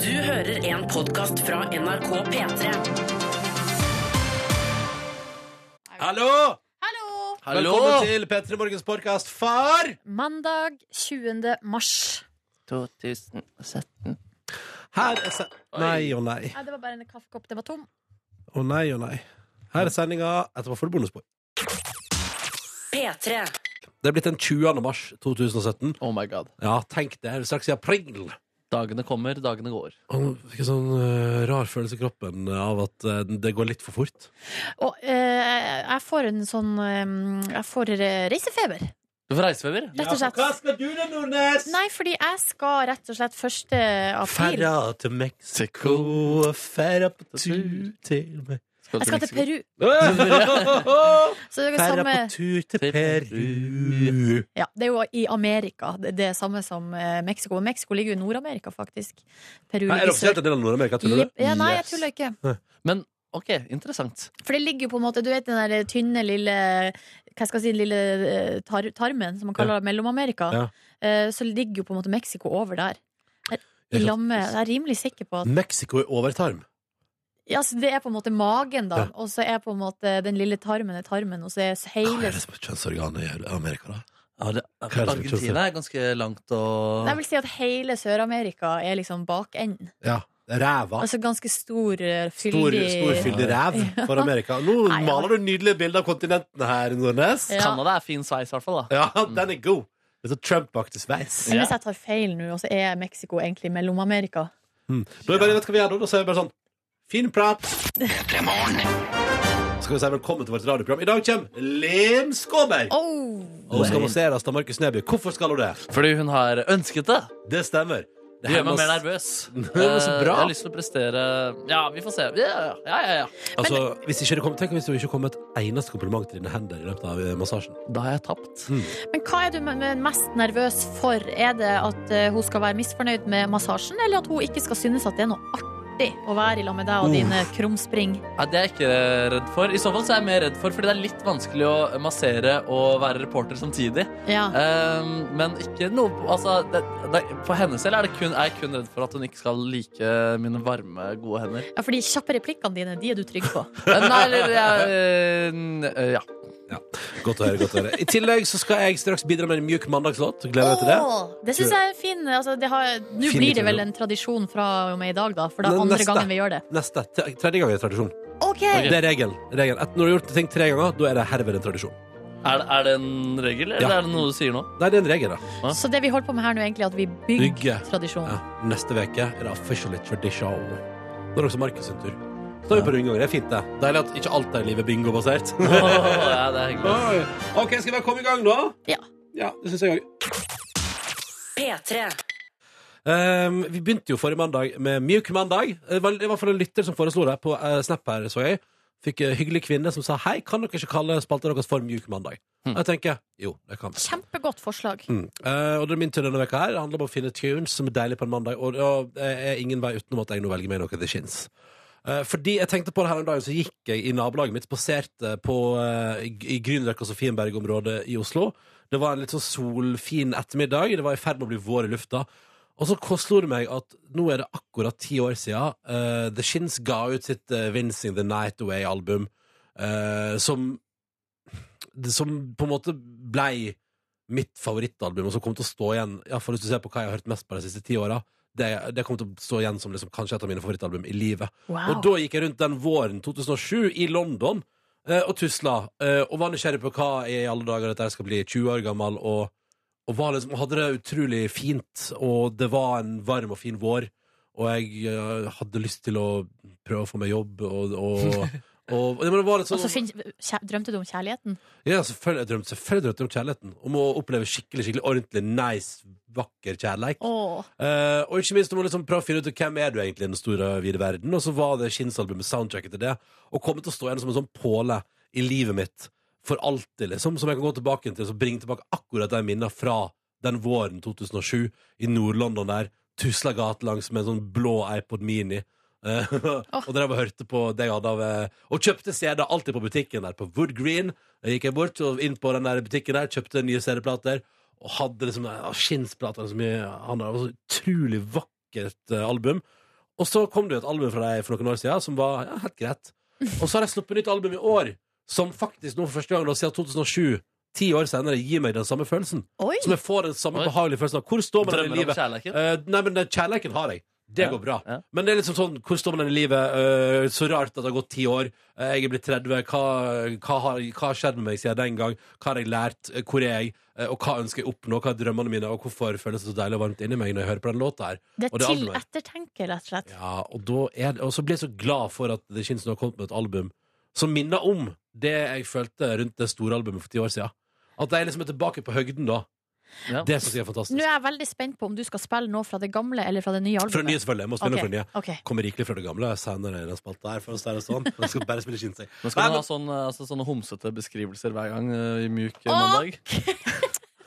Du hører en podkast fra NRK P3. Hallo! Hallo! Hallo! Velkommen til P3 Morgens podkast, far! Mandag 20. mars. 2017. Her er se... Nei og nei. Nei, det var bare en kaffekopp. Den var tom. Og nei og nei. Her er sendinga etterpå får du bonusspor. P3. Det er blitt den 20. mars 2017. Oh my god. Ja, tenk det. Er det straks i april? Dagene kommer, dagene går. Og nå fikk jeg sånn eh, rar følelse i kroppen av at eh, det går litt for fort. Og eh, jeg får en sånn eh, Jeg får eh, reisefeber, Du får reisefeber. rett og slett. skal du da, Nordnes? Nei, fordi jeg skal rett og slett 1. april. Ferda til Mexico, ferda på tur til meg Jeg skal til Peru. Ferda Så det er det samme på tur til Peru. Ja, det er jo i Amerika. Det det er samme som eh, Mexico. Men Mexico ligger jo i Nord-Amerika, faktisk. Peru Nei, Er det ligger offisielt en del av Nord-Amerika, tror du? Jep. Ja, nei, jeg Yes. tuller ikke. Men ok, interessant. For det ligger jo på en måte Du vet den der tynne, lille Hva skal jeg si, lille eh, tar tarmen, som man kaller Mellom-Amerika. Ja. Eh, Så ligger jo på en måte Mexico over der. I Jeg kan- lag med- Jeg er rimelig sikker på at Mm. Mexico er overtarm. ja, så Det er på en måte magen, da. Ja. Og så er på en måte den lille tarmen er tarmen, og så er Hva er hele det som er kjønnsorganet i Amerika, da? Ja, Hva er det det, som skjer? Argentina er ganske langt og Jeg vil si at hele Sør-Amerika er liksom bakenden. Ja, Ræva. Altså ganske stor, eh, Stor, fyldig stor fyldig ræv for Amerika. Nå Nei, ja. maler du nydelige bilder av kontinentene her, Nordnes. Ja. Canada er fin sveis, i hvert fall. da Ja, den er god. Det er så Trump-aktig sveis. Men hvis jeg tar feil nå, og så er Mexico egentlig Mellom-Amerika Da Hm. er det bare, vet du hva vi gjør da? Da sier vi bare sånn Fin prat! Så skal vi si velkommen til vårt radioprogram. I dag kommer Lem Skåberg. Oh, Og skal masseres av Markus Neby. Hvorfor skal hun det? Fordi hun har ønsket det. Det stemmer. Det gjør meg mer nervøs. var så Eh, bra. Jeg har lyst til å prestere Ja, vi får se. Ja, ja, ja, ja. Altså, hvis ikke det kom, tenk hvis det ikke kom et eneste kompliment til dine hender i løpet av eh, massasjen. Da har jeg tapt. Men hva er du me- me- mest nervøs for? Er det at eh, hun skal være misfornøyd med massasjen, eller at hun ikke skal synes at det er noe artig å være i lag med deg og dine krumspring? Nei, det er jeg ikke redd for. I så fall så er jeg mer redd for fordi det er litt vanskelig å massere og være reporter samtidig. Ja. Eh. Ehm, men ikke noe altså, det, det, For hennes del er, det kun, er jeg kun redd for at hun ikke skal like mine varme, gode hender. ja, for de kjappe replikkene dine, de er du trygg på. Men Nei, eller jeg, eh, Ja. Godt å høre, godt å høre. I tillegg så skal jeg straks bidra med en mjuk mandagslåt. Gleder deg til det. Åh, det syns jeg er fin. Altså, det har, nå Fin blir det intro. vel en tradisjon fra og med i dag, da. For det Men er andre neste. gangen vi gjør det. Neste. T- Tredje gang er tradisjon. OK! Ok. Det er regelen. Regel. Når du har gjort ting tre ganger, da er det herved en tradisjon. Er, det- er det en regel, eller Ja. er det noe du sier nå? Nei, det er en regel, da. Så det vi holder på med her nå, egentlig, er at vi bygger Bygge. tradisjon. Ja. Neste uke er det officially tradition. Da er det også Markus sin tur. Da er vi på rundgang. Det er fint, det. Deilig at ikke alt er i livet bingobasert. Åh, ja, det er hyggelig. Oi. OK, skal vi bare komme i gang, da? Ja. Ja, det syns jeg òg. P3. Um, vi begynte jo forrige mandag med Mjuk mandag. Det var i hvert fall en lytter som foreslo det på eh, Snap her, så jeg. Fikk en hyggelig kvinne som sa hei, kan dere ikke kalle spalten deres for Mjuk mandag? Hmm. Jeg tenker jo, det kan vi. Kjempegodt forslag. Mm. Eh, og det er min tur denne veka her. Det handler om å finne tunes som er deilig på en mandag. Og og det er ingen vei utenom at jeg nå velger meg noe The Shins. Eh, fordi jeg tenkte på det her om dagen, så gikk jeg i nabolaget mitt, spaserte på eh, i Grünerløkka og Sofienberg-området i Oslo. Det var en litt sånn solfin ettermiddag. Det var i ferd med å bli vår i lufta. Og så ko- slo det meg at nå er det akkurat ti år siden eh, The Shins ga ut sitt eh, Vincing the Night Away-album, eh, som, som på en måte blei mitt favorittalbum, og som kommer til å stå igjen ja, for Hvis du ser på hva jeg har hørt mest på de siste ti åra, det, det kommer til å stå igjen som liksom, kanskje et av mine favorittalbum i livet. Og Wow. da gikk jeg rundt den våren 2007 i London eh, og tusla, eh, og var nysgjerrig på hva i alle dager dette her skal bli, 20 år gammel, og, og var liksom, hadde det utrolig fint, og det var en varm og fin vår, og jeg eh, hadde lyst til å prøve å få meg jobb, og, og, og, og det var litt Og sånn så fin- kjæ- drømte du om kjærligheten? ja, selvfølgelig drømte selvfølgelig drømte jeg om kjærligheten. Om å oppleve skikkelig skikkelig ordentlig nice, vakker kjærlighet. Åh. Eh, og ikke minst om å liksom prøve å finne ut hvem er du egentlig i den store, vide verden. Og så var det Shins-albumet, soundtracket til det, og komme til å stå igjen som en sånn påle i livet mitt for alltid, liksom. Som jeg kan gå tilbake til, så bringe tilbake akkurat de minnene fra den våren 2007 i Nord-London der. Tusla gatelangs med en sånn blå iPod Mini. Eh, og drev og hørte på det jeg hadde av eh, Og kjøpte CD alltid på butikken der på Wood Green. Jeg gikk jeg bort og inn på den der butikken der, kjøpte nye CD-plater. Og hadde liksom ja, skinnsplater og så mye Han hadde så utrolig vakkert eh, album. Og så kom det jo et album fra deg for noen år siden som var ja, helt greit. Og så har jeg sluppet nytt album i år, som faktisk nå for første gang da, siden 2007, ti år senere, gir meg den samme følelsen. Oi! Som jeg får den samme Oi. behagelige følelsen av. Hvor står man i Drømmer om livet? kjærleiken. Eh, nei, men den kjærleiken har jeg. Det Ja, går bra. ja. Men det er liksom sånn, hvor står man i livet? Eh, så rart at det har gått ti år. Eh, jeg er blitt 30. Hva, hva, har, hva har skjedd med meg siden den gang? Hva har jeg lært? Eh, Hvor er jeg? Eh, og hva ønsker jeg å oppnå? Hva er drømmene mine? Og hvorfor føles det så deilig og varmt inni meg når jeg hører på den låta her? Det er Og det til albumet. ettertenke, rett og slett. Ja, og, da er det, og så blir jeg så glad for at The Shinsen har kommet med et album som minner om det jeg følte rundt det store albumet for ti år siden. At jeg liksom er tilbake på høgden da. Ja. Eh, Det synes jeg er Nå fantastisk. er jeg veldig spent på om du skal spille noe fra det gamle eller fra det nye albumet. Fra nye, selvfølgelig. Jeg må spille Ok, fra nye. ok. Kommer rikelig fra det gamle senere i den spalta her. For å si det sånn. Jeg skal bare spille Shinsei. Nå skal Nei, man men- ha sånn, eh, altså, sånne homsete beskrivelser hver gang eh, i Mjuk eh, mandag.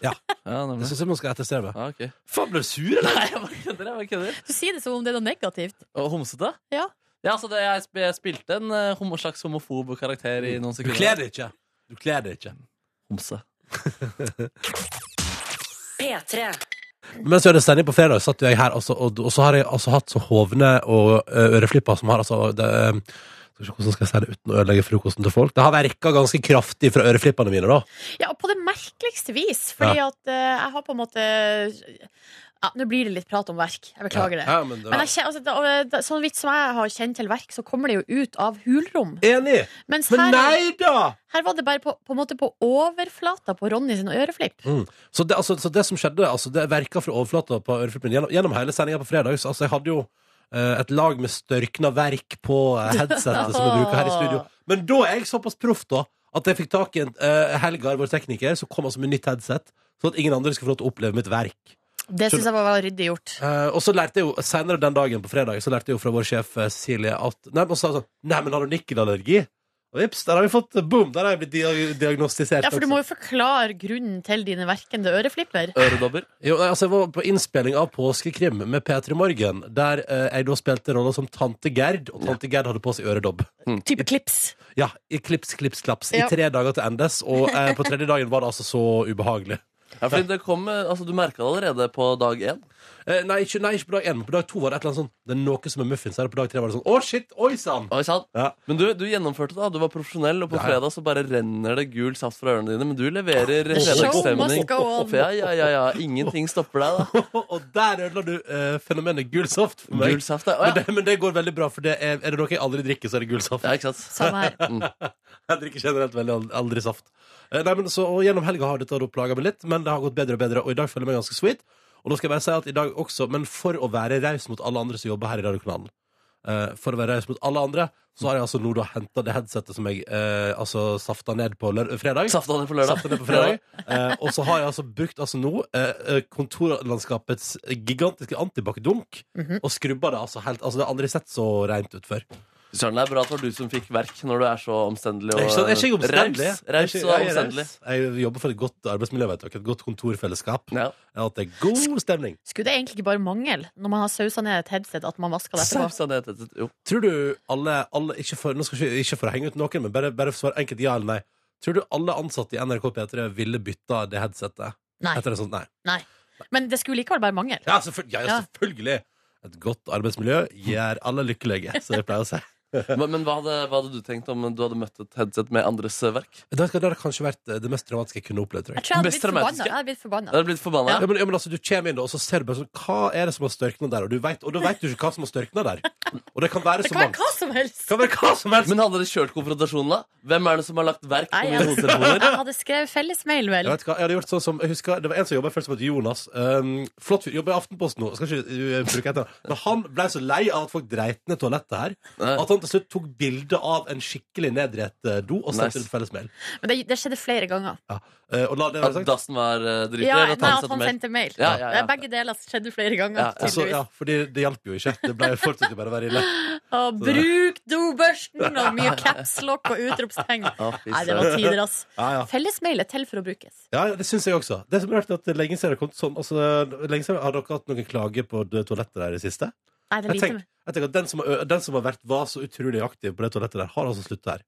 Ja. ja Det nemlig. syns jeg man skal etterstrebe. Ja, ok. Faen, ble du sur, eller? Nei, jeg bare kødder. jeg bare kødder. Du sier det som om det er noe negativt. Og homsete? Ja. Ja, altså, det, jeg, sp jeg spilte en eh, homo slags homofob karakter i noen Mm. Du sekunder. kler det ikke. Du kler det ikke. Homse. P3. Mens vi hadde sending på fredag, satt jo jeg her, altså, og, og så har jeg altså hatt så hovne og eh, øreflipper som har altså det, eh, skal vi se Hvordan skal jeg si det uten å ødelegge frokosten til folk? Det har verka ganske kraftig fra øreflippene mine, da. Ja, og på det merkeligste vis, fordi at eh, jeg har på en måte Ja, nå blir det litt prat om verk. Jeg beklager det. Ja, men det Men jeg, kjen- altså, da, og, da, sånn vidt som jeg har kjent til verk, så kommer det jo ut av hulrom. Enig! Mens Men her, nei da! her var det bare på, på en måte på overflata på Ronny sin øreflipp. Så det, altså, så det som skjedde, altså, det verka fra overflata på øreflippene gjennom, gjennom hele sendinga på fredag. Så, altså, jeg hadde jo eh, et lag med størkna verk på eh, headsetet som jeg bruker her i studio. Men da er jeg såpass proff, da, at jeg fikk tak i en eh, Helgar, vår tekniker, som kom altså med nytt headset, sånn at ingen andre skulle få lov til å oppleve mitt verk. Det syns jeg var ryddig gjort. Eh, og så lærte jeg jo senere den dagen på fredag Så lærte jeg jo fra vår sjef eh, Cecilie at Nei, men, hun sa sånn, nei, men har du nikkelallergi? Og vips, der har vi fått boom! Der har jeg blitt dia- diagnostisert. Ja, for du også. må jo forklare grunnen til dine verkende øreflipper. Øredobber. Jo, nei, altså Jeg var på innspilling av Påskekrim med P3 Morgen, der eh, jeg da spilte rolla som tante Gerd, og tante Gerd hadde på seg øredobb. Type klips. Ja, i klips, klips, klaps. Ja. I tre dager til endes, og eh, på tredje dagen var det altså så ubehagelig. Ja, fordi det kom, eh, altså, du merka det allerede på dag én. Eh, nei, ikke, nei, ikke på dag én, men på dag to var det et eller annet sånn Det er noe som er muffins her, og på dag tre var det sånn Å, shit! Oi sann! Oi, sant? Ja. Men du, du gjennomførte det. da, Du var profesjonell, og på Ja, ja. fredag så bare renner det gul saft fra ørene dine. Men du leverer show must fredagsstemning. go on. Ja, ja, ja, ja. Ingenting stopper deg, da. og der ødela du eh, fenomenet gul saft for meg. Gul saft, ja. Å, Men, ja. det, men det går veldig bra, for det er, er det noe jeg aldri drikker, så er det gul saft. ja, ikke sant? Samme her. Jeg drikker generelt veldig ald- aldri saft. Eh, Nei, men så, og Gjennom helga har dette da plaga meg litt, men det har gått bedre og bedre. Og i dag føler jeg meg ganske sweet. Og nå skal jeg bare si at i dag også, men for å være raus mot alle andre som jobber her i Radiokanalen eh, For å være raus mot alle andre, så har jeg altså nå da henta det headsetet som jeg eh, altså safta ned på lø- fredag. Safta ned på lørdag. Safta ned på fredag. Eh, og så har jeg altså brukt altså nå eh, eh, kontorlandskapets gigantiske antibac-dunk og skrubba det altså helt Altså, det har jeg aldri sett så rent ut før. Søren, det er bra at det var du som fikk verk når du er så omstendelig Jeg er og ikke, jeg er ikke omstendelig. raus. Raus Jeg er og ikke- jeg er omstendelig. raus. Jeg jobber for et godt arbeidsmiljø, vet dere. Et godt kontorfellesskap. Ja. At det er god stemning. Skulle det egentlig ikke bare mangle, når man har sausa ned et headset, at man vasker det etterpå? Safta ned til- Jo. Tror du alle, alle ikke, for, nå skal vi, ikke for å henge ut noen, men bare, bare svar enkelt ja eller nei. Tror du alle ansatte i NRK P3 ville bytta det headsetet? Nei. Etter en sånn nei. Nei. Men det skulle likevel bare mangle. Ja, selvfølgelig. Ja, ja, Ja. selvfølgelig. Et godt arbeidsmiljø gjør alle lykkelige, som jeg pleier å si. Men, men hva, hadde, hva hadde du tenkt om du hadde møtt et headset med andres verk? Det har det har kanskje vært det mest dramatiske jeg kunne opplevd, tror jeg. Jeg tror jeg hadde Mest blitt forbanna. traumatiske. Jeg hadde blitt Jeg forbanna. hadde blitt forbanna. Ja, men, ja, men altså, Du kommer inn da, og så ser du bare sånn Hva er det som har størkna der? Og, du vet, og da vet du ikke hva som har størkna der. Og det kan være Det så kan mangt. være hva som helst. Kan være hva som helst. Men hadde dere kjørt konfrontasjonen, da? Hvem er det som har lagt verk på Nei, mine jeg, hodetelefoner? jeg hadde skrevet fellesmail, vel. Jeg vet hva, jeg hadde gjort sånn som, jeg husker, Det var en som jobba først som het Jonas. Um, flott fyr. Jobber i Aftenposten nå. Skal ikke uh, bruke etter. Men han ble så lei av at folk dreit ned toalettet her, Nei. at han til slutt tok bilde av en skikkelig nedrett uh, do og sendte nice. Nice. ut fellesmail. Men det, det skjedde flere ganger. Ja. Uh, og la det At være sagt. dassen var eh, dritlig? Ja, eller nei, at han at sendte han mail? sendte mail. Ja, ja, ja. Det er Begge deler skjedde flere Ja, ganger. ja. Også, ja, tydeligvis. fordi det hjalp jo ikke. Det ble fortsatte bare å være ille. Og bruk dobørsten og mye capslock og utropstegn. Å, fy Nei, det var søren. tider, ass. Ja, ja. Fellesmail er til for å brukes. Ja, ja, det syns jeg også. Det som er rart er at det er lenge siden det har kommet sånn altså, lenge siden, Har dere hatt noen klager på det toalettet der i det siste? Nei, det er Jeg lite tenker, med. jeg tenker at den som, har, ø- den som har vært var så utrolig aktiv på det toalettet der, har altså sluttet her.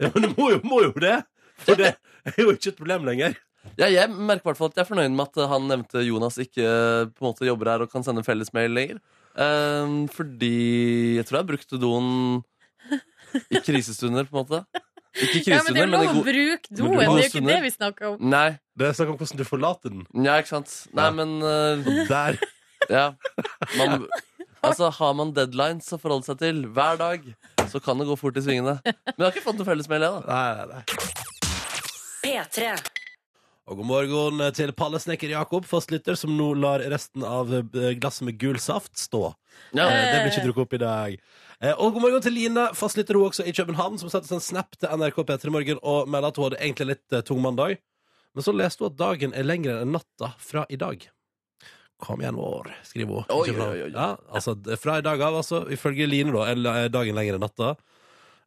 Ja, men det må jo, må jo det! For det er jo ikke et problem lenger. Ja, jeg merker i hvert fall at jeg er fornøyd med at eh, han nevnte Jonas ikke eh, på en måte jobber her og kan sende fellesmail lenger. Ehm, fordi jeg tror jeg brukte doen i krisestunder, på en måte. Ikke i Ja, men det krisestunder, er men, lov i å gode bruke Men det doen, er det er gode jo ikke stunder. det vi snakker om. Nei, Det er snakk om hvordan du forlater den. ja, ikke sant. Nei, Ja. men eh, Og der ja. Man, altså, har man deadlines å forholde seg til hver dag, så kan det gå fort i svingene. Men jeg har ikke fått noen fellesmail, jeg, da. Nei, nei, nei. P3. Og god morgen eh, til pallesnekker Jakob, fastlytter, som nå lar resten av eh, glasset med gul saft stå. Ja. Eh, Det blir ikke drukket opp i dag. Eh, Og god morgen til Line, fastlytter hun også i København, som sendte oss en snap til NRK P3 Morgen og meldte at hun hadde egentlig litt eh, tung mandag. Men så leste hun at dagen er lengre enn natta fra i dag. Kom igjen, vår, skriver hun. i Oi, København. oi, oi, oi. Ja, altså, d- fra i dag av, altså, ifølge Line, da, er la- er dagen lengre enn natta.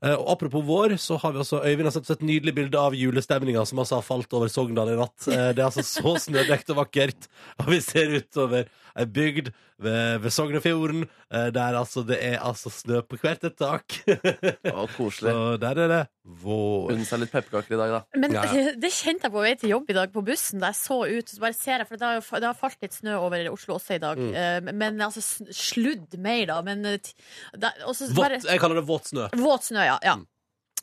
Eh, Og apropos vår, så har vi også Øyvind har sett oss et nydelig bilde av julestemninga som altså har falt over Sogndal i natt. Eh, Det er altså så snødekt og vakkert. Og vi ser utover ei bygd ved, ved Sognefjorden eh, der altså det er altså snø på hvert et tak. Å, koselig. Så der er det vår. Unne seg litt pepperkaker i dag, da. Men Ja, det kjente jeg på vei til jobb i dag på bussen, da jeg så ut. Så bare ser jeg, for det har, jo fa- det har falt litt snø over Oslo også i dag. Mm. Eh, Men altså, s- sludd mer, da. Men eh, t- da, og så bare- Vått, Mm. jeg kaller det våt snø. Våt snø, ja. ja.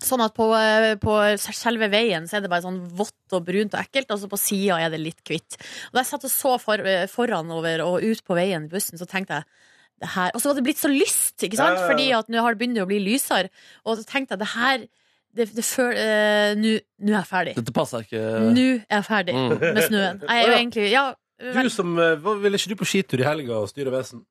Sånn at på, eh, på selve veien så er det bare sånn vått og brunt og ekkelt, og så på sida er det litt hvitt. Og Da jeg satt og så for, eh, foran over og ut på veien i bussen, så tenkte jeg det her, Og så var det blitt så lyst, ikke Ja, sant? ja, ja. Fordi at nå har det begynt å bli lysere. Og så tenkte jeg det her det, det føl- eh, Nå nå er jeg ferdig. Dette passer ikke. Nå er jeg ferdig Mm. med snøen. Jeg er jo egentlig Ja. Du vel- som eh, hva- Ville ikke du på skitur i helga og styre vesen?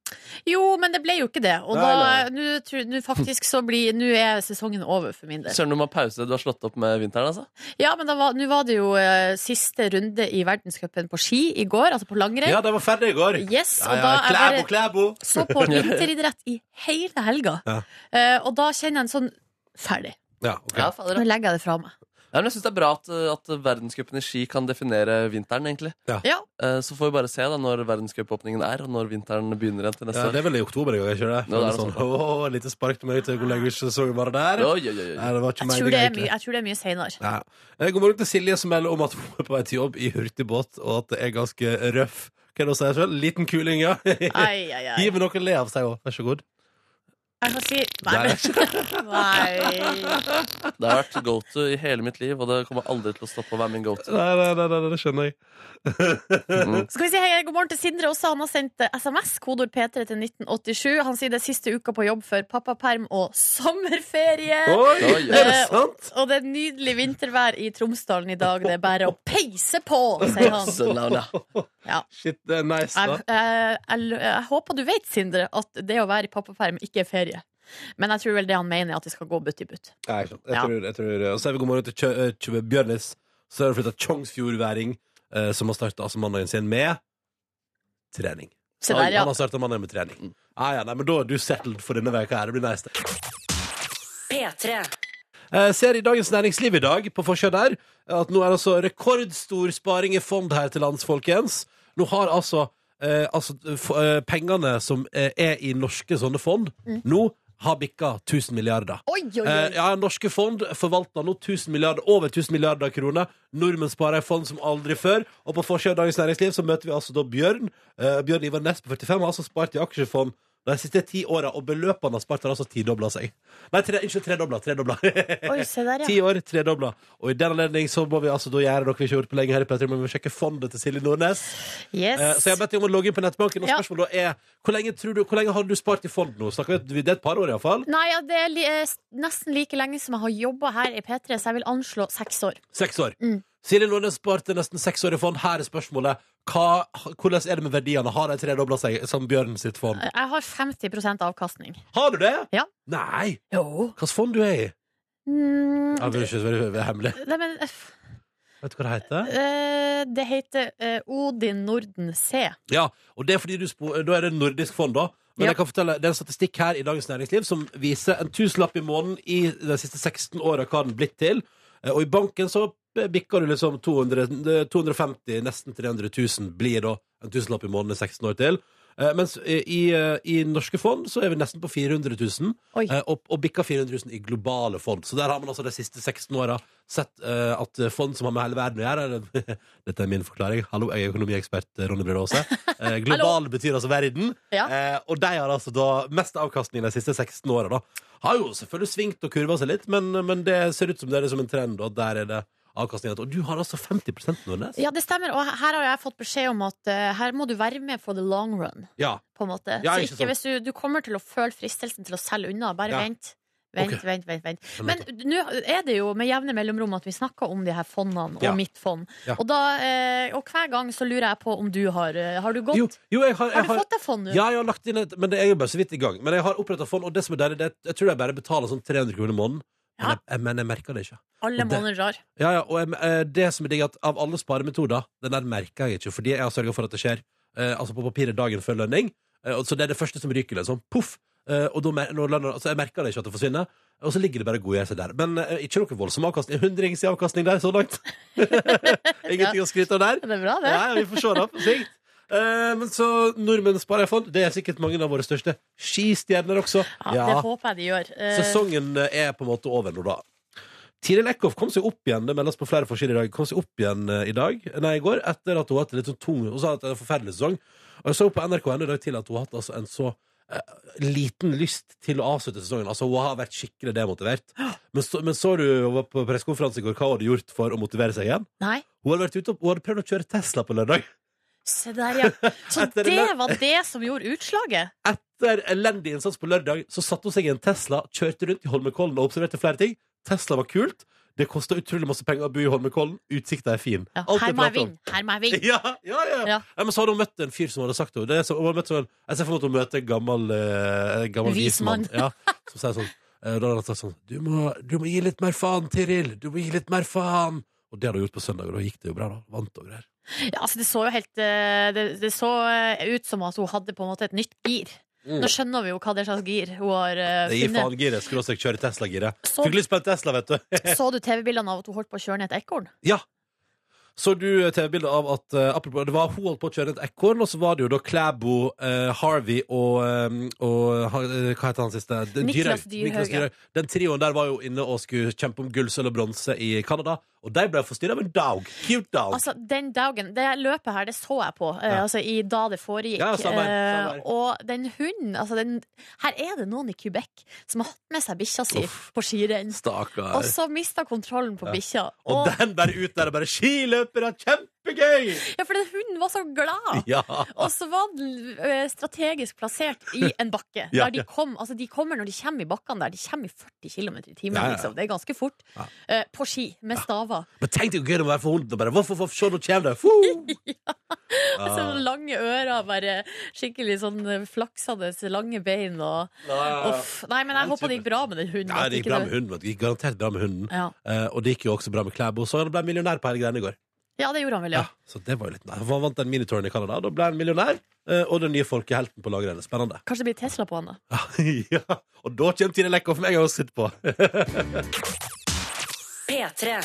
Jo, men det ble jo ikke det. Og Nei, da nå tror- Nå faktisk så blir Nå er sesongen over for min del. Søren, du må ha pause. Du har slått opp med vinteren, altså? Ja, men da var- nå var det jo eh, siste runde i verdenscupen på ski i går, altså på langrenn. Ja, de var ferdig i går. Yes, Ja, og ja, da jeg Klæbo, bare Klæbo! så på vinteridrett i hele helga. Ja. Eh, og da kjenner jeg en sånn Ferdig. Ja, ok. Ja, fader, Nå legger jeg det fra meg. Ja, men jeg synes det er bra at, eh, at verdenscupen i ski kan definere vinteren, egentlig. Ja. Ja. Eh, Så får vi bare se da når verdenscupåpningen er, og når vinteren begynner igjen til neste Ja, år. det er vel i oktober i gang, ikke det? Ja, det er sånn, sånn. Åh, et lite spark til meg til hvor lenge ikke så vi bare der. Oi, oi, oi, Nei, det oi. var ikke Jeg meg, tror det det er egentlig. mye, jeg tror det er mye seinere. Ja. Eh, God morgen til Silje som melder om at hun er på vei til jobb i hurtigbåt, og at det er ganske røff. Hva er det hun sier selv? Liten kuling, ja. Gi Ai, ai, ai. meg noe å le av, sier hun. Vær så god. Jeg kan si Nei. men- Nei. Det har vært go to i hele mitt liv, og det kommer aldri til å stoppe å være min go to. Nei, nei, nei, nei, det skjønner jeg. Mm. Skal vi si hei, god morgen til Sindre også. Han har sendt eh, SMS, kodeord P3 til 1987. Han sier det er siste uka på jobb før pappaperm og sommerferie. Oi, Oi, er eh, det sant? Og det er nydelig vintervær i Tromsdalen i dag. Det er bare å peise på, sier han. Så la- la. Ja. Shit, det er nice, Jeg, eh, da. jeg, jeg, jeg håper du vet, Sindre, at det å være i pappaperm ikke er ferie. Men jeg tror vel det han mener, er at de skal gå butt i butt. Nei, jeg skjønner. Liksom. Ja. jeg tror, jeg tror, og så er vi god morgen til Kjø eh, Kjø Bjørnis, så har hun flyttet Tjongsfjordværing, eh, som har startet altså mandagen sin med trening. Se Oi, der, ja. Mm. Han har startet mandagen med trening. Ah, ja, nei, men da er du settled for denne veka her. Det blir nice. det. P3. Eh, ser i Dagens Næringsliv i dag, på forsida der, at nå er altså rekordstor sparing i fond her til lands, folkens. Nå har altså, eh, altså f eh, pengene som eh, er i norske sånne fond, Mm. nå har bikka 1000 milliarder. Oi, oi, oi. Eh, ja, Norske fond forvalter nå 1000 milliarder, over 1000 milliarder kroner. Nordmenn sparer i fond som aldri før. Og på forsida av Dagens Næringsliv så møter vi altså da Bjørn. Eh, Bjørn Ivar Næss på 45 har altså spart i aksjefond de siste ti åra, og beløpene han har spart, har altså tidobla seg. Nei, tre, ikke tredobla. Tredobla. Oi, se der, Ti ja. år, tredobla. Og i den anledning så må vi altså da gjøre noe vi ikke har gjort på lenge her i Petter, men vi må sjekke fondet til Silje Nordnes. Eh, Yes. Så jeg har bedt deg om å logge inn på nettbanken, og Ja. spørsmålet da er hvor lenge, tror du, hvor lenge har du spart i fond nå? Snakker vi, Det er et par år iallfall. Nei, ja, det er li eh, s- nesten like lenge som jeg har jobba her i P3, så jeg vil anslå seks år. Seks år. Mm. Silje Nordnes sparte nesten seks år i fond. Her er spørsmålet. Hva, hvordan er det med verdiene? Har de tredobla seg, som Bjørn sitt fond? Jeg har 50 avkastning. Har du det? Ja. Nei! Jo. Hvilket fond du er i? Mm, Ja, det er ikke så veldig veldig hemmelig. nei, men eh, Vet du hva det heter? Eh, det heter eh, Odin Norden C. Ja, og det er fordi du spo Da er det nordisk fond, da. Men Ja. jeg kan fortelle, det er en statistikk her i Dagens Næringsliv som viser en tusenlapp i måneden i de siste 16 åra hva den blitt til. Eh, Og i banken så bikker du liksom 200, 250, nesten 300 000 blir da en tusenlapp i måneden i 16 år til. Eh, Eh, mens eh, i, eh, i norske fond så er vi nesten på 400 000, Oi. eh, og, og bikka 400 000 i globale fond. Så der har man altså de siste 16 åra sett eh, at fond som har med hele verden å gjøre eller- Dette er min forklaring. Hallo, jeg er økonomiekspert eh, Ronny Brede Aase. Eh, global betyr altså verden. Ja. Eh, og de har altså da mest avkastning de siste 16 åra, da. Har jo selvfølgelig svingt og kurva seg litt, men, men det ser ut som det er liksom en trend, og der er det avkastning. Og du har altså 50 Nordnes. Ja, det stemmer. Og her har jeg fått beskjed om at eh, her må du være med for the long run. Ja. På en måte. Ja, så ikke ikke sant. hvis du, du kommer til å føle fristelsen til å selge unna. Bare Ja. vent. Vent, Ok. vent, vent, vent. Men nå er det jo med jevne mellomrom at vi snakker om de her fondene og Ja. mitt fond. Ja. Og, da, eh, og hver gang så lurer jeg på om du har eh, Har du gått? Jo, jo, jeg har, jeg har du fått deg fond nå? Ja, jeg har lagt inn et Men det er jo bare så vidt i gang. Men jeg har oppretta fond, og det som er deilig, det er at jeg tror jeg bare betaler sånn 300 kroner i måneden. Men Ja. jeg, jeg, men jeg merker det ikke. Alle og det- måneder rar. Ja, ja, og jeg, eh, det som er digg, er at av alle sparemetoder, den der merker jeg ikke, fordi jeg har sørga for at det skjer eh, altså på papiret dagen før lønning. Eh, og så det er det første som ryker, liksom. Poff! Eh, og da, mer- når lønnen, altså jeg merker det ikke at det forsvinner. Og så ligger det bare godgjørelse der. Men eh, ikke noe voldsom avkastning. Hundrings i avkastning der så langt. Ingenting å skryte av der. Det er bra, det. Ja, ja, vi får se da på sikt. Eh, men så nordmenn sparer i fond. Det er sikkert mange av våre største skistjerner også. Ja, Det håper jeg de gjør. Eh, Sesongen er på en måte over nå, da. Tiril Eckhoff kom seg opp igjen det meldes på flere forskjeller i dag, kom seg opp igjen eh, i dag, nei, i går, etter at hun har hatt en litt sånn tung Hun sa at det er en forferdelig sesong. Og jeg så på NRK i dag til at hun har hatt altså, en så eh, liten lyst til å avslutte sesongen. Altså, Hun har vært skikkelig demotivert. Men så, men så du hun var på pressekonferanse i går, hva hun hadde gjort for å motivere seg igjen? Nei, Hun hadde, vært ute, og- hun hadde prøvd å kjøre Tesla på lørdag. se der, ja. Så Etter det- det var det som gjorde utslaget? Etter elendig innsats på lørdag Så satte hun seg i en Tesla, kjørte rundt i Holmenkollen og observerte flere ting. Tesla var kult. Det kosta utrolig masse penger å bo i Holmenkollen. Utsikta er fin. Ja. Alt Her er må jeg pratet om. vinne! Her må jeg vinne! Ja, ja, ja. Ja. Nei, men så hadde hun møtt en fyr som hadde sagt til henne det. er så- Hun hadde møtt sånn, jeg ser for meg at hun møter en gammel, eh, en gammel Vis vis mann. Ja, som sier sånn eh, Da hadde han sagt sånn du må, du må gi litt mer faen, Tiril. Du må gi litt mer faen. Og det hadde hun gjort på søndag, og da gikk det jo bra. da Vant og greier. Ja, altså det så jo helt eh, det, det så eh, ut som at hun hadde på en måte et nytt gir. Mm. Nå skjønner vi jo hva det slags gir hun har eh, Det gir funnet. faen giret. Skråstrek kjøre Tesla-giret. Så, Fikk lyst på en Tesla, vet du. så du TV-bildene av at hun holdt på å kjøre ned et ekorn? Ja. Så du eh, TV-bildet av at eh, apropos, det var hun holdt på å kjøre et ekorn, og så var det jo da Klæbo, eh, Harvey og, eh, og ha- eh, Hva heter han siste? Den Niklas Dyrhaug, Niklas ja. Den trioen der var jo inne og skulle kjempe om gull, sølv og bronse i Canada, og de ble forstyrra av en dog. Cute dog. Altså, den dagen, det løpet her, det så jeg på eh, Ja. altså, i da det foregikk. Ja, samme her, samme her. Eh, og den hunden altså, den, Her er det noen i Quebec som har hatt med seg bikkja si Uff. på skirenn. Stakkar. Og så mista kontrollen på Ja. bikkja. og Og, den bare ut der og bare 'Skiløpere, kjempegøy!' ja, for den hunden var så glad! Ja. Og så var den eh, strategisk plassert i en bakke. Ja, der de, ja. kom, altså de kommer når de kommer i bakkene der. De kommer i 40 km i timen. Ja, ja, ja. Liksom. Det er ganske fort. Ja. Eh, på ski, med staver. Men tenk deg hvor gøy det må være for hunden. og Bare, voff, voff, voff, se, nå kommer det! Fuh! Ah. Og så lange ører, bare skikkelig sånn eh, flaksende lange bein og Ah. Ja. Uff. Nei, men jeg Den håper det gikk bra med den hunden. Nei, at det gikk ikke bra med hunden. vet du. Det gikk garantert bra med hunden. Ja. Eh, og det gikk jo også bra med Klæbo, så han ble millionær på hele greiene i går. ja, det gjorde han vel, ja. Så det var jo litt nice. Han vant den minitouren i Canada, og da ble han millionær. eh, og den nye folkehelten på lagrennet. Spennende. Kanskje det blir Tesla på han, da. ja. Og da kommer Tine Lekka for meg å sitte på. P3.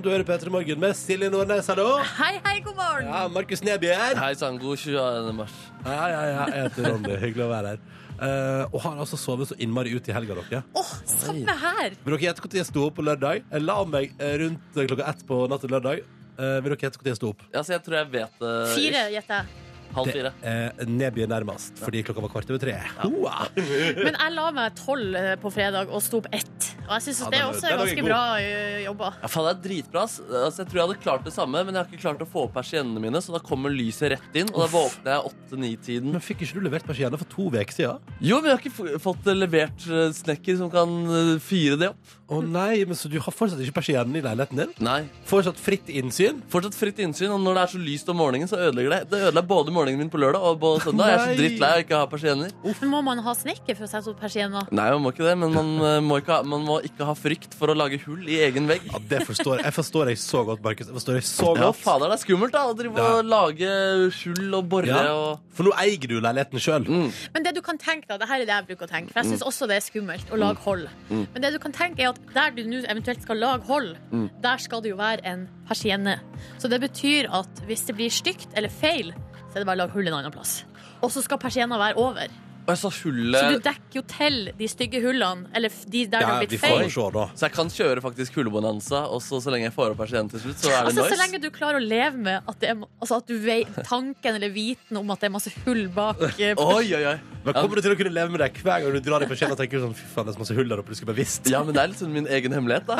du hører P3 Morgen med Silje Nordnes, hallo. Hei, hei, god morgen! Ja, Markus Neby her. Hei sann, god 22. mars. Ja, ja, ja. Jeg heter Ronny. Hyggelig å være her. Eh, og har altså sovet så innmari ut i helga, dere. Åh, samme her! Vil dere gjette når jeg sto opp på lørdag? Jeg la meg eh, rundt klokka ett på natt til lørdag. Eh, vil dere gjette når jeg sto opp? Ja, så Altså, jeg tror jeg vet det. Fire, gjetter jeg. ish. Halv fire. Eh, Neby er nærmest, fordi klokka var kvart over tre. Hoa! Men jeg la meg tolv eh, på fredag og sto opp ett. Og jeg syns Ja, det den er- også den er er ganske god. bra eh, jobba. Ja, faen, det er dritbra. ass. Altså, jeg tror jeg hadde klart det samme, men jeg har ikke klart å få opp persiennene mine, så da kommer lyset rett inn, og da våkner jeg åtte-ni-tiden. Men fikk ikke du levert persienne for to uker siden? Jo, men jeg har ikke f- fått levert eh, snekker som kan eh, fyre det opp. Å nei, men så du har fortsatt ikke persienne i leiligheten din? Nei. Fortsatt fritt innsyn? Fortsatt fritt innsyn, og når det er så lyst om morgenen, så ødelegger det. Det ødela både morgenen min på lørdag og på søndag. Jeg er så Nei. drittlei av ikke å ha persienner. Men må man ha snekker for å sette opp persienner? Nei, man må ikke det, men man, eh, må ikke ha, man må ikke ha frykt for å lage hull i egen vegg. Ja, det forstår jeg. Jeg forstår deg så godt, Markus. Jeg forstår deg så Ja, godt. fader, det er skummelt da, å drive Ja. og lage hull og borre Ja. og For nå eier du leiligheten sjøl. mm. Men det du kan tenke da, det her er det jeg bruker å tenke, for jeg Mm. syns også det er skummelt å lage hold. Mm. Men det du kan tenke er at der du nå eventuelt skal lage hold, Mm. der skal det jo være en persienne. Så det betyr at hvis det blir stygt eller feil, så er det bare å lage hull en annen plass. og så skal persienna være over. Og jeg så Så du hullet dekker jo til de stygge hullene, eller f- de der det har Eh. Ja, vi blitt får jo feil. se, da. Så jeg kan kjøre faktisk hullebonanza, og så, så lenge jeg får opp persiennen til slutt, så er det Altså, så noise. lenge du klarer å leve med at, det er, altså, at du vei- tanken eller viten om at det er masse hull bak eh, Oi, oi, oi. Men kommer du til å kunne leve med det hver gang du drar i persienna og tenker sånn, fy faen, det er så masse hull der oppe, du skulle bare visst. Ja, men det er litt sånn min egen hemmelighet, da.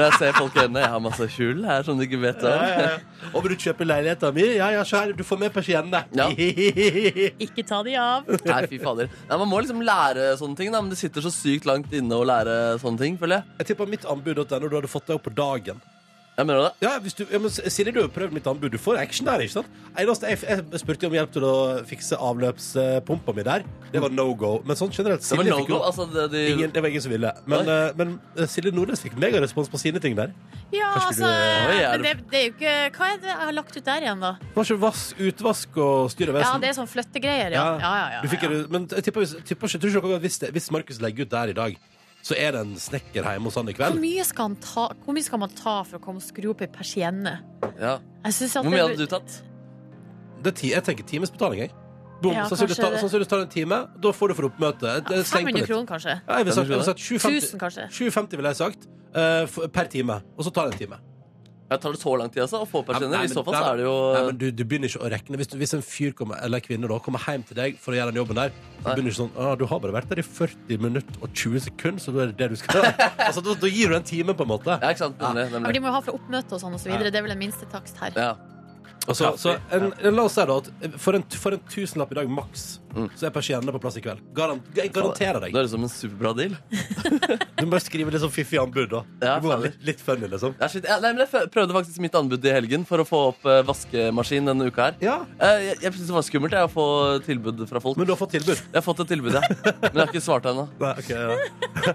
Når jeg ser folk i øynene. Jeg har masse hull her som de ikke vet Ja, om. ja, ja. Og vil du kjøpe leiligheten min? Ja, ja, kjære, du får med persiennene. Ja. Ikke ta de av. Nei, fy fader. Nei, man må liksom lære sånne ting, da. Men det sitter så sykt langt inne å lære sånne ting, føler jeg. Jeg tipper mittanbud.no, du hadde fått deg opp på dagen. Jeg mener det. Ja, hvis du, ja, men Silje, du har jo prøvd mitt anbud. Du får action der, ikke sant? Eneste, jeg, jeg spurte om hjelp til å fikse avløpspumpa mi der. Det var no go. Men sånn generelt Det var Silje no fikk go. jo- Altså, det, de, Ingen, det var ingen som ville. Men, Nei. eh, men eh, Silje Nordnes fikk megarespons på sine ting der. Ja, Kanskje altså, du- Oi, er men du- det, det er jo ikke Hva er det jeg har lagt ut der igjen, da? Var ikke vask, utvask og styr og Ja, vesen? det er sånn flyttegreier, ja. ja, ja, ja, Du fikk, ja. en- Men jeg tipper, hvis- tipper ikke, tror ikke dere at hvis, det- hvis Markus legger ut der i dag, så er det en snekker hjemme hos han i Hvor kveld? mye, skal han ta, hvor mye skal man ta for å komme og skru opp ei persienne? ja. Jeg synes at Hvor mye hadde du tatt? Det er ti, jeg tenker timesbetaling, jeg. Bom, Ja, sannsynligvis kanskje tar, det. sannsynligvis tar det en time. Da får du for oppmøte. Det- Ja, Sleng på 500 litt. kroner, kanskje? Ja, jeg ville sagt, jeg ville sagt 1000, 750, kanskje? 750 ville jeg sagt. eh, for- per time. Og så tar det en time. Jeg tar det så lang tid, altså? Å få Nei, persienner? men- I så fall nei, så er det jo Nei, men du, du begynner ikke å regne. Hvis, du, hvis en fyr kommer, eller kvinne da, kommer hjem til deg for å gjøre den jobben der, så Nei. begynner du ikke sånn ah, 'Du har bare vært der i 40 minutter og 20 sekunder, så da er det det du skal gjøre.' altså, da, da gir du en time, på en måte. Ja, ikke sant? Nemlig. Ja, for nemlig. de må jo ha for oppmøte og sånn og så videre. Det er vel en minstetakst her. Ja. Og så, Altså, så en, la oss si da at for en, for en tusenlapp i dag maks, Mm. så er persiennene på plass i kveld. Garant, jeg garanterer deg. Det høres ut som en superbra deal. Du må bare skrive litt sånn fiffig anbud, da. Ja, du må være fader. litt, litt funny, liksom. Ja, shit. Ja, nei, men jeg f- prøvde faktisk mitt anbud i helgen for å få opp eh, vaskemaskin denne uka her. Ja, Eh, Jeg, jeg synes det var skummelt jeg, å få tilbud fra folk. men du har fått tilbud. Jeg har fått et tilbud, ja. men jeg har ikke svart ennå. Nei, ok, ja.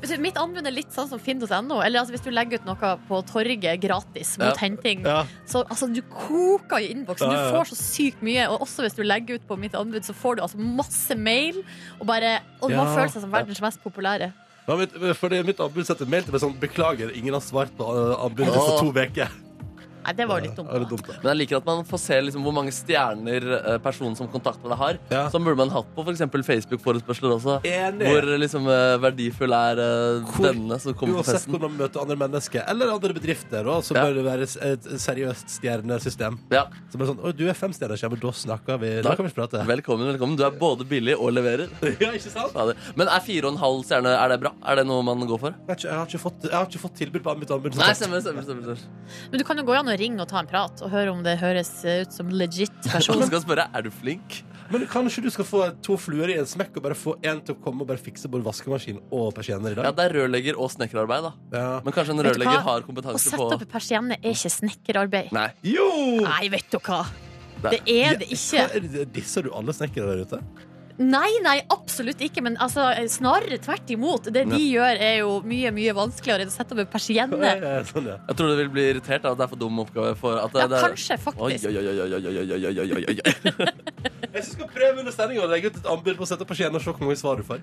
Hvis du- Mitt anbud er litt sånn som finn.no. Eller altså, hvis du legger ut noe på torget gratis mot Ja. henting, Ja. så altså, du koker i innboksen. Ja, ja, Du ja. får så sykt mye. Og også hvis du legger ut på mitt anbud, så får du altså masse mail. Og, bare, og man Ja. føler seg som verdens mest populære. Ja, mitt, eh, fordi mitt anbud setter mail til meg sånn Beklager, ingen har svart på eh, anbudet for Åh. to uker. Nei, det var jo litt dumt. Ja, det er da. dumt, da. Men jeg liker at man får se liksom hvor mange stjerner eh, personen som kontakter deg, har. Ja. Som burde man hatt på f.eks. Facebook-forespørsler også. Enig. Hvor eh, liksom, eh, verdifull er eh, Hvor- denne som kommer på Uansett festen. hvor man møter andre mennesker eller andre bedrifter, da, så Ja. bør det være s- et seriøst stjernesystem. Ja. Som er sånn Å, du er femstjerners, ja, men da snakker vi Da Da- kan vi prate. Velkommen, velkommen. Du er både billig og leverer. Ja, ikke sant? Fader. Men er fire og en halv stjerne er det bra? Er det noe man går for? Jeg har ikke, jeg har ikke, fått, jeg har ikke fått tilbud på mitt anbud. Nei, stemmer, stemmer. stemmer, stemmer. Men du kan jo gå an og ringe og ta en prat og høre om det høres eh, ut som legit Og person. så skal jeg spørre er du flink. Men kanskje du skal få to fluer i en smekk og bare få en til å komme og bare fikse både vaskemaskin og persienner i Ja, dag? Det er rørlegger og snekkerarbeid. da Ja. Men kanskje en Vet du hva? rørlegger har Å kompetanse sette på opp en persienne er ikke snekkerarbeid. Nei. Jo! Nei, vet du hva! Nei. Det er det ikke. Hva er det- Disser du alle snekkere der ute? Nei, nei, absolutt ikke. Men altså, snarere tvert imot. Det de gjør, er jo mye mye vanskeligere enn å sette opp en persienne. Ja, Sånn, ja. Jeg tror du vil bli irritert av at det er for dum oppgave. For at det, Ja, det er... kanskje, Oi, faktisk. oi, oi, oi, oi, oi, oi, oi, oi, oi. Jeg skal prøve under sendinga å legge ut et anbud på å sette på skjeen og se hvor mange svar du får.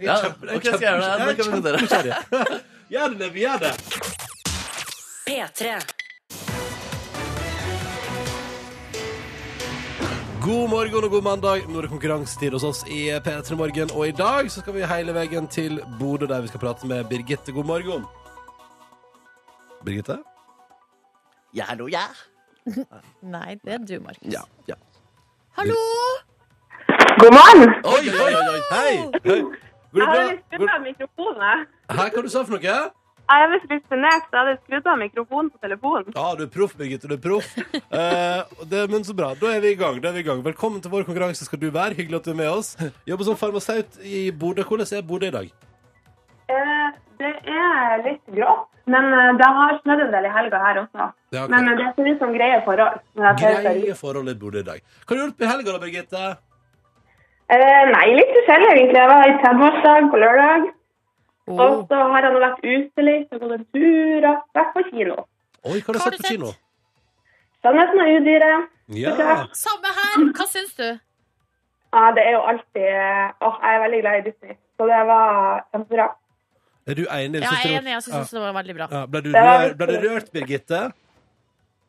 Jeg Ja, er kjempe- jeg er ok, skal jeg gjøre det? kjempe- Det kan vi jeg er kjempekjærlig. Gjør det, Nevi, gjør det. P3. God morgen og god mandag. Nå er det konkurransetid hos oss i P3 Morgen. Og i dag så skal vi hele veien til Bodø, der vi skal prate med Birgitte. God morgen. Birgitte? Ja, hallo, ja. Nei, det er du, Markus. Ja, ja. Hallo! God morgen! Oi, oi, oi! Hei! Hei. Går Jeg det hadde bra? litt skrudd Går... av mikrofonen. jeg. Hæ, hva du sa for noe? Jeg er visst litt sjenert, så jeg hadde skrudd av mikrofonen på telefonen. Ja, du er proff, Birgitte. Du er proff. Eh, og det, men så bra. Da er vi i gang. da er vi i gang. Velkommen til vår konkurranse skal du være. Hyggelig at du er med oss. Jobber som farmasaut i Bodø. Hvordan er Bodø i dag? Eh, det er litt grått, men eh, det har snødd en del i helga her også. Ja, ok. Men eh, det ser ut som greie forhold. når jeg ser ut. Greie forhold i Bodø i dag. Hva har du gjort i helga, da, Birgitte? Eh, nei, litt forskjellig egentlig. Jeg var i 30-årsdag på lørdag. Og Oh. så har jeg nå vært ute litt og gått en tur og vært på kino. Oi, hva har du Hva har sett du på kino? Sannheten og udyret. Ja. Samme her! Hva syns du? Ja, det er jo alltid eh, Åh, jeg er veldig glad i Disney, så det var kjempebra. Er du enig? Syns Ja, du jeg det er var- enig. Jeg syns også det var veldig bra. Ja. Ja, Ble, du Det var- rør, ble du rørt, Birgitte?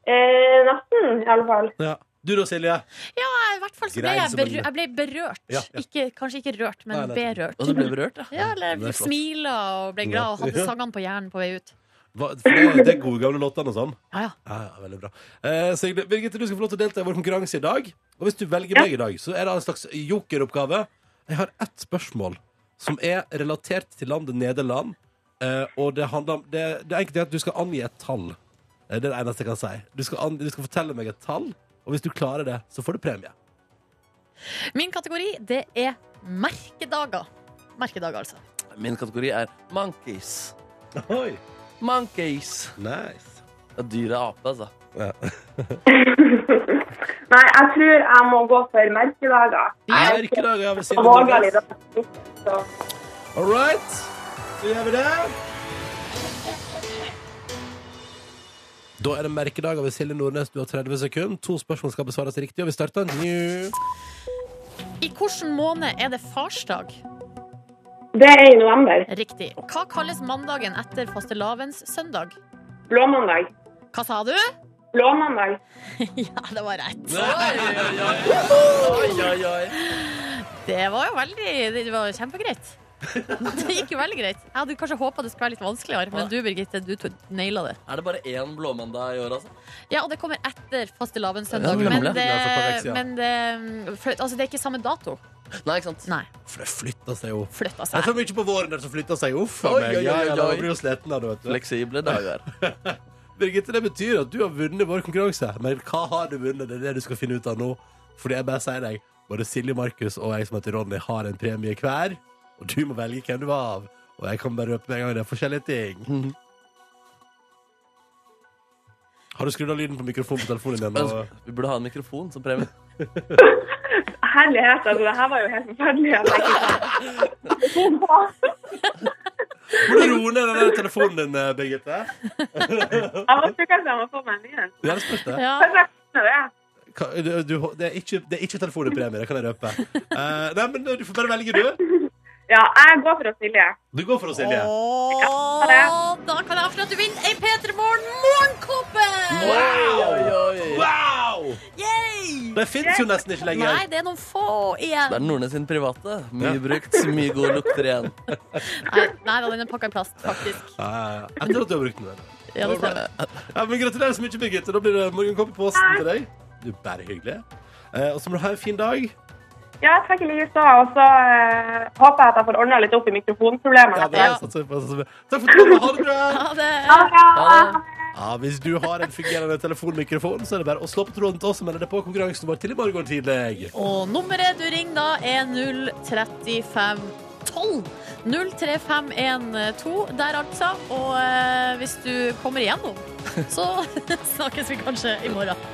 Eh, nesten, i alle fall. Ja. Du da, Silje? Ja, i hvert fall så ble Grei jeg, som en- berø jeg ble berørt. Ja, ja. Ikke, kanskje ikke rørt, men Nei, nei. berørt. Og så ble vi rørt, ja. Ja, eller Det er flott. smila og ble glad og Ja. hadde sangene på hjernen på vei ut. Hva- for Det det er gode gamle låtene og sånn. Ja, ja. Ja, ja, veldig bra. Eh, så hyggelig. Birgitte, du skal få lov til å delta i vår konkurranse i dag. Og hvis du velger meg i dag, så er det en slags jokeroppgave. Jeg har ett spørsmål som er relatert til landet Nederland. Eh, og det handler om Det, det enkelte er at du skal angi et tall. Eh, Det er det eneste jeg kan si. Du skal, an, du skal fortelle meg et tall, og hvis du klarer det, så får du premie. Min kategori, det er merkedager. Merkedager, altså. Min kategori er monkeys. Oi, Monkeys. nice Ja, dyret ape, altså. Nei, jeg tror jeg må gå for merkedager. Ja, Merkedager, ja, ved siden Og av våger Nordnes. litt. Så. All right, så gjør vi det. Da er det merkedager ved Silje Nordnes. Du har 30 sekunder. To spørsmål skal besvares riktig, og vi starter nå. I hvilken måned er det farsdag? Det er i november. Riktig. Hva kalles mandagen etter fastelavns søndag? Blåmandag. Hva sa du? Blåmandag. Ja, det var rett. Oi, oi, oi. Oi, oi, oi. Det var jo veldig Det var kjempegreit. Det gikk jo veldig greit. Jeg hadde kanskje håpa det skulle være litt vanskeligere, men du Birgitte, du to- naila det. Er det bare én blåmandag i år, altså? Ja, og det kommer etter Ja, fastelavnssøndag, nemlig. men, det, Det er for et par uker siden. men det, for, altså, det er ikke samme dato. Nei, ikke sant? Nei. For det flytter seg jo. Flytta Det er seg. så mye på våren der som flytter seg. Uff a meg. Oi, oi, oi, Ja, ja, da oi. blir du sliten av det, vet du. Fleksible dager. Birgitte, det betyr at du har vunnet vår konkurranse. Men hva har du vunnet? Det er det du skal finne ut av nå. Fordi jeg bare sier deg, både Silje Markus og jeg som heter Ronny, har en premie hver. Og du må velge hvem du var av. Og jeg kan bare røpe med en gang det er forskjellige ting. Har du skrudd av lyden på mikrofonen på telefonen din? Og... Vi burde ha en mikrofon som premie. Herlighet, altså. Det her var jo helt forferdelig. Jeg tenkte sånn. Må du roe ned den der telefonen din, eh, Birgitte? Jeg må tro kanskje jeg må få meg en ny en. Det er det spørste. Ja. Kanskje jeg skjønner det. Ka- Du, du, det, er ikke, det er ikke telefonpremie, det kan jeg røpe. Eh, nei, men Du får bare velge, du. Ja, jeg går for å Silje. Du går for det, Silje. Åh, da kan jeg avsløre at du vinner ei P3 Morgen morgenkåpe! Oi, oi, oi. Wow! Yay! Det fins jo nesten ikke lenger. Nei, det er noen få Det er igjen. Nordnes sin private. Mye brukt, mye gode lukter igjen. Nei, nei da, den er pakka i plast, faktisk. Eh, etter at du har brukt den. vel. Ja, det stemmer. Ja, men Gratulerer så mye, Birgitte. Da blir det morgenkopp i posten til deg. Du er bare hyggelig. Eh, og så må du ha en fin dag. Ja, takk i like så. Og så eh, håper jeg at jeg får ordna litt opp i mikrofonproblemene. Ja, det etter er, hvert. satser jeg på, satser jeg på. Takk for turen. Ha det bra. Ha det. Ha det bra. Ha det. Ja, Hvis du har en fungerende telefonmikrofon, så er det bare å slå på tråden til oss og melde deg på konkurransen vår til i morgen tidlig. Og nummeret du ringer da er 03512. 03512 der altså. Og eh, hvis du kommer igjennom, så snakkes vi kanskje i morgen.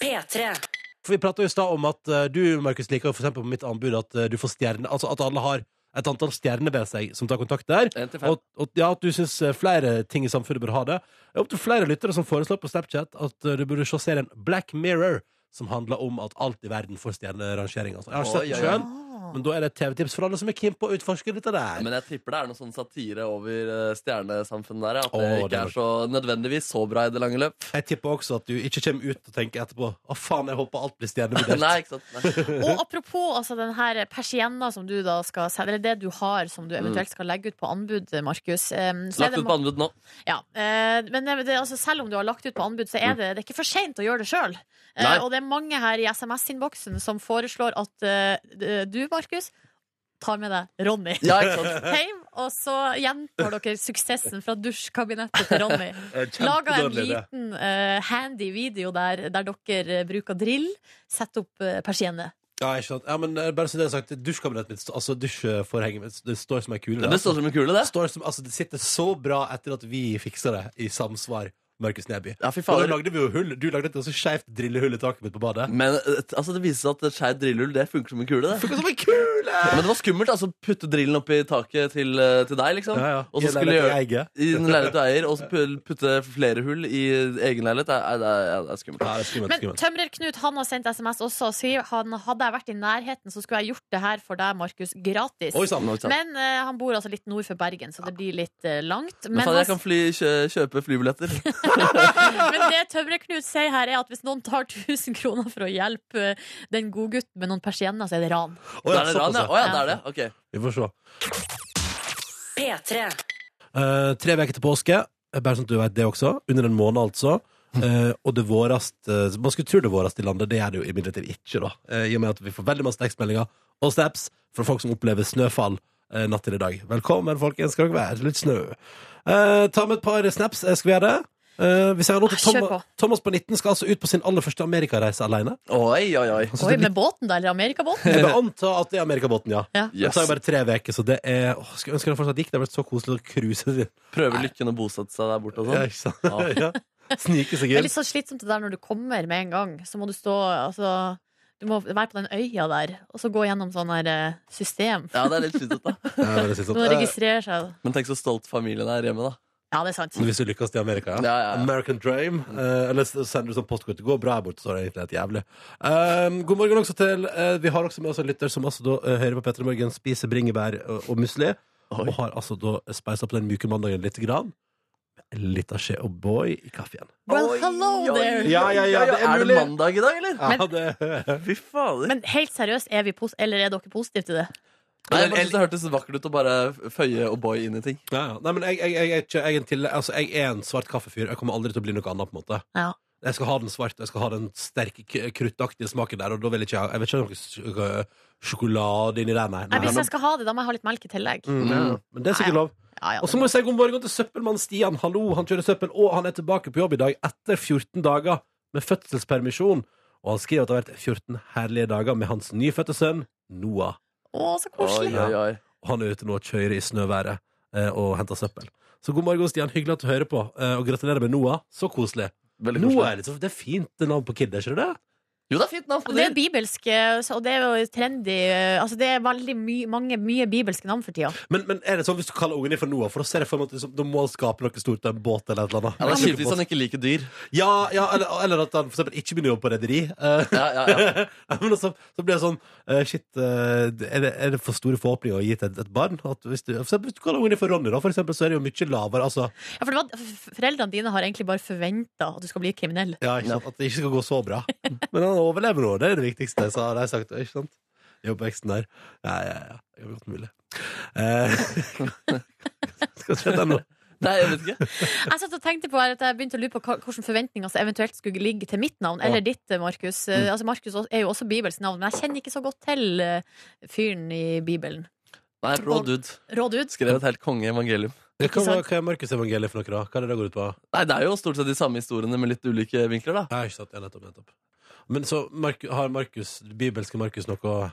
P3. For Vi prata i stad om at eh, du Markus, liker jo for eksempel på mitt anbud at eh, du får stjerne, altså at alle har et antall stjerner ved seg som tar kontakt der. En til fem. Og, og ja, at du syns flere ting i samfunnet bør ha det. Det er opptil flere lyttere som foreslår på Snapchat at eh, du burde se serien Black Mirror, som handler om at alt i verden får stjernerangering. Altså. Jeg har ikke Oi, sett den oi, oi. sjøl, men da er det et TV-tips for alle som er keen på å utforske dette der. Men jeg tipper det er noe sånn satire over eh, stjernesamfunnet der. ja, At Å, det det ikke var- er så nødvendigvis så bra i det lange løp. Jeg tipper også at du ikke kommer ut og tenker etterpå Å, faen, jeg håper alt blir stjernevurdert. Nei, ikke sant? Nei. Og apropos altså, den her persienna som du da skal sende, eller det du har som du eventuelt skal legge ut på anbud, Markus. eh, så er Lagt det Mm. ut på anbud nå. Ja, eh, men det, det, altså, selv om du har lagt ut på anbud, så er det, det er ikke for seint å gjøre det sjøl. Nei. og det er mange her i SMS-innboksen som foreslår at eh, du, Markus, tar med deg Ronny Ja, ikke sant? hjem, og så gjentar dere suksessen fra dusjkabinettet til Ronny. Eh, Laga en kjempedårlig idé. liten eh, handy video der, der dere eh, bruker drill, setter opp eh, persienne. Ja, ikke sant. Ja, men eh, bare så det er sagt, dusjkabinettet mitt, altså dusjforhenget mitt, det står som ei kule. Det står som en kule, det. det står som, altså, det sitter så bra etter at vi fikser det, i samsvar, Markus Neby. Ja, fy Og da fader. lagde vi jo hull. Du lagde et ganske skeivt drillehull i taket mitt på badet. Men eh, altså, det viser seg at et skjevt drillhull det funker som en kule. det Funka som ei kule! Men det var skummelt altså putte drillen opp i taket til, eh, til deg, liksom. Ja, ja. Og så I en skulle leilighet gjøre jeg eier. i en leilighet du eier, og så pu- putte flere hull i egen leilighet. Det er, det er, det er skummelt. Ja, det er skummelt, Men skummelt. Tømrer-Knut han har sendt SMS også og sier han hadde jeg vært i nærheten, så skulle jeg gjort det her for deg, Markus, gratis. Oi sann. Nå, ikke sant? Men eh, han bor altså litt nord for Bergen, så det blir litt eh, langt. Men Men faen, jeg han- kan fly, kjø, kjøpe flybilletter. Men det Tømrer-Knut sier her, er at hvis noen tar 1000 kroner for å hjelpe eh, den godgutten med noen persienner, så er det ran. Å, ja, Da er det ran, ja. såpass, ja. Å, ja, det er det. Ok. Vi får se. P3. Eh, tre uker til påske. Eh, Bare sånn at du vet det også. Under en måned, altså. Eh, og det vårast eh, Man skulle tro det vårast i landet, det er det jo imidlertid ikke, da. Eh, I og med at vi får veldig masse tekstmeldinger og snaps fra folk som opplever snøfall eh, natt til i dag. Velkommen, folkens, skal dere være. Litt snø. Eh, ta med et par snaps. Eh, skal vi gjøre det? Eh, vi sier nå til Ah, kjør Thomas, på. Thomas på 19 skal altså ut på sin aller første amerikareise alene. Oi, oi, oi. Han synes Oi, det er med båten, da? Eller Amerikabåten? Jeg vil anta at det er Amerikabåten, ja. Ja. Det Yes. tar jo bare tre uker, så det er åh, Skulle ønske det fortsatt gikk. Det har vært så koselig å cruise. Prøver lykken å bosette seg der borte og Ja, sånn. ikke sant? Ja. Snike seg Det er inn. litt sånn slitsomt det der når du kommer med en gang. Så må du stå altså, Du må være på den øya der, og så gå gjennom sånn her eh, system. Ja, det er litt slitsomt, da. Ja, det er litt Du sånn. må registrere seg. Men tenk så stolt familien er hjemme, da. Ja, det er sant. Eh, Hvis du lykkes til Amerika, ja. Ja, ja, ja. American dream. Eh, eller så sender du sånn postkort. Det går bra her borte, så er det egentlig helt jævlig. Um, god morgen også til eh, Vi har også med oss en lytter som altså da eh, hører på Petter i Morgen, spiser bringebær og, og musli. Og har altså da speisa på den myke mandagen lite grann. Litt av skje og boy i kaffen. Well, Oi, hello oi, there. Ja, ja, ja, det er er mulig. det mandag i dag, eller? Ja, det Fy fader. Men helt seriøst, er, vi pos eller er dere positive til det? Nei, jeg bare synes Det hørtes vakkert ut å bare føye og boy inn i ting. Ja, ja. Nei, men jeg, jeg, jeg, er ikke, jeg, er en til, altså, jeg er en svart kaffefyr. Jeg kommer aldri til å bli noe annet. på en måte Ja. Jeg skal ha den svarte, jeg skal ha den sterke, k- kruttaktige smaken der. Og da vil jeg ikke ha Jeg vil ikke ha noe sj- øh, sjokolade inni der, nei. Nei, hvis nei. jeg skal ha det, da må jeg ha litt melk i tillegg. Mm, ja. Men det er sikkert Nei, lov. Ja, ja, Og så må jeg si god morgen til søppelmann Stian. Hallo, han kjører søppel, og han er tilbake på jobb i dag etter 14 dager med fødselspermisjon. Og han skriver at det har vært 14 herlige dager med hans nyfødte sønn Noah. Å, så Oi, koselig. oi, oi. Og han er ute nå og kjører i snøværet eh, og henter søppel. Så god morgen, Stian. Hyggelig at du hører på. Eh, og gratulerer med Noah. Så koselig. Veldig Noah koselig. er litt så, Det er fint det navn på kid, er ikke det? Jo, det er fint navn på Det er dyr. bibelsk, eh, så- og det er jo trendy eh, Altså, det er veldig my mange mye bibelske navn for tida. Men, men er det sånn hvis du kaller ungen din for Noah, for da ser jeg for meg at liksom, da må han skape noe stort, en båt eller et eller Ja, det er annet. kjipt hvis han ikke liker dyr. ja, ja, eller, eller at han for eksempel ikke begynner å jobbe på rederi. Eh, Ja, ja, ja. men også, så blir det sånn eh, Shit, eh, er, det, er det for store forhåpninger å gi til et, et barn? At hvis, du, for eksempel, hvis du kaller ungen din for Ronny, da, for eksempel, så er det jo mye lavere. Altså, Ja, for det var, f- foreldrene dine har egentlig bare forventa at du skal bli kriminell. Ja, ikke sant? At det ikke skal gå så bra. Men han overlever nå, det er det viktigste, så har jeg sagt. Ikke sant? I oppveksten der. Ja, ja, ja. Det er godt mulig. Eh, skal vi se der nå. Nei, jeg vet ikke. Jeg satt og tenkte på her at jeg begynte å lure på hva- hvilke forventninger som eventuelt skulle ligge til mitt navn, eller ditt, Markus. Eh, Altså, Markus er jo også Bibels navn, men jeg kjenner ikke så godt til eh, fyren i Bibelen. Nei, Rå dude. Rå dude. Skrev et helt kongeevangelium. Hva, sant? hva er Markusevangeliet for noe, da? Hva er det det går ut på? Nei, det er jo stort sett de samme historiene med litt ulike vinkler, da. Ja, ikke sant? Ja, nettopp, nettopp. Men så Mark, har Markus, bibelske Markus noe, å-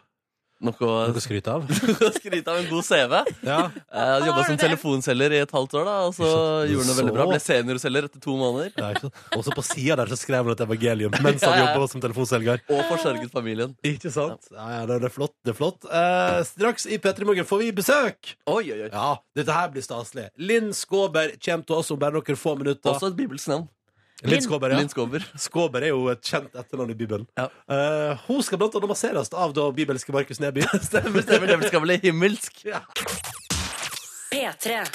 Noe å noe å skryte av? skryte av en god CV. Eh, Ja. Jeg Har jobba du som det? telefonselger i et halvt år, da, og så Ikke sant. gjorde han det veldig Så. bra. Ble seniorselger etter to måneder. ja ikke sant? Og så på sida der så skrev han et evangelium mens han Ja, ja. jobba som telefonselger. Og forsørget familien. Ikke sant? Ja, ja, det er flott. det er flott eh, Straks i P3 Morgen får vi besøk! Oi, oi, oi. Ja, dette her blir staselig. Linn Skåber kommer til oss om bare noen få minutter. Også et bibelsk navn. Linn Skåber, ja. Linn Skåber. Skåber er jo et kjent etternavn i Bibelen. Ja. Eh, hun skal blant annet masseres av da bibelske Markus Neby. Stemmer, stemmer. Det skal bli himmelsk. P3.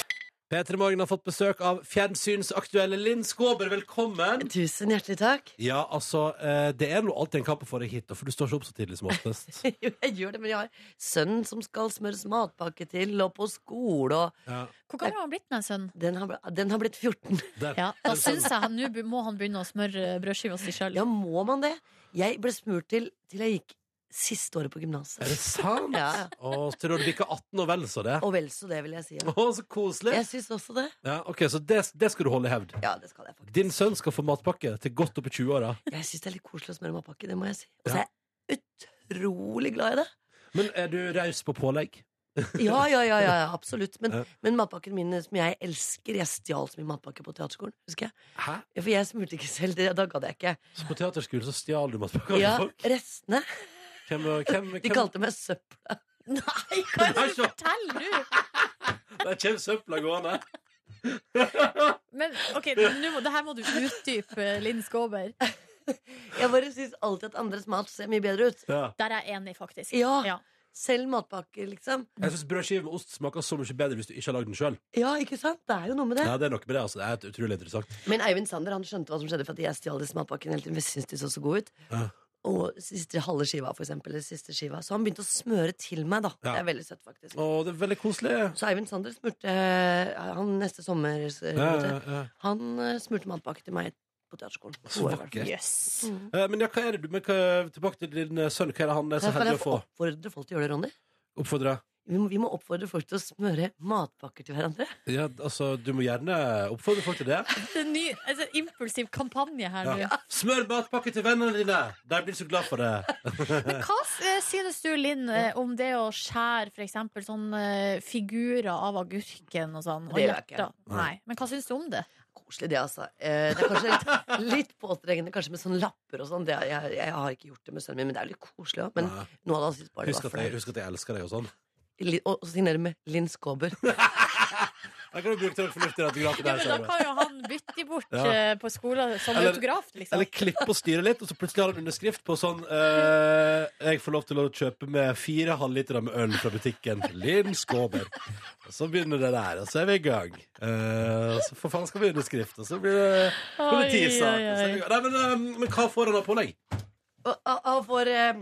P3 Morgen har fått besøk av fjernsynsaktuelle Linn Skåber. Velkommen! Tusen hjertelig takk. Ja, altså, eh, det er nå alltid en kamp å få deg hit, da, for du står ikke opp så tidlig som oftest. Jo, jeg gjør det, men jeg har sønnen som skal smøres matpakke til, og på skole, og Ja, Hvor gammel har han blitt, den sønnen? den har, bl- den har blitt 14. der. Ja, da syns jeg han nå be- må han begynne å smøre eh, brødskiva si sjøl. Ja, må man det? Jeg ble smurt til til jeg gikk siste året på Er det gymnaset. sant? Ja, ja. Å, tror du du bikka 18 og vel så det? Å, Og vel så det, vil jeg si. ja. så koselig! Jeg syns også det. Ja, ok, Så det, det skal du holde i hevd. Ja, det skal jeg faktisk. Din sønn skal få matpakke til godt opp i 20-åra. Jeg syns det er litt koselig å smøre matpakke, det må jeg si. Ja. Og så er jeg utrolig glad i det. Men er du raus på pålegg? Ja, ja, ja, ja, ja absolutt. Men, Ja. men matpakken min som jeg elsker Jeg stjal så mye matpakke på teaterskolen, husker jeg. Hæ? Ja, For jeg smurte ikke selv, det, da gadd jeg ikke. Så på teaterskolen så stjal du matpakker Ja, fra folk? restene. Hvem, hvem, De hvem, kalte meg søppel. Nei, hva er det du Nei, så- forteller nå? der kommer søpla gående. Men ok, nå må, det her må du utdype, eh, Linn Skåber. Jeg bare syns alltid at andres mat ser mye bedre ut. Ja. Der er jeg enig, faktisk. Ja. Selv matpakke, liksom. Jeg syns brødskive med ost smaker så mye bedre hvis du ikke har lagd den sjøl. Ja, ikke sant? Det er jo noe med det. Ja, det er noe med det, altså. Det er et utrolig interessant. Men Eivind Sander han skjønte hva som skjedde, for at jeg stjal disse matpakkene hele tiden. Vi syntes de så så gode ut. Ja. Og siste halve skiva, for eksempel. Eller siste skiva. Så han begynte å smøre til meg, da. Ja. Det er veldig søtt, faktisk. Å, det er veldig koselig. Så Eivind Sander smurte han neste sommer. eh, Ja, ja, ja. Han eh, smurte matpakke til meg på teaterskolen. Så Gode, i hvert fall. vakkert. Yes. Eh, Men ja, hva er det du men hva, Tilbake til din eh, sønn. Hva er det han er så Kan heldig jeg å få? få oppfordre folk til å gjøre det, Ronny? Oppfordre? Vi må, vi må oppfordre folk til å smøre matpakker til hverandre. Ja, altså, du må gjerne oppfordre folk til det. Det er en ny altså, impulsiv kampanje her nå. Ja. Smør matpakke til vennene dine! De blir så glad for det. Men hva eh, synes du, Linn, eh, om det å skjære for eksempel sånne eh, figurer av agurken og sånn? Og Det gjør jeg ikke. hjerter? Nei. Men hva synes du om det? Koselig, det, altså. Eh, det er kanskje litt, litt påtrengende kanskje med sånne lapper og sånn. Det er- Jeg, jeg har ikke gjort det med sønnen min, men det er jo litt koselig òg. Men Nei. noe av det han syntes bare det Husk var at jeg, flaut. husk at jeg elsker deg og sånn. Li- Og og signere med Linn Skåber. Jeg kan jo bruke til noe fornuftig autograf. der, Ja, men Da ser du. kan jo han bytte de bort Ja. eh, på skolen som Eller- autograf, liksom. Eller klippe og styre litt, og så plutselig har han underskrift på sånn eh, Jeg får lov til å kjøpe med fire halvlitere med øl fra butikken. Linn Skåber. Og så begynner det der, og så er vi i gang. Eh, og så for faen skal vi ha underskrift, og så blir det kommer det ti Oi, saker. oi, Så er vi i gang. Nei, men, eh, men hva får han av pålegg? Og, og, og for eh,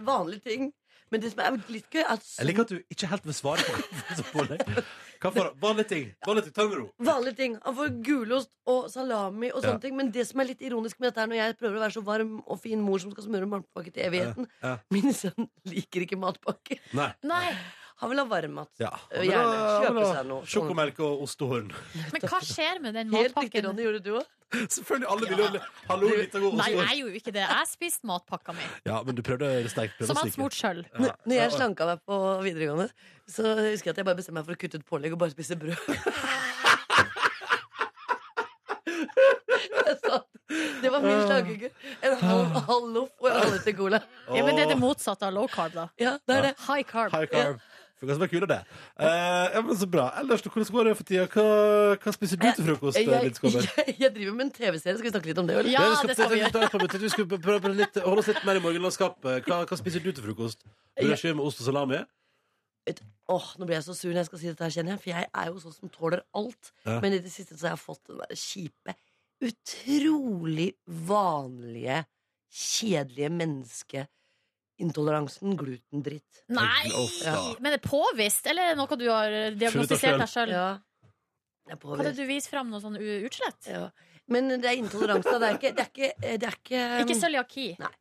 vanlige ting. Men det som er litt gøy, er at Jeg liker at du ikke helt vil svare på hva som pålegg. Hva får han? Vanlige ting. Vanlige ting. Ta det med ro. Vanlige ting. Han får gulost og salami og Ja. sånne ting. Men det som er litt ironisk med dette her, når jeg prøver å være så varm og fin mor som skal smøre matpakke til evigheten Ja, ja. Min sønn liker ikke matpakke. Nei. Nei, Han vil ha varm mat. Ja. Og Gjerne kjøpe seg noe. sånn. Sjokomelk og ostehorn. men hva skjer med den Helt riktig, matpakken? Ronny. Gjorde du òg? Selvfølgelig. Alle vil jo Hallo, litt av god Nei, ostehorn. jeg gjorde jo ikke det. Jeg spiste matpakka mi, Ja, men du prøvde sterkt. prøvde som å han snike. smurte sjøl. Ja. Når jeg slanka meg på videregående, så husker jeg at jeg bare bestemte meg for å kutte ut pålegg og bare spise brød. Jeg sa, det var min slageuke. En halv, halv loff og en halvliter cola. Ja, men det er det motsatte av low carb, da. Ja, det er det. High carb. High carb. For hva som er kul av det. Eh, ja, men så bra. Ellers, hvordan går det for tida? Hva, hva spiser du til frokost? eh, Jeg, Litt jeg, jeg driver med en TV-serie. Skal vi snakke litt om det? eller? Ja, det skal vi gjøre. gjøre. Vi skal prøve på litt, holde oss litt mer i morgenlandskapet. Hva, hva spiser du til frokost? Brødskive med ost og salami? Et- Åh, Nå ble jeg så sur når jeg skal si dette, her, kjenner jeg. For jeg er jo sånn som tåler alt. Ja. Men i det siste så har jeg fått den der kjipe, utrolig vanlige, kjedelige menneskeintoleransen glutendritt. Nei! Uff, da. Men det er påvist, eller er det noe du har diagnostisert deg sjøl? Ja. Jeg er Kan påvirket. du vise fram noe sånn u- utslett? Ja. Men det er intoleranse. da. Det er ikke, det er ikke, det er ikke, Ikke cøliaki. Nei.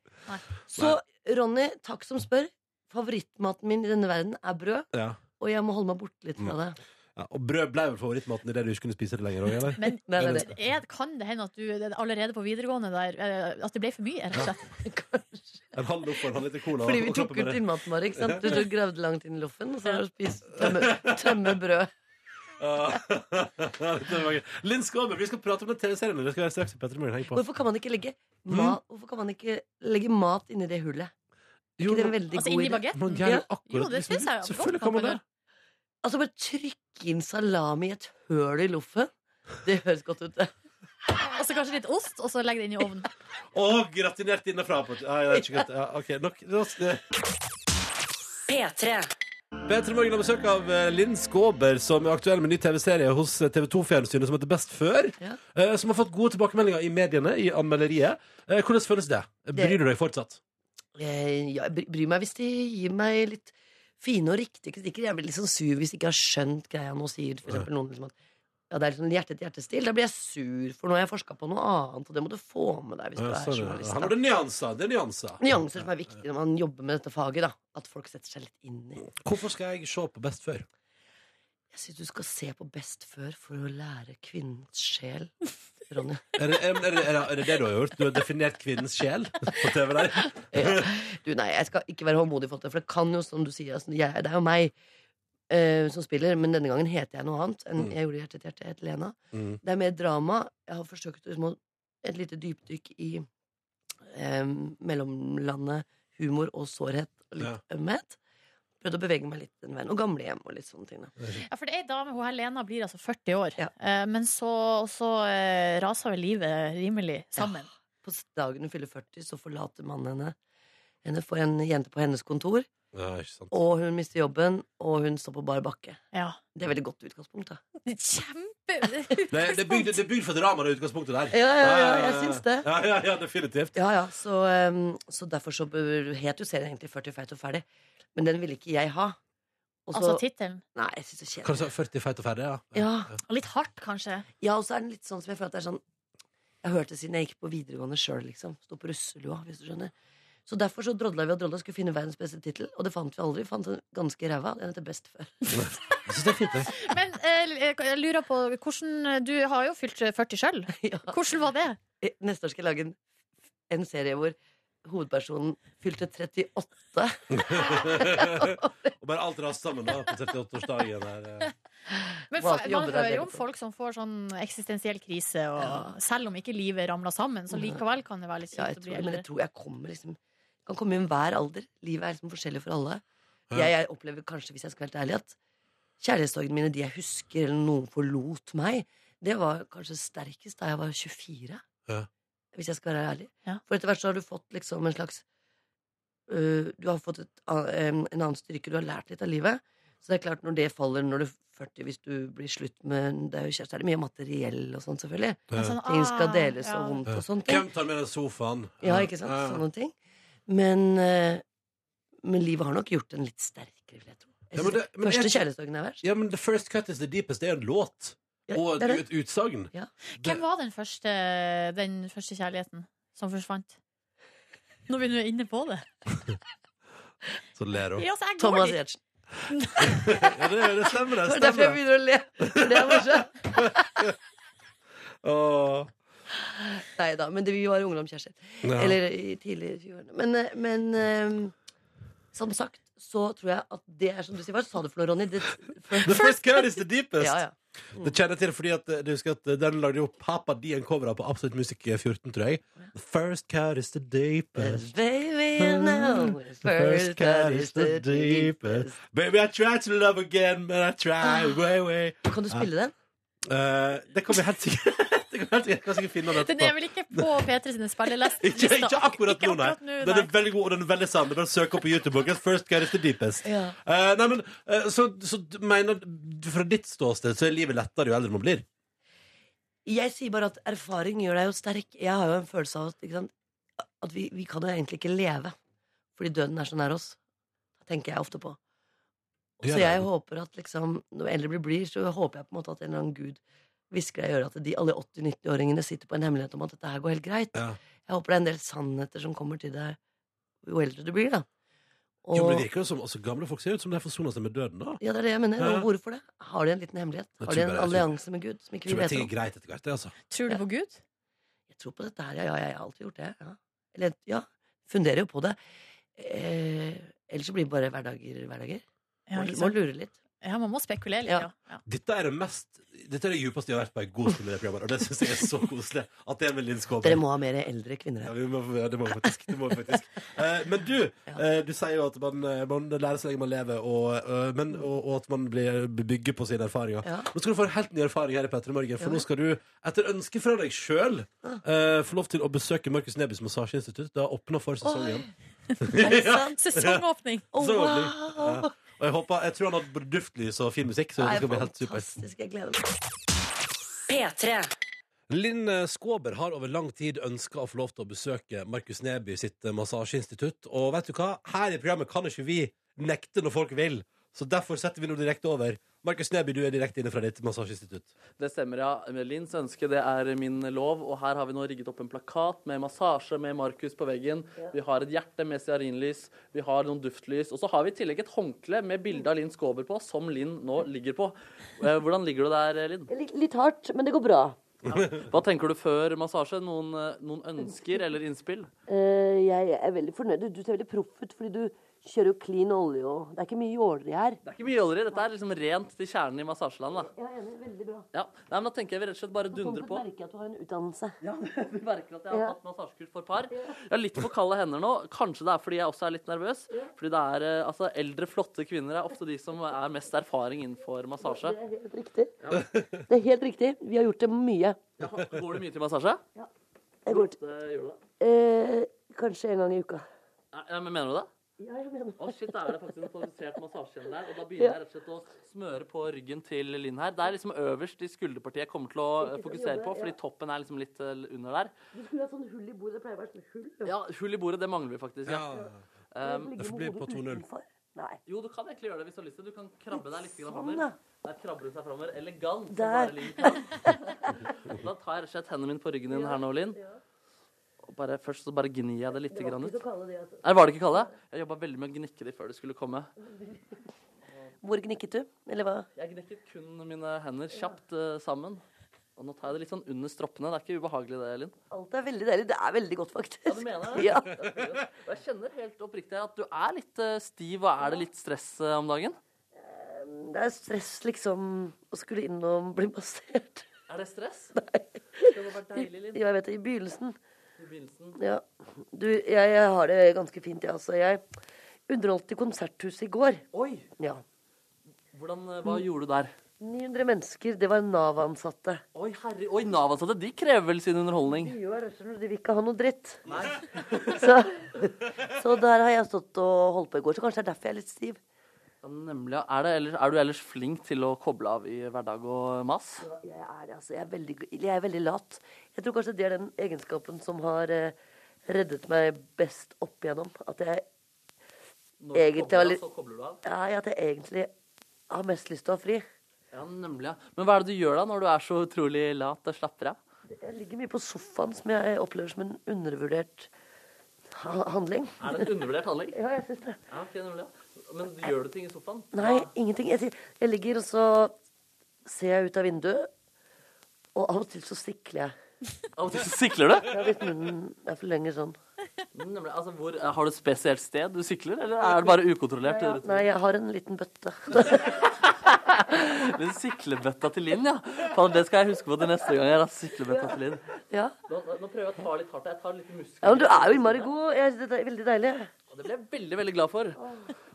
Så Ronny, takk som spør. Favorittmaten min i denne verden er brød, Ja. og jeg må holde meg borte litt fra det. Ja, og brød ble vel favorittmaten i det du ikke kunne spise det lenger òg, eller? Men Nei, det er det. er, kan det hende at du det er allerede på videregående der eh, At det ble for mye, rett og slett? En halv loff og en halv liter cola. Fordi og- vi og tok klappe ut med det. innmaten vår. ikke sant? Du tok- gravde langt inn i loffen, og så har du spist tømme, tømme brød. Ja, det var gøy. Linn Skåber, vi skal prate om den TV-serien. Det skal være straks i Petter Morgen. Heng på. Hvorfor kan man ikke legge Mm. mat, hvorfor kan man ikke legge mat inni det hullet? Jo, Ikke det er en veldig Altså god inni idé? man bagetten? gjør jo Jo, akkurat det som synes du jeg vil. godt Selvfølgelig kan kan man man det. Altså Bare trykke inn salami i et høl i loffen. Det høres godt ut. det. Og så kanskje litt ost, og så legge det inn i ovnen. Og gratinert innenfra. på- Nei, det er ikke godt. Ja, ok, nok. La oss- eh, P3. Petra Morgen har besøk av eh, Linn Skåber, som er aktuell med ny TV-serie hos eh, TV 2-fjernsynet som heter Best før. Ja. eh, Som har fått gode tilbakemeldinger i mediene, i anmelderiet. Eh, Hvordan føles det? Bryr du deg fortsatt? Eh, ja, Jeg bry- bryr meg hvis de gir meg litt fine og riktige kritikker. Jeg blir litt sånn sur hvis jeg ikke har skjønt greia nå sier for eksempel noen liksom at ja, det er liksom hjerte til hjertestil. Da blir jeg sur, for nå har jeg forska på noe annet, og det må du få med deg hvis du Ja, er sånn, ja. journalist. Her da. må det nyanser. Det er nyanser. Nyanser som er viktig når man jobber med dette faget. da At folk setter seg litt inn i. Hvorfor skal jeg se på Best før? Jeg syns du skal se på Best før for å lære kvinnens sjel, Ronny. Er det er, det- er, det- er det det du har gjort? Du har definert kvinnens sjel på TV der? Ja. Du, nei, jeg skal ikke være håndmodig, for det for det kan jo, som du sier altså, jeg, Det er jo meg eh, som spiller, men denne gangen heter jeg noe annet enn Mm. jeg gjorde i Hjerte til hjerte. Jeg heter Lena. Mm. Det er mer drama. Jeg har forsøkt å liksom, å- et lite dypdykk i eh, mellomlandet humor og sårhet og litt ømhet. Prøvd å bevege meg litt den veien. Og gamlehjem og litt sånne ting. da Ja, for det er ei dame, hun her Lena, blir altså 40 år. Ja. Eh, Men så, så eh, raser vel livet rimelig sammen. På dagen hun fyller 40, så forlater mannen henne. Henne får en jente på hennes kontor Ja, ikke sant. og hun mister jobben, og hun står på bar bakke. Ja. Det er veldig godt utgangspunkt, da. Kjempe Det, det, er bygd, det er bygd for drama, det utgangspunktet der. Ja, ja, ja, jeg syns det. Ja, ja, ja, definitivt. Ja, ja, så, ehm, så derfor så bør- het jo serien egentlig 40 feit og ferdig. Men den ville ikke jeg ha. Og så- Altså tittelen. Nei, jeg syns det er Hva kjedelig. sa du? 40 feit og ferdig, ja. Ja. Og Litt hardt, kanskje. Ja, og så er den litt sånn som jeg føler at det er sånn Jeg hørte siden jeg gikk på videregående sjøl, liksom. Stå på russelua, hvis du skjønner. Så derfor så drodla vi og drodla og skulle finne verdens beste tittel, og det fant vi aldri. Vi fant en ganske ræva. Den heter Best før. Jeg synes det er fint, det. Men eh, jeg lurer på hvordan eh, Du har jo fylt 40 sjøl. Ja. Hvordan var det? Eh, Neste år skal jeg lage en, en serie hvor hovedpersonen fylte 38. Og bare alt rast sammen da, på eh. 38-årsdagen her. Men Hva fa- jobber Man dere hører begge jo om på? folk som får sånn eksistensiell krise, og Ja. selv om ikke livet ramler sammen, så likevel kan det være litt Ja, jeg kjipt å tror, bli det, men eldre. jeg tror jeg kommer liksom Kan komme i enhver alder. Livet er liksom forskjellig for alle. Ja. Jeg, jeg opplever kanskje, hvis jeg skal være helt ærlig, at kjærlighetssorgene mine, de jeg husker, eller noen forlot meg, det var kanskje sterkest da jeg var 24. Ja. Hvis jeg skal være ærlig. Ja. For etter hvert så har du fått liksom en slags øh, Du har fått et, a- em, en annen styrke, du har lært litt av livet. Så det er klart, når det faller når du er 40, hvis du blir slutt med Det er jo kjæreste, er det mye materiell og sånn, selvfølgelig. Men sånn, Ting skal ah, deles ja. og vondt og sånne ting. Hvem tar med den sofaen? Eh, Ja, ikke sant? Sånn Sånne ting. Men, eh, men livet har nok gjort den litt sterkere, vil jeg tro. Jeg Ja, men synes det- men første jeg- kjærlighetsdagen er verst. Ja, men The First Cut is the Deepest, det er en låt. Ja, Og det er det. et utsagn. Ja. Det- Hvem var den første, den første kjærligheten som forsvant? Nå begynner du inne på det. Så ler hun. Ja, så jeg går Thomas dit. Giertsen. Ja, det, det stemmer, det. Det var derfor jeg stemmer det. begynner å le. For det er morsomt. Åh. Nei da, men det, vi var ungdomskjærester. Ja. Eller i tidligere 20-årene. Men, eh, men eh, som sagt, så tror jeg at det er som du sier. Hva sa du for noe, Ronny? Det, The First Cut is the Deepest. ja, ja. Det kjenner jeg til fordi at eh, du husker at eh, den lagde jo Papa Dien cover av på Absolutt Musikk 14, tror jeg. The first cut is the deepest. Baby, you know it's first cut is the deepest. Baby, I tried to love again, but I Ah. tried way, way. Kan du spille den? Eh, det kommer helt sikkert Det kommer helt sikkert Jeg kan sikkert finne den Den etterpå. er vel ikke på P3 sine spillelister? Ikke, ikke akkurat nå, nei. Den er nei. veldig god, og den er veldig sann. Det er Bare å søke opp på YouTube. folkens. First cut is the deepest. Ja. Eh, nei, men eh, så, så du mener du- Fra ditt ståsted så er livet lettere jo eldre man blir? Jeg sier bare at erfaring gjør deg jo sterk. Jeg har jo en følelse av at, ikke sant? at vi, vi kan jo egentlig ikke leve fordi døden er så nær oss. Det tenker jeg ofte på. Du gjør Så jeg det. håper at liksom, når eldre vi blir, så håper jeg på en måte at en eller annen gud hvisker deg i øret at de, alle 80-90-åringene sitter på en hemmelighet om at dette her går helt greit. Ja. Jeg håper det er en del sannheter som kommer til deg jo eldre du blir, da. Jo, men det Og, virker jo som altså, Gamle folk ser ut som de har forsona seg med døden. da ja, det er det jeg mener. Ja. Og hvorfor det? Har de en liten hemmelighet? Jeg Har de tror en bare- jeg tror- allianse med Gud som ikke Jeg vi tror det vet ting om? er greit etter hvert. det, Altså. Tror du på Gud? Jeg tror på dette her, ja, ja, ja, jeg har alltid gjort det. Ja. Eller, ja, funderer jo på det. Eh, ellers så blir det bare hverdager, hverdager. Ja, Må, ikke må sant? lure litt. ja, man må spekulere litt, ja. Ja. ja. Dette er det mest Dette er det djupeste jeg har vært på en god stund i det programmet. Og det syns jeg er så koselig. At det er med Linn Skåber. Dere må ha mer eldre kvinner Ja, her. vi må, ja, det må vi faktisk. Det må vi faktisk. Eh, men du, eh, du sier jo at man, eh, man lærer så lenge man lever, og, eh, men, og, og at man blir, bygger på sine erfaringer. Mm. Ja. Nå skal du få en helt ny erfaring her i Petter i Morgen, for nå skal du, etter ønske fra deg sjøl, Ah. få lov til å besøke Markus Nebys massasjeinstitutt. Det har åpna for sesongen. Er det sant? Sesongåpning. Å, Så wow! ordentlig. Ja. Og jeg, håper, jeg tror han hadde både duftlys og fin musikk. Så Nei, det skal bli helt supert. fantastisk. Jeg gleder meg. P3. Linn Skåber har over lang tid ønska å få lov til å besøke Markus Neby sitt massasjeinstitutt. Og vet du hva? Her i programmet kan ikke vi nekte når folk vil, så derfor setter vi nå direkte over. Markus Neby, du er direkte inne fra ditt massasjeinstitutt. Det stemmer, ja. Linns ønske, det er min lov. Og her har vi nå rigget opp en plakat med massasje med Markus på veggen. Vi har et hjerte med stearinlys. Vi har noen duftlys. Og så har vi i tillegg et håndkle med bilde av Linn Skåber på, som Linn nå ligger på. Eh, Hvordan ligger du der, Linn? Litt, hardt, men det går bra. Hva tenker du før massasje? Noen, eh, noen ønsker eller innspill? Eh, jeg er veldig fornøyd. Du ser veldig proff ut, fordi du kjører jo clean olje og Det er ikke mye jåleri her. Det er ikke mye olje. Dette er liksom rent til kjernen i massasjeland. da. Jeg er enig. Veldig bra. Ja. Nei, men da tenker jeg vi rett og slett bare dundrer på. merker at du har en utdannelse. Ja, du merker at jeg har tatt massasjekurs for par. Jeg har litt for kalde hender nå. Kanskje det er fordi jeg også er litt nervøs. Fordi det er, eh, altså, Eldre, flotte kvinner er ofte de som er mest erfaring innenfor massasje. Det er helt riktig. Det er helt riktig. Vi har gjort det mye. Går du mye til massasje? Jeg går til, Det gjør du det. Eh, eh, kanskje en gang i uka. Nei, men Mener du det? Å shit, da er det faktisk en kvalifisert massasjehjemme der. Og da begynner jeg rett og slett å smøre på ryggen til Linn her. Det er liksom øverst i skulderpartiet jeg kommer til å eh, fokusere på, fordi toppen er liksom litt eh, under der. Du skulle ha sånn hull i bordet. Det pleier å være sånn hull. Ja, hull i bordet, det mangler vi faktisk. Ja. Ja. Du Um, ligger får med bli hodet på 2-0. utenfor. Nei. jo, du kan egentlig gjøre det hvis du har lyst til. Du kan krabbe deg litt grann Sånn, framover. da. Der krabber hun seg framover. Elegant. som Der. bare Linn kan. Da tar jeg rett og slett hendene mine på ryggen din her nå, Linn. Og bare, først så bare gnir jeg det litt Det var grann ikke ut. så kalle det altså. at- Nei, var det ikke Kalle? Jeg jobba veldig med å gnikke de før du skulle komme. Hvor gnikket du? Eller hva? Jeg gnekket kun mine hender kjapt eh, sammen. Og nå tar jeg det litt sånn under stroppene. Det er ikke ubehagelig, det, Elin. Alt er veldig deilig. Det er veldig godt, faktisk. Ja, du mener det? Ja. Og jeg kjenner helt oppriktig at du er litt eh, stiv, og er det litt stress eh, om dagen? Det er stress, liksom, å skulle inn og bli massert. Er det stress? Nei. Det hadde vært deilig, Linn. Ja, Jeg vet det, i begynnelsen. I begynnelsen. Ja. Du, jeg, jeg har det ganske fint, jeg, altså. Jeg underholdt i Konserthuset i går. Oi! Ja. Hvordan, eh, hva gjorde du der? 900 mennesker. Det var Nav-ansatte. Oi, herre, oi, Nav-ansatte, de krever vel sin underholdning? Jo, jeg røsler, De vil ikke ha noe dritt. Så, så der har jeg stått og holdt på i går. Så kanskje det er derfor jeg er litt stiv. Ja, nemlig. ja. Er, det, ellers- er du ellers flink til å koble av i hverdag og mas? Jeg er, det, altså, jeg, er veldig, jeg er veldig lat. Jeg tror kanskje det er den egenskapen som har eh, reddet meg best opp igjennom. At jeg, Når du Egentlig kobler var av, litt- så kobler du av? ja, at jeg egentlig har mest lyst til å ha fri. Ja, nemlig. ja. Men hva er det du gjør da, når du er så utrolig lat og slapper av? Jeg ligger mye på sofaen, som jeg opplever som en undervurdert ha handling. Er det en undervurdert handling? Ja, jeg synes det. Ja, ok, nemlig. ja. Men gjør du ting i sofaen? Nei, ingenting. Jeg, jeg ligger, og så ser jeg ut av vinduet. Og av og til så sikler jeg. Av og til så sikler du? Ja, Hvis munnen er for lenge sånn. Nemlig, altså, hvor, har du et spesielt sted du sikler, eller er det bare ukontrollert? Ja, Nei, jeg har en liten bøtte. Den siklebøtta til Linn, ja. Faen, det skal jeg huske på til neste gang. jeg har siklebøtta til Linn. Ja, Nå, nå prøver jeg å ta litt hardt. Jeg tar litt muskler. ja men du er jo innmari god. Jeg, det er veldig deilig. Og Det ble jeg veldig, veldig glad for.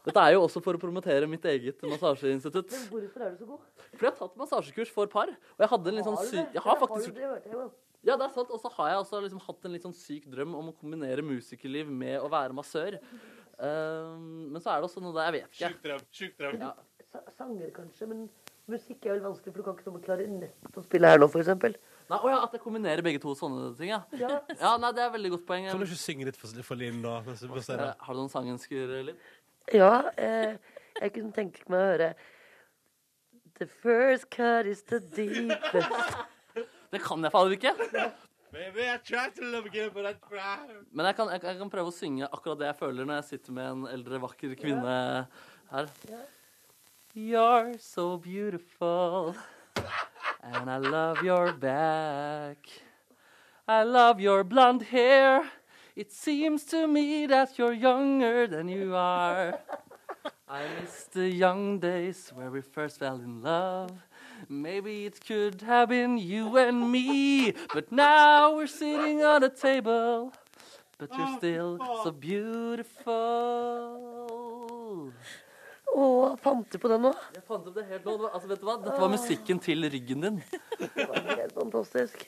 Dette er jo også for å promotere mitt eget massasjeinstitutt. Hvorfor er du så god? For jeg har tatt massasjekurs for par, og jeg hadde en litt sånn syk Jeg har faktisk Det hørte jeg jo. Ja, det er sant. Og så har jeg også liksom hatt en litt sånn syk drøm om å kombinere musikerliv med å være massør. Ehm, men så er det også noe der jeg vet ikke. Sa- Sanger kanskje, men musikk er vel vanskelig, for du kan ikke noe med klarinett å spille her nå, for eksempel. Nei, å ja, At jeg kombinerer begge to sånne ting, ja. Ja, nei, Det er et veldig godt poeng. Kan du Eh, ikke synge litt for, for Linn, da? Mens vi passerer? Har du noen sangensker, Linn? Ja, eh, jeg kunne tenke meg å høre The first cut is the deepest. Det kan jeg fader ikke. Men jeg kan, jeg, jeg kan prøve å synge akkurat det jeg føler når jeg sitter med en eldre, vakker kvinne her. You're so beautiful And I love your back I love your blonde hair It seems to me that you're younger than you are I miss the young days where we first fell in love. Maybe it could have been you and me, but now we're sitting on a table. But Ah, you're still so beautiful. Å, fant du på den nå? Jeg fant opp det helt nå. Det var- Altså, vet du hva? Ah. Dette var musikken til ryggen din. Helt fantastisk.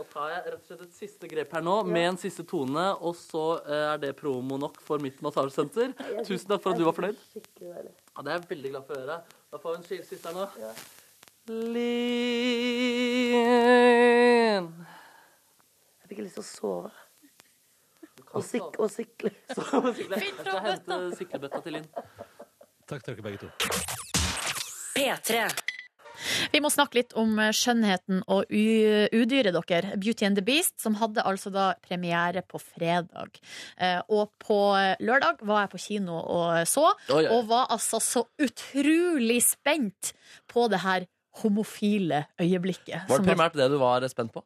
Da tar jeg rett og slett et siste grep her nå, med en siste tone, og så eh, er det promo nok for mitt massasjesenter. Tusen takk for at du var fornøyd. Skikkelig deilig. Ja, det er jeg veldig glad for å høre. Da får vi en skilsist her nå. Linn Jeg fikk lyst til å sove. kan Og, sik og sikle. Jeg skal hente siklebøtta til Linn. Takk til dere begge to. P3. Vi må snakke litt om eh, skjønnheten og u- udyret dere. Beauty and the Beast, som hadde altså da premiere på fredag. Eh, Og på eh, lørdag var jeg på kino og så, Oi, oi. og var altså så utrolig spent på det her homofile øyeblikket. Var som det primært det du var spent på?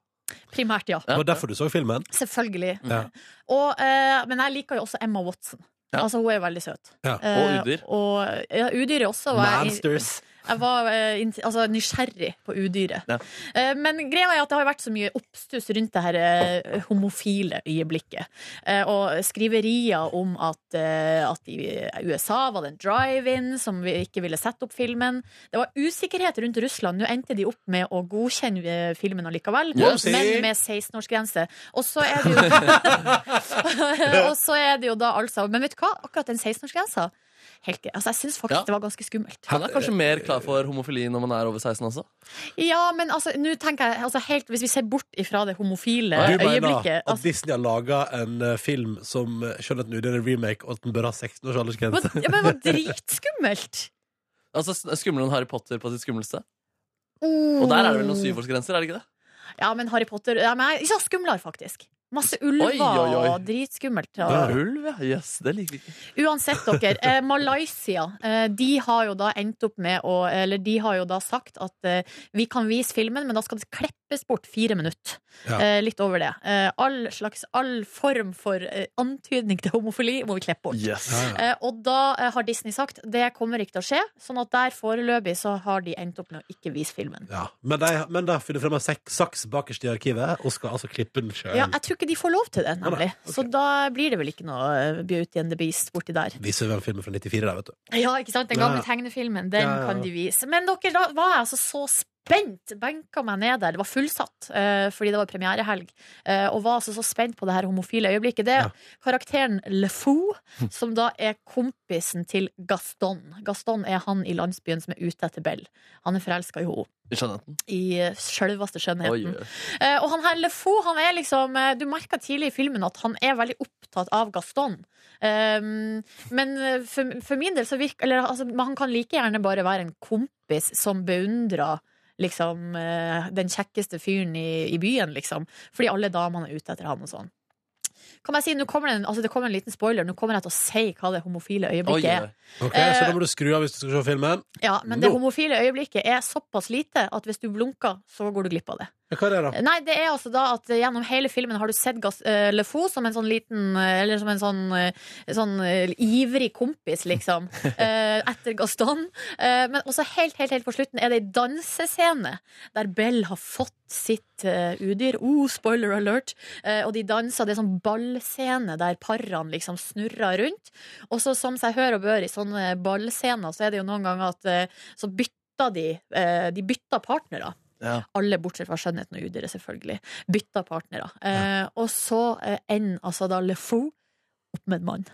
Primært, ja. Det var derfor du så filmen? Selvfølgelig. Ja. Og, eh, men jeg liker jo også Emma Watson. Ja. Altså, hun er jo veldig søt. Ja. Og udyr. Eh, og- ja, udyret også. var jeg- Mansters. Jeg var eh, int- altså, nysgjerrig på udyret. Ja. Eh, men greia er at det har jo vært så mye oppstuss rundt det her eh, homofile øyeblikket. Eh, og skriverier om at, eh, at i USA var det en drive-in som vi ikke ville sette opp filmen. Det var usikkerhet rundt Russland. Nå endte de opp med å godkjenne eh, filmen allikevel, Whoopsie. men med 16-årsgrense. Og så er det jo Og så er det jo da altså Men vet du hva? Akkurat den 16-årsgrensa Helt greit. Altså, jeg syns faktisk Ja. det var ganske skummelt. Man er kanskje mer klar for homofili når man er over 16 også. Ja, men altså, nå tenker jeg altså, helt, Hvis vi ser bort ifra det homofile Du mener øyeblikket at altså, Disney har laga en eh, film som eh, skjønner at nå det er en remake, og at den bør ha 16 års aldersgrense? men, ja, men det var dritskummelt! Altså s- Skumlere enn Harry Potter på sitt skumleste. Og der er det vel Mm. noen syvårsgrenser? er det ikke det? Ja, men Harry Potter ja, men jeg, Ikke så skumlere, faktisk. Masse ulver Oi, oi, oi. og dritskummelt. Det Ja. er ulv, ja. Jøss, det liker vi ikke. Uansett, dere. Eh, Malaysia eh, de har jo da endt opp med å Eller de har jo da sagt at eh, vi kan vise filmen, men da skal det kleppes bort fire minutter. Ja. Eh, litt over det. Eh, all slags All form for eh, antydning til homofili må vi kleppe bort. Eh, og da eh, har Disney sagt det kommer ikke til å skje, sånn at der foreløpig så har de endt opp med å ikke vise filmen. Ja. Men de, men de har funnet frem en sek- saks bakerst i arkivet og skal altså klippe den sjøl. Ja, jeg tror ikke de får lov til det, nemlig. Så da blir det vel ikke noe eh, Beauty and the Beast borti der. Viser hvem filmen fra 94 der, vet du. Ja, ikke sant? Den gamle Ja. tegnefilmen, den Ja, ja, ja. kan de vise. Men dere, da var jeg altså så spent. Benka meg ned der. Det var fullsatt eh, fordi det var premierehelg. eh, og var altså så spent på det her homofile øyeblikket. Det er Ja. karakteren Le Fou, som da er kompisen til Gaston. Gaston er han i landsbyen som er ute etter Bell. Han er forelska i henne. Vi skjønner den. I eh, sjølveste skjønnheten. Oi, oi. Eh, og han her Lefou, han er liksom eh, Du merka tidlig i filmen at han er veldig opptatt av Gaston. Um, men eh, for, for min del så virker Eller altså, men han kan like gjerne bare være en kompis som beundrer liksom eh, den kjekkeste fyren i, i byen, liksom. Fordi alle damene er ute etter han og sånn. Kan jeg si, nå kommer det, en, altså det kommer en liten spoiler. Nå kommer jeg til å si hva det homofile Oi, øyeblikket er. oi. Ok, Eh, Så da må du skru av hvis du skal se filmen. Ja, men det Nå. homofile øyeblikket er såpass lite at hvis du blunker, så går du glipp av det. Ja, Hva er det, da? Nei, det er altså da at gjennom hele filmen har du sett Gas eh, Le Fou som en sånn liten eh, Eller som en sånn, eh, sånn eh, ivrig kompis, liksom. eh, etter Gaston. Eh, men også helt, helt, helt på slutten er det ei dansescene der Bell har fått sitt eh, udyr. Oh, spoiler alert! Eh, og de danser. Det er sånn ballscene der parene liksom snurrer rundt. Og så som seg hør og bør i sånne ballscener, så er det jo noen ganger at eh, så bytter de eh, De bytter partnere. Ja. Alle bortsett fra skjønnheten og udyret, selvfølgelig. Bytta partnere. Eh, og så eh, ender altså da Le Fou opp med en mann.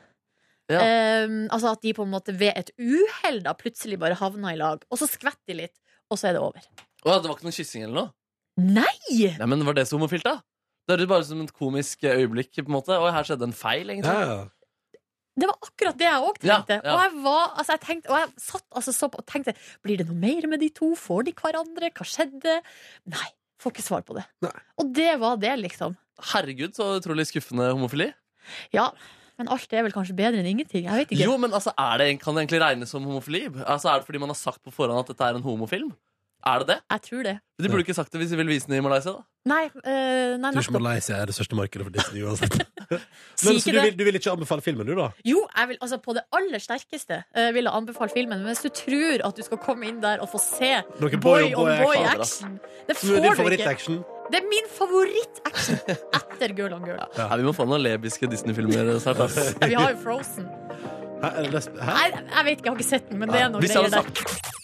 Ja. Eh, altså at de på en måte ved et uhell da plutselig bare havna i lag, og så skvetter de litt, og så er det over. Å, det var ikke noe kyssing eller noe? Nei! Nei, men Var det så homofilt, da? Det høres bare ut som et komisk eh, øyeblikk. på en måte Oi, her skjedde en feil, Ja, egentlig. ja. Det var akkurat det jeg òg Ja, tenkte. ja. Og jeg var, altså jeg tenkte Og jeg satt altså så på og tenkte Blir det noe mer med de to? Får de hverandre? Hva skjedde? Nei. Får ikke svar på det. Nei. Og det var det, liksom. Herregud, så utrolig skuffende homofili. Ja. Men alt er vel kanskje bedre enn ingenting. Jeg vet ikke. Jo, men altså, er det, Kan det egentlig regnes som homofili? Altså, Er det fordi man har sagt på forhånd at dette er en homofilm? Er det det? Jeg tror det. De burde ikke sagt det hvis de ville vise den i Malaysia. da Nei, eh, nei Tror ikke nettopp. Malaysia er det største markedet for Disney uansett. Si Men så du ikke det. vil, du vil ikke anbefale filmen, du, da? Jo, jeg vil, altså på det aller sterkeste eh, vil jeg anbefale filmen. Men hvis du tror at du skal komme inn der og få se Noe boy boy on on boy boy action. action Det Som er din får du ikke. favorittaction? Det er min favorittaction etter Girl on Girl. Nei, Vi må få noen lebiske Disney-filmer eh, snart. ass. Vi har jo Frozen. Hæ? Er det lesb- Hæ? Nei, jeg vet ikke, jeg har ikke sett den, men det er noe Hvis jeg greier hadde der. sånn. sagt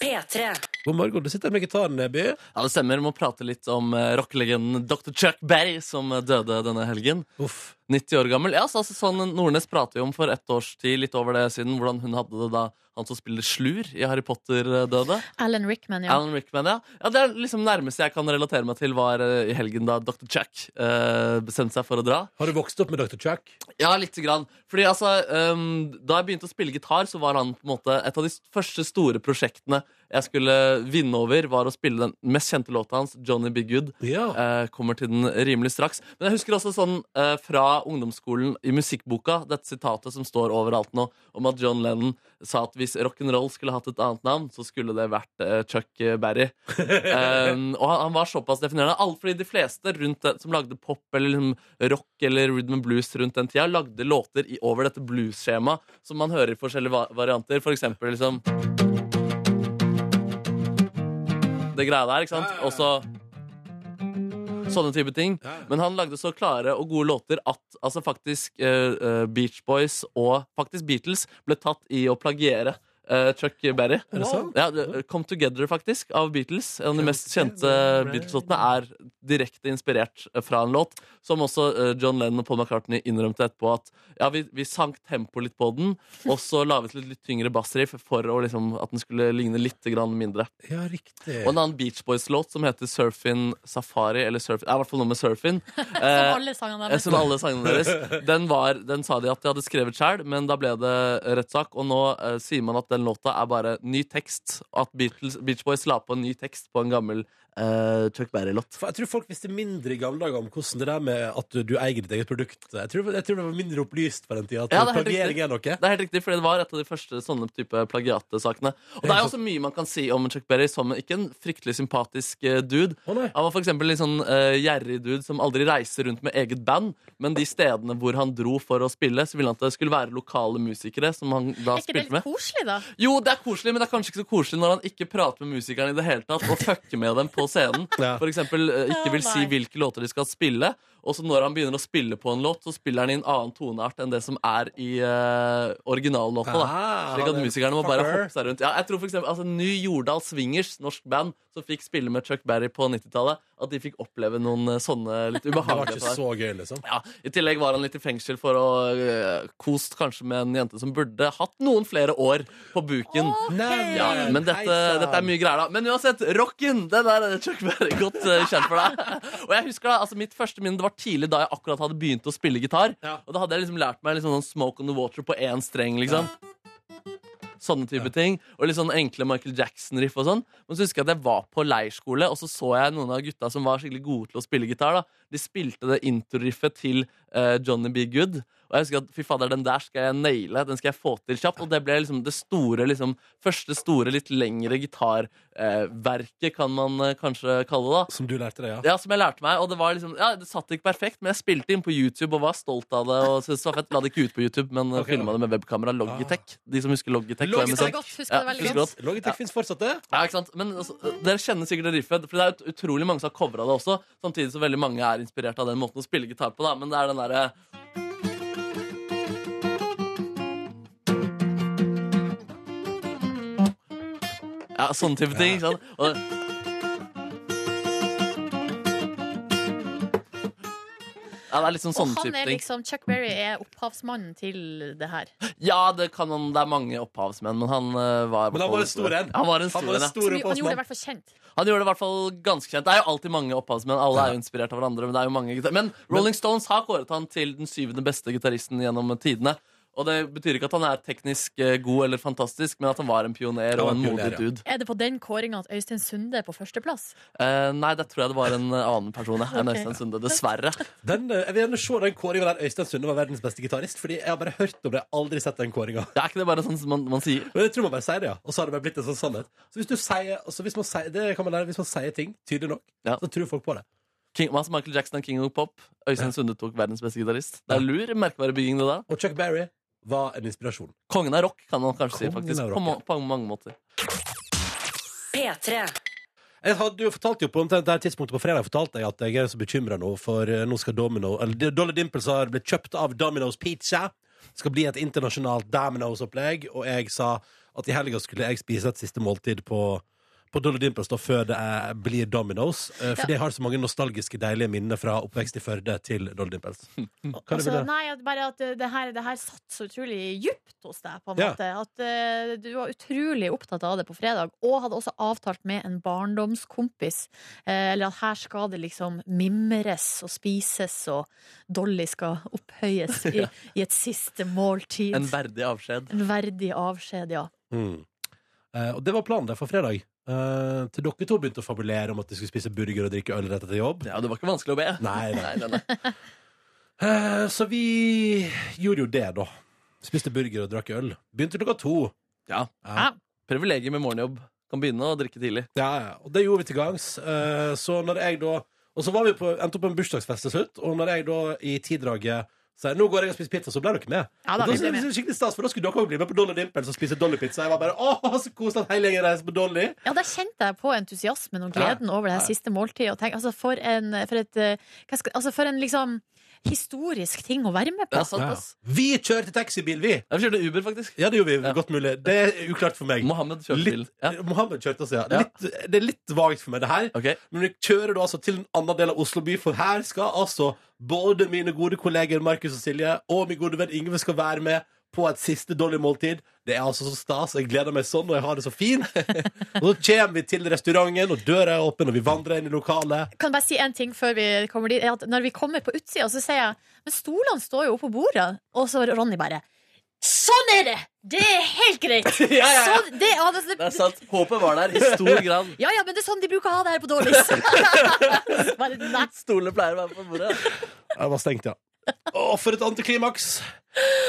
P3. God morgen, du sitter med gitaren, Neby. Ja, Det stemmer. Vi må prate litt om eh, rockelegenden Dr. Chuck Berry, som eh, døde denne helgen. Uff. 90 år gammel. Ja, så, altså, sånn Nordnes prater jo om for ett års tid, litt over det siden, hvordan hun hadde det da han som spiller Slur i Harry Potter eh, døde. Alan Rickman, ja. Alan Rickman, ja. ja. Det er liksom nærmeste jeg kan relatere meg til, var eh, i helgen da Dr. Chuck eh, bestemte seg for å dra. Har du vokst opp med Dr. Chuck? Ja, lite grann. Fordi altså, ehm, da jeg begynte å spille gitar, så var han på en måte et av de første store prosjektene jeg skulle vinne over, var å spille den mest kjente låta hans, Johnny Be Good. Ja. Eh, kommer til den rimelig straks. Men jeg husker også sånn eh, fra ungdomsskolen i musikkboka, dette sitatet som står overalt nå, om at John Lennon sa at hvis rock'n'roll skulle hatt et annet navn, så skulle det vært eh, Chuck Berry. Um, og han, han var såpass definerende. All, fordi de fleste rundt det, som lagde pop eller liksom, rock eller rhythm and blues rundt den tida, lagde låter i, over dette blues-skjemaet som man hører i forskjellige va varianter. For eksempel liksom det greia der, ikke sant? Og så Mm. Sånne type ting. Men han lagde så klare og gode låter at altså faktisk eh, eh, Beach Boys og faktisk Beatles ble tatt i å plagiere eh, Chuck Berry. det sant? Ja, det- eh, Come Together, faktisk, av Beatles. En av de mest kjente eh, Beatles-låtene er direkte inspirert eh, fra en låt som også eh, John Lennon og Paul McCartney innrømte etterpå at ja, vi, vi sank tempoet litt på den, og så laget vi et litt tyngre bassriff for å liksom, at den skulle ligne litt grann mindre. Ja, riktig. Og en annen Beach Boys-låt som heter Surfin' Safari, eller Surfin', er i hvert fall noe med surfin'. Som Eh, alle sangene eh, deres. som alle sangene deres. Den, var, den sa de at de hadde skrevet sjøl, men da ble det rettssak. Og nå eh, sier man at den låta er bare ny tekst. og At Beatles, Beach Boys la på en ny tekst på en gammel eh, Chuck Berry-låt. For jeg tror folk visste mindre i gamle dager om hvordan det der med at du, du eier ditt eget produkt. Jeg tror, jeg tror det var mindre opplyst på den tida. At Ja, det er helt plagiering er noe. Det er helt riktig, for det var et av de første sånne type plagiatesakene. Og det er jo også mye man kan si om Chuck Berry som ikke en fryktelig sympatisk eh, dude. Å, nei. Han var for eksempel litt sånn eh, gjerrig dude som aldri reiser rundt med eget band, men de stedene hvor han dro for å spille, så ville han at det skulle være lokale musikere som han da Er ikke det spilte litt med. koselig, da? Jo, det er koselig, men det er kanskje ikke så koselig når han ikke prater med musikerne i det hele tatt og fucker med dem på scenen. Ja. For eksempel eh, ikke vil si Å, nei. hvilke låter de skal spille, og så når han begynner å spille på en låt, så spiller han i en annen toneart enn det som er i eh, originallåta. Da. Ah, Slik han at er musikerne må bare fucker. hoppe seg rundt. Ja, jeg tror for eksempel, altså, Ny Jordal Swingers, norsk band, som fikk spille med Chuck Berry på 90-tallet, at de fikk oppleve noen eh, sånne litt Det var ubehagelige ikke så gøy, liksom. ja, I tillegg var han litt i fengsel for å eh, kost kanskje med en jente som burde hatt noen flere år på buken. Nei, Ja, men dette, heisann. dette er mye greier, da. Men uansett, rocken! Den er Chuck Berry godt eh, kjent for deg. Og jeg husker da, altså Mitt første minne det var tidlig da jeg akkurat hadde begynt å spille gitar. Ja. Og da hadde jeg liksom lært meg liksom sånn Smoke on the Water på én streng, liksom. Sånne type ting. Og litt sånn enkle Michael Jackson-riff og sånn. Men så husker jeg at jeg var på leirskole, og så så jeg noen av gutta som var skikkelig gode til å spille gitar. da. De spilte det introriffet til eh, Johnny B. Good. Og jeg husker at fy fader, den der skal jeg naile, den skal jeg få til kjapt. Og det ble liksom det store, liksom, første store, litt lengre gitarverket, verket kan man eh, kanskje kalle det. da. Som du lærte deg, ja. Ja, som jeg lærte meg, og det var liksom, ja, det satt ikke perfekt, men jeg spilte inn på YouTube og var stolt av det, og syntes det var fett. La det ikke ut på YouTube, men Ok, da. Ah. filma det med webkamera. Logitech. De som husker Logitech. sånn og Husker det MSN. godt. Husker det Ja, veldig husker godt. godt. Logitech fins fortsatt, det. Ja, ikke sant? Men altså, Dere kjenner sikkert det riffet, for det er jo utrolig mange som har covra det også. Samtidig som veldig mange er inspirert av den måten å spille gitar på, da. Men det er den derre Ja, sånne type ting, ikke sant? Og ja, det er liksom sånne og han type er ting. liksom, Chuck Berry er opphavsmannen til det her. Ja, det, kan man, det er mange opphavsmenn, men han eh, var Men han var en stor en. Han var en stor en, ja. Så stor mye- han gjorde opphavsmann. det i hvert fall kjent. Han gjorde det i hvert fall ganske kjent. Det er jo alltid mange opphavsmenn. Alle er jo inspirert av hverandre. Men det er jo mange Men Rolling Stones har kåret han til den syvende beste gitaristen gjennom tidene. Og det betyr ikke at han er teknisk eh, god eller fantastisk, men at han var en pioner var og en en modig pioner, ja. dude. Er det på den kåringa at Øystein Sunde er på førsteplass? Eh, nei, det tror jeg det var en eh, annen person. Jeg, enn Ok. Øystein Sunde, dessverre. Den, eh, jeg vil gjerne se den kåringa der Øystein Sunde var verdens beste gitarist. Fordi jeg har bare hørt om det, jeg har aldri sett den kåringa. Det er ikke det bare sånn som man, man sier? Men jeg tror man bare sier det, ja. Og så har det bare blitt en sånn sannhet. Så hvis du sier, altså hvis man sier, det kan man lære, hvis man sier ting tydelig nok, Ja. så tror folk på det. King, altså Michael Jackson er king of pop. Øystein Sunde tok verdens beste gitarist. Det er lur merkevarebygging, det der. Og Chuck Berry var en inspirasjon. Kongen av rock, kan man kanskje si. Kongen faktisk av på, rock, ma- på mange måter. P3. Jeg hadde jo fortalt jo på omtrent det her tidspunktet på fredag fortalte jeg at jeg er så bekymra nå, for eh, nå skal Domino Eller Dolly Dimples har blitt kjøpt av Domino's Pizza. Det skal bli et internasjonalt Domino's-opplegg, og jeg sa at i helga skulle jeg spise et siste måltid på på Dolly Dimples da, før det eh, blir Domino's. eh, For Ja. det har så mange nostalgiske, deilige minner fra oppvekst i Førde til Dolly Dimples. Hva er det Altså, med det? nei, at bare at det- det her, det her satt så utrolig djupt hos deg, på en Ja. måte. At eh, du var utrolig opptatt av det på fredag, og hadde også avtalt med en barndomskompis. eh, eller at her skal det liksom mimres og spises, og Dolly skal opphøyes i, i et siste måltid. En verdig avskjed. En verdig avskjed, ja. Mm. Eh, og det var planen der for fredag. Eh, til dere to begynte å fabulere om at de skulle spise burger og drikke øl rett etter jobb. Ja, det var ikke vanskelig å be. Nei, nei. Nei, nei, nei. Eh, så vi gjorde jo det, da. Spiste burger og drakk øl. Begynte klokka to. Ja. Ah. Ja. Privilegiet med morgenjobb. Kan begynne å drikke tidlig. Ja, ja. Og det gjorde vi til gangs. Eh, så når jeg da Og så var vi på, endte opp på en bursdagsfest til slutt, og når jeg da i tiddraget Sier nå går jeg og spiser pizza, så blir dere med. Ja da, og da vi blir synes jeg med. det er skikkelig stas, for da skulle dere òg bli med på Dolly Dimples og spise Dolly-pizza. Jeg var bare åh, så koselig at hele gjengen reiser på Dolly. Ja, der kjente jeg på entusiasmen og gleden over det her siste måltidet. Og tenk, altså for en, for et, eh, hva skal, altså for en liksom historisk ting å være med på. Ja, sant, Ja. ass. Vi kjørte taxibil, vi! Jeg kjørte Uber, faktisk. Ja, det gjorde vi. Ja. Godt mulig. Det er uklart for meg. Mohammed kjørte bil. Litt, Ja. Mohammed kjørte oss, ja. Ja. Litt, det er litt vagt for meg, det her. Ok. Men vi kjører da altså til en annen del av Oslo by, for her skal altså både mine gode kolleger Markus og Silje og min gode venn Ingve skal være med på et siste dårlig måltid. Det er altså så stas. Jeg gleder meg sånn, og jeg har det så fint. og så kommer vi til restauranten, og døra er åpen, og vi vandrer inn i lokalet. Kan jeg bare si en ting før vi kommer dit? er At når vi kommer på utsida, så sier jeg Men stolene står jo oppå bordet. Og så er Ronny bare Sånn er det! Det er helt greit! Sånn, det, ja, det, Det er sant. Håpet var der i stor grad. ja, ja, men det er sånn de bruker å ha det her på Dårlis. Så bare, nei. Stolene pleier å være på bordet. Jeg var stengt, ja. Å, for et antiklimaks!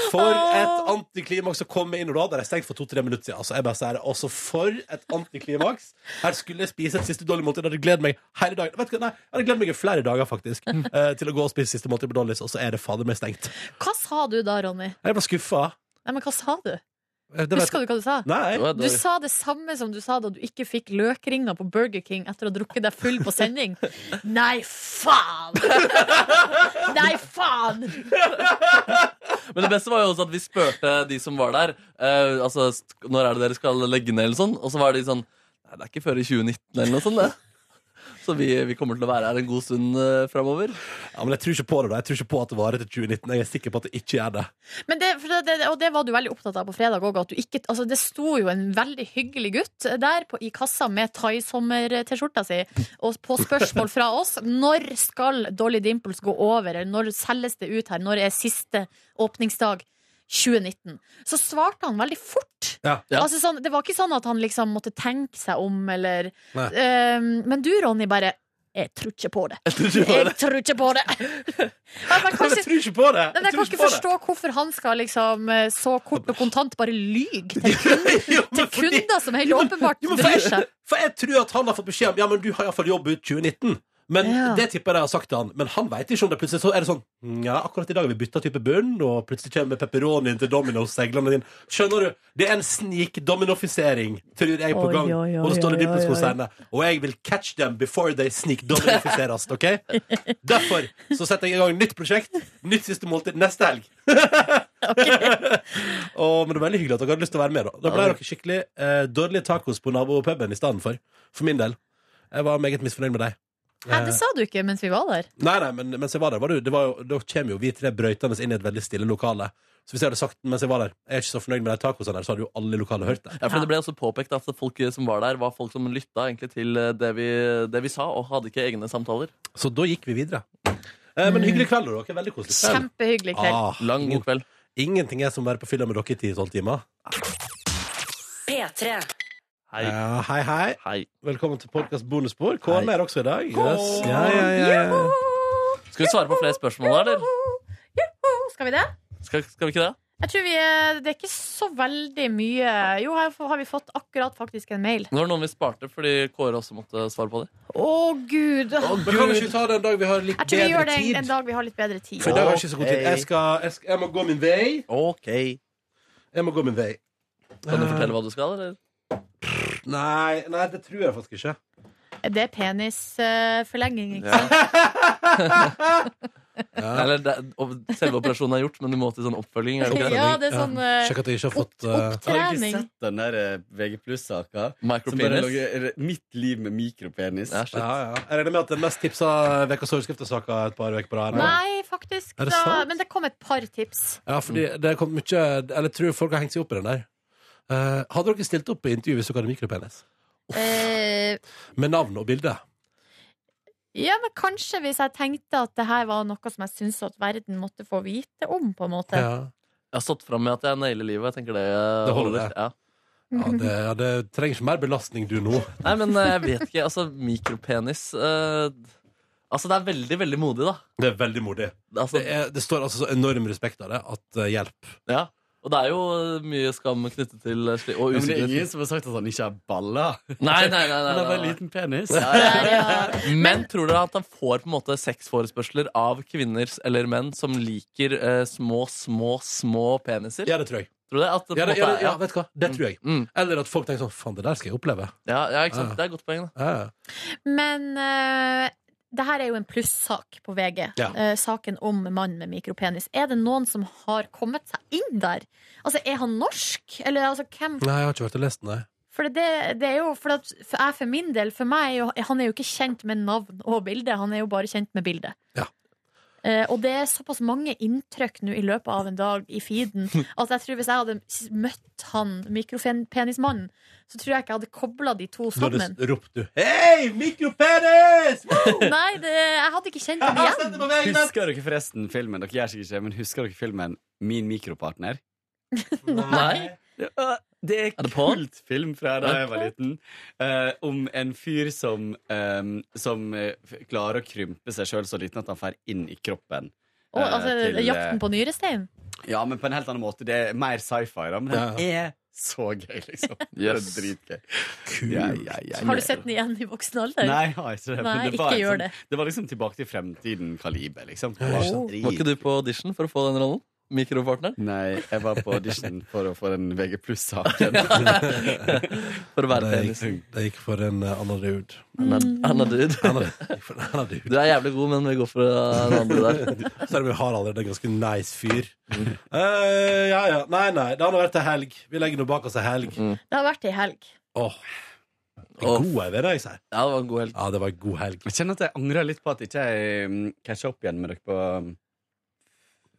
For et antiklimaks å komme inn, og da hadde jeg stengt for to-tre minutter siden. Altså, jeg bare sier det. Også for et antiklimaks. Her skulle jeg spise et siste dårlig måltid. Jeg hadde gledet meg hele dagen. Vet du hva, nei, jeg hadde gledet meg i flere dager, faktisk, eh, til å gå og spise siste måltid på Dollys, og så er det fader meg stengt. Hva sa du da, Ronny? Jeg ble skuffa. Nei, men hva sa du? Eh, det vet- Husker du hva du sa? Nei. Det var Du dårlig. sa det samme som du sa da du ikke fikk løkringer på Burger King etter å ha drukket deg full på sending. Nei, faen! Nei, faen! Men det beste var jo også at vi spurte de som var der eh, Altså, st- når er det dere skal legge ned eller sånn Og så var de sånn Nei, det er ikke før i 2019 eller noe sånt det Så vi, vi kommer til å være her en god stund eh, fremover Ja, men jeg tror ikke på det. da Jeg tror ikke på at det varer til 2019. Jeg er sikker på at det ikke gjør det. Men det, for det, det, og det var du veldig opptatt av på fredag òg. Altså, det sto jo en veldig hyggelig gutt der på, i kassa med thaisommer-T-skjorta si. Og på spørsmål fra oss når skal Dolly Dimples gå over, eller når selges det ut her, når er siste åpningsdag? 2019. Så svarte han veldig fort. Ja. Ja. Altså sånn, det var ikke sånn at han liksom måtte tenke seg om, eller Nei. Eh, Men du, Ronny, bare 'Jeg tror ikke på det'. Jeg tror ikke på det! Ja, men Men kanskje, jeg tror ikke på det! men jeg kan tror ikke på det. forstå hvorfor han skal liksom eh, så kort og kontant bare lyge til, Jo, men til fordi- kunder som helt åpenbart Jo, men bryr seg. For jeg tror at han har fått beskjed om Ja, men du har iallfall jobb ut 2019. Men Ja. det tipper jeg har sagt til han. Men han veit ikke om det. Plutselig så er det sånn «Mm, Ja, akkurat i dag har vi bytta type bunn, og plutselig kommer pepperonien til Domino's seglende inn. Skjønner du? Det er en snikdominofisering, tror jeg, på Oi, gang. oi, oi, og så står det oi, oi, oi. Dimples-konsernet. Og jeg vil catch them before they snikdominofiseres, OK? Derfor så setter jeg i gang nytt prosjekt. Nytt siste måltid neste helg. Å, men det er veldig hyggelig at dere hadde lyst til å være med. Da Da ble dere skikkelig eh, dårlige tacos på nabopuben i stedet for. For min del. Jeg var meget misfornøyd med deg. Nei, det sa du ikke mens vi var der. Nei, nei, men mens jeg var der, var det, jo- det var jo, da kommer jo vi tre brøytende inn i et veldig stille lokale. Så hvis jeg hadde sagt mens jeg var der, jeg er ikke så fornøyd med de tacosene der, så hadde jo alle i lokalet hørt det. ja, for det ble også påpekt at folk som var der Var folk som lyttet egentlig til eh, det vi, det vi sa Og hadde ikke egne samtaler Så da gikk vi videre. Eh, men hyggelig kveld, da, dere. Veldig koselig. kveld. Kjempehyggelig kveld. Ah, Lang god- kveld Ingenting er som å være på fylla med dere i 10-12 timer. P3. Hei, Ja, hei, hei. hei Velkommen til podkast bonusspor. Kåren Hei. er også i dag. Yes. Ja, ja, ja, ja. Skal vi svare på flere spørsmål eller? Joho! Skal vi det? Skal, skal vi ikke det? Jeg tror vi, eh, Det er ikke så veldig mye Jo, her har vi fått akkurat faktisk en mail. Nå var det noen vi sparte fordi Kåre også måtte svare på det Å, gud! Jeg Men kan vi ikke ta det en dag vi har litt tror vi bedre gjør det en, tid? en dag vi har litt bedre tid. For i dag har jeg ikke så god tid. Ok. Jeg, skal, jeg, skal, jeg må gå min vei. Ok Jeg må gå min vei. Kan du fortelle hva du skal eller? Nei, nei, det tror jeg faktisk ikke. Det er penisforlenging, ikke sant? Eller det, og selve operasjonen er gjort Men du må til sånn oppfølging er det ikke det? Ja, det er sånn eh, Sjekk at jeg ikke har opp- fått eh, Har dere opptrening. sett den der eh, VG Pluss-saka? Som bare Micropenis lå eh, Mitt liv med mikropenis. Ja, shit. ja, ja. Jeg regner med at den mest tipsa ukas overskriftssaka et par uker på rad. Nei, faktisk. Er det da, sant? men det kom et par tips. Ja, fordi det kom mye Eller jeg tror folk har hengt seg opp i den der. Eh, hadde dere stilt opp i intervju hvis dere hadde mikropenis? Eh, Med navn og bilde? ja, men kanskje hvis jeg tenkte at det her var noe som jeg syntes at verden måtte få vite om, på en måte. Ja. Jeg har stått fram med at jeg nailer livet. Jeg tenker det, eh, Det holder, det. Ja. Ja, det, ja, det trenger ikke mer belastning, du nå. Nei, men eh, jeg vet ikke. Altså, mikropenis eh, Altså, det er veldig, veldig modig, da. Det er veldig modig. Altså, Det, er, det står altså så enorm respekt av det at eh, hjelp. ja. Og det er jo eh, mye skam knyttet til eh, sli- Og Ja, men det er ingen usikkerhet. som har sagt at han ikke har baller. Nei, nei, nei, nei, Han har nei, bare nei. liten penis. Ja, ja, ja. Men tror dere at han får på en måte sexforespørsler av kvinner eller menn som liker eh, små, små, små peniser? Ja, det tror jeg. Tror du det? At det på Ja, en det, måte ja, er- det, ja, vet du hva? Det tror jeg. Mm. Eller at folk tenker sånn Faen, det der skal jeg oppleve. Ja, ja, ikke sant? Ja. Det er et godt poeng, da. Ja, ja. Men uh, det her er jo en plussak på VG. Ja. Eh, saken om mann med mikropenis. Er det noen som har kommet seg inn der? Altså, er han norsk? Eller altså, hvem Nei, jeg har ikke vært og lest den, nei. For det, det er jo for, at, for jeg for min del, for meg er jo, Han er jo ikke kjent med navn og bilde, han er jo bare kjent med bildet. Ja. Eh, og det er såpass mange inntrykk nå i løpet av en dag i feeden at jeg tror hvis jeg hadde s- møtt han mikropenismannen, så tror jeg ikke jeg hadde kobla de to Da hadde sammen. s- ropt du 'Hei, mikropenis!' Nei, det, jeg hadde ikke kjent han igjen. Husker dere forresten filmen? Dere gjør sikkert ikke det, men husker dere filmen Min mikropartner? Nei? Ja, det er, Er det på? kultfilm fra da jeg var liten. eh, om en fyr som, eh, som eh, f- klarer å krympe seg sjøl så liten at han får inn i kroppen. Og, eh, altså, til, eh, jakten på nyrestein. Ja, men på en helt annen måte. Det er mer sci-fi, da. Men den er så gøy, liksom. Yes. Det er dritgøy. Ja, ja, ja, ja. Har du sett den igjen i voksen alder? Nei, jeg har ikke det. Nei, men det var ikke et gjør sånt- det. Det var liksom tilbake til fremtiden-kaliber, liksom. Det var sånn Var ikke drit- du på audition for å få den rollen? Mikropartneren? Nei, jeg var på audition for å få den VG pluss-saken. For å være Det penis. gikk, det gikk for en eh, annen dude. Anna, Anna dude. Annen- det gikk for en annen dude. Du er jævlig god, men vi går for en andre der. Selv om vi har allerede en ganske nice fyr. Mm. Eh, ja, ja. Nei, nei. Det har nå vært ei helg. Vi legger nå bak oss ei helg. Åh. Det har vært ei helg. En Åh. god ei, vil jeg si. Ja, det var en god helg. Ja, det var ei god helg. Jeg kjenner at jeg angrer litt på at ikke jeg mm, catcha opp igjen med dere på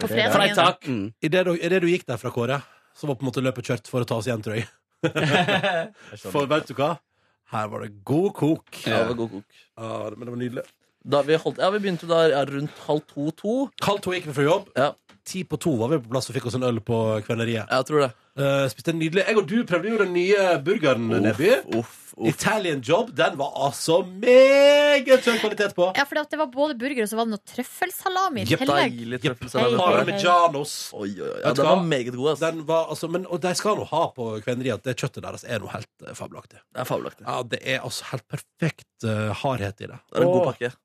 På Det er det. fredagen. Mm. Idet du, i det du gikk derfra, Kåre, så var på en måte løpet kjørt for å ta oss igjen, tror jeg. For vet du hva? Her var det god kok. Ja, det var god kok. Ja, men det var nydelig. Da vi, holdt, ja, vi begynte da ja, rundt halv to-to. Halv to gikk vi fra jobb. Ja. Ti på to var vi på plass og fikk oss en øl på kveleriet. Jeg tror det. Eh, spiste en nydelig Jeg og du prøvde jo den nye burgeren, Neby. Uff, uff. Italian Job. Den var altså meget høy kvalitet på. Ja, for det at det var både burger og så var det noe trøffelsalami i Jepp, tillegg. Deilig Jepp. trøffelsalat. Hei, hei. Parmigianos. Oi, oi, oi. Ja, Vet du den hva? var meget god. Altså. Den var, altså, men, og de skal nå ha på kveneriet at det kjøttet deres er noe helt eh, fabelaktig. Det er fabelaktig. Ja, det er altså helt perfekt eh, hardhet i det. Det er en god Åh. pakke.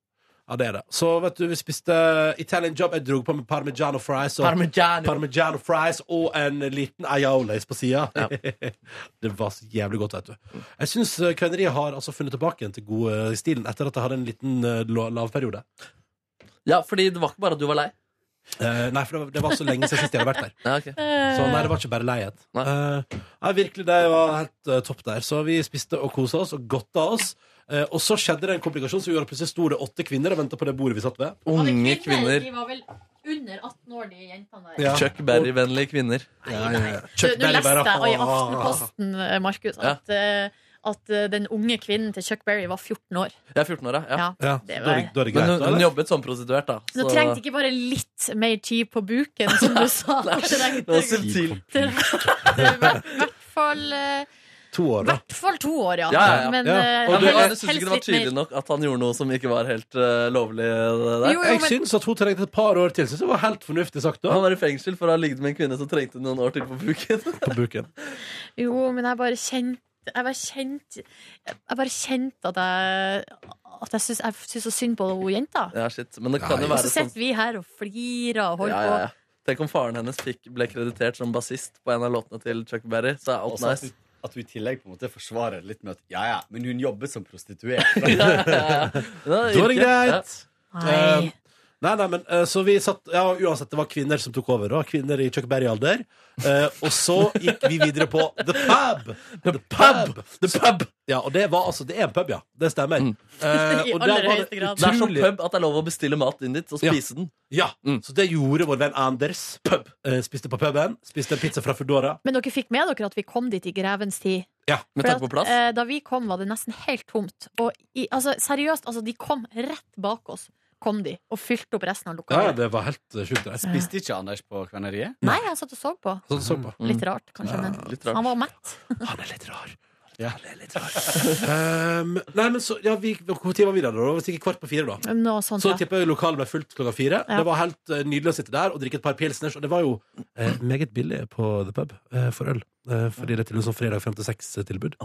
Ja, det er det. Så vet du, vi spiste Italian Job. Jeg dro på med parmigiano fries og Parmigiano. parmigiano fries og en liten aiolies på sida. det var så jævlig godt, vet du. Jeg syns kveneriet har altså funnet tilbake igjen til godstilen etter at jeg hadde en liten eh, la- lavperiode. Ja, fordi det var ikke bare at du var lei. Eh, nei, for det var, det var så lenge siden sist jeg hadde vært der. Eh, Ja, ok. Så sånn nei, det var ikke bare leiet. Nei. Eh, nei, virkelig, det var helt eh, topp der. Så vi spiste og kosa oss og godta oss. Eh, og så skjedde det en komplikasjon som gjorde at plutselig sto det åtte kvinner og venta på det bordet vi satt ved. Unge kvinner. De var vel under 18 år, de jentene der. Ja. Chuck Berry-vennlige kvinner. Ja, ja, ja. Du, Chuck Nå Berry bare, leste jeg i ah, Aftenposten, eh, Markus, Ja. at, eh, at eh, den unge kvinnen til Chuck Berry var 14 år. Jeg er 14 år, ja. ja. Ja. Ja, Det da var- er det- da er det greit, Men da, hun, hun eller? jobbet som prostituert, da. Så du trengte ikke bare litt mer tid på buken, som du sa. Du det var trengte subtil. i hvert fall eh, To år, da. hvert fall to år, ja. Ja, ja, ja. Men Ja. eh, Ja, men helst- jeg syns ikke det var helst litt tydelig nok at han gjorde noe som ikke var helt eh, lovlig. eh, mer. Jo, Der. jo, Jeg men syns at hun trengte et par år til. Syns det var helt fornuftig sagt da. Han var i fengsel for å ha ligget med en kvinne som trengte noen år til på buken. På buken. Jo, men jeg bare kjente jeg bare kjente Jeg bare kjente at jeg At jeg syns, jeg syns så synd på hun jenta. Ja, shit. Men det kan jo Nei. Og være så sånn. sitter vi her og flirer og holder Ja, ja, ja. Tenk om faren hennes fikk, ble kreditert som bassist på en av låtene til Chuck Berry. Så er alt Også at, nice. du, at du i tillegg på en måte forsvarer det litt med at ja, ja, men hun jobber som prostituert. Ja, ja, ja. Da Da er det greit. på. Um, Nei. Nei, nei, men eh, så vi satt Ja, uansett, det var kvinner som tok over, da. Kvinner i Chuck Berry-alder. Eh, og så gikk vi videre på The Pub! The Pub! The Pub! Ja, og det var altså Det er en pub, ja. Det stemmer. Mm. Eh, I og aller der var høyeste grad. Det er som utrolig- pub at det er lov å bestille mat inn dit og Ja. spise den. Ja, Mm. så det gjorde vår venn Anders. Pub. Eh, spiste på puben. Spiste en pizza fra Foodora. Men dere fikk med dere at vi kom dit i grevens tid. Ja. Med For tanke at, på plass. eh, da vi kom, var det nesten helt tomt. Og i, altså, seriøst, altså, de kom rett bak oss. Kom de, og fylte opp resten av Ja, ja, lokalet. det var helt eh, sjukt. det. Spiste ikke Anders på Kveneriet? Nei, jeg satt og så på. Sånn så på. Litt rart, kanskje. Men Litt rart. han var mett. Mm. Han er litt rar. Ja. Um, nei, men så, ja, vi, hvor tid var vi der da? Det var sikkert kvart på fire da. Noe sånt, Så ja. tipper jeg lokalet ble fullt klokka fire. Ja. Det var helt eh, nydelig å sitte der og drikke et par pilsners. Og det var jo eh, meget billig på The Pub eh, for øl. Eh, fordi det er til og med sånn fredag frem til seks-tilbud.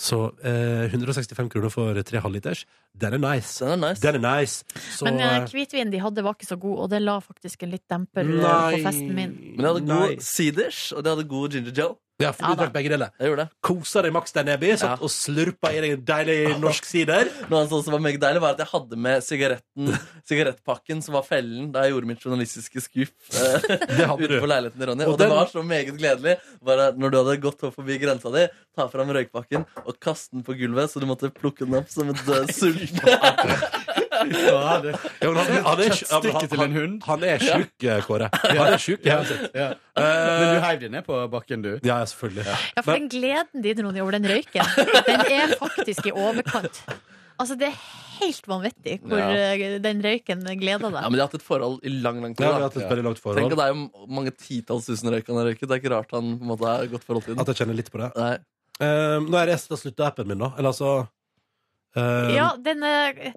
Så eh, 165 kroner for tre halvliters. Den er nice. Den er nice. Den er nice. Så, Men eh, eh, hvitvinen de hadde, var ikke så god, og det la faktisk en litt demper eh, nei. på festen min. Men jeg hadde Nei. god ciders, og det hadde god ginger gel. Ja, for Ja du da. drakk begge deler. Jeg gjorde det. Kosa deg maks der nede. Satt og slurpa i deg en deilig norsk sider. Noe annet som var meget deilig, var at jeg hadde med sigaretten, sigarettpakken som var fellen, da jeg gjorde mitt journalistiske skup eh, Det hadde utenfor du. leiligheten til Ronny. Og Og, det den- var så meget gledelig bare at når du hadde gått opp forbi grensa di, ta fram røykpakken og kaste den på gulvet, så du måtte plukke den opp som et eh, sulten. Ja, det, Ja, men han, er- han, er, ja, men han, Kjøttstykke til en han, hund. han er sjuk, eh, Kåre. Han er sjuk. Eh, Ja, ja. Men du heiv det ned på bakken, du. ja selvfølgelig. Ja, for den gleden din, Ronny, over den røyken, den er faktisk i overkant. Altså, det er helt vanvittig hvor Ja. eh, den røyken gleder Ja, deg. men de har hatt et forhold i lang, Ja, lang tid. vi har Da. hatt et veldig langt forhold. Tenk at det er jo mange titalls tusen røyk han har røyket. Det er ikke rart han på en måte har et godt forhold til den. At jeg kjenner litt på det. Nei. Um, nå er det resten av sluttappen min, da. Eller altså um, Ja, den eh,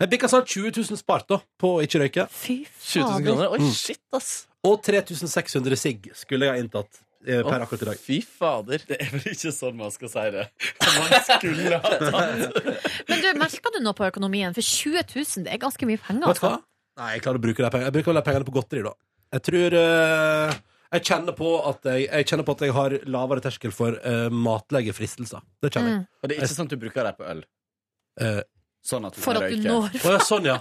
Jeg bikka sånn 20 000 spart da på å ikke røyke. Fy 20 000 fader. kroner? Mm. Oi, shit, ass! Og 3600 sigg skulle jeg ha inntatt eh, per akkurat i dag. Fy fader. Det er vel ikke sånn man skal si det. Man skulle ha tatt Men du, merka du noe på økonomien? For 20 000, det er ganske mye penger. Vet du hva? Altså. Nei, jeg klarer å bruke de pengene. Jeg bruker vel de pengene på godteri, da. Jeg tror eh, jeg, kjenner på at jeg, jeg kjenner på at jeg har lavere terskel for uh, matlege fristelser. Det kjenner jeg. Mm. Og det er ikke sånn at du bruker dem på øl. Eh, Sånn at du For kan at du røyke. når Å ja, sånn, ja.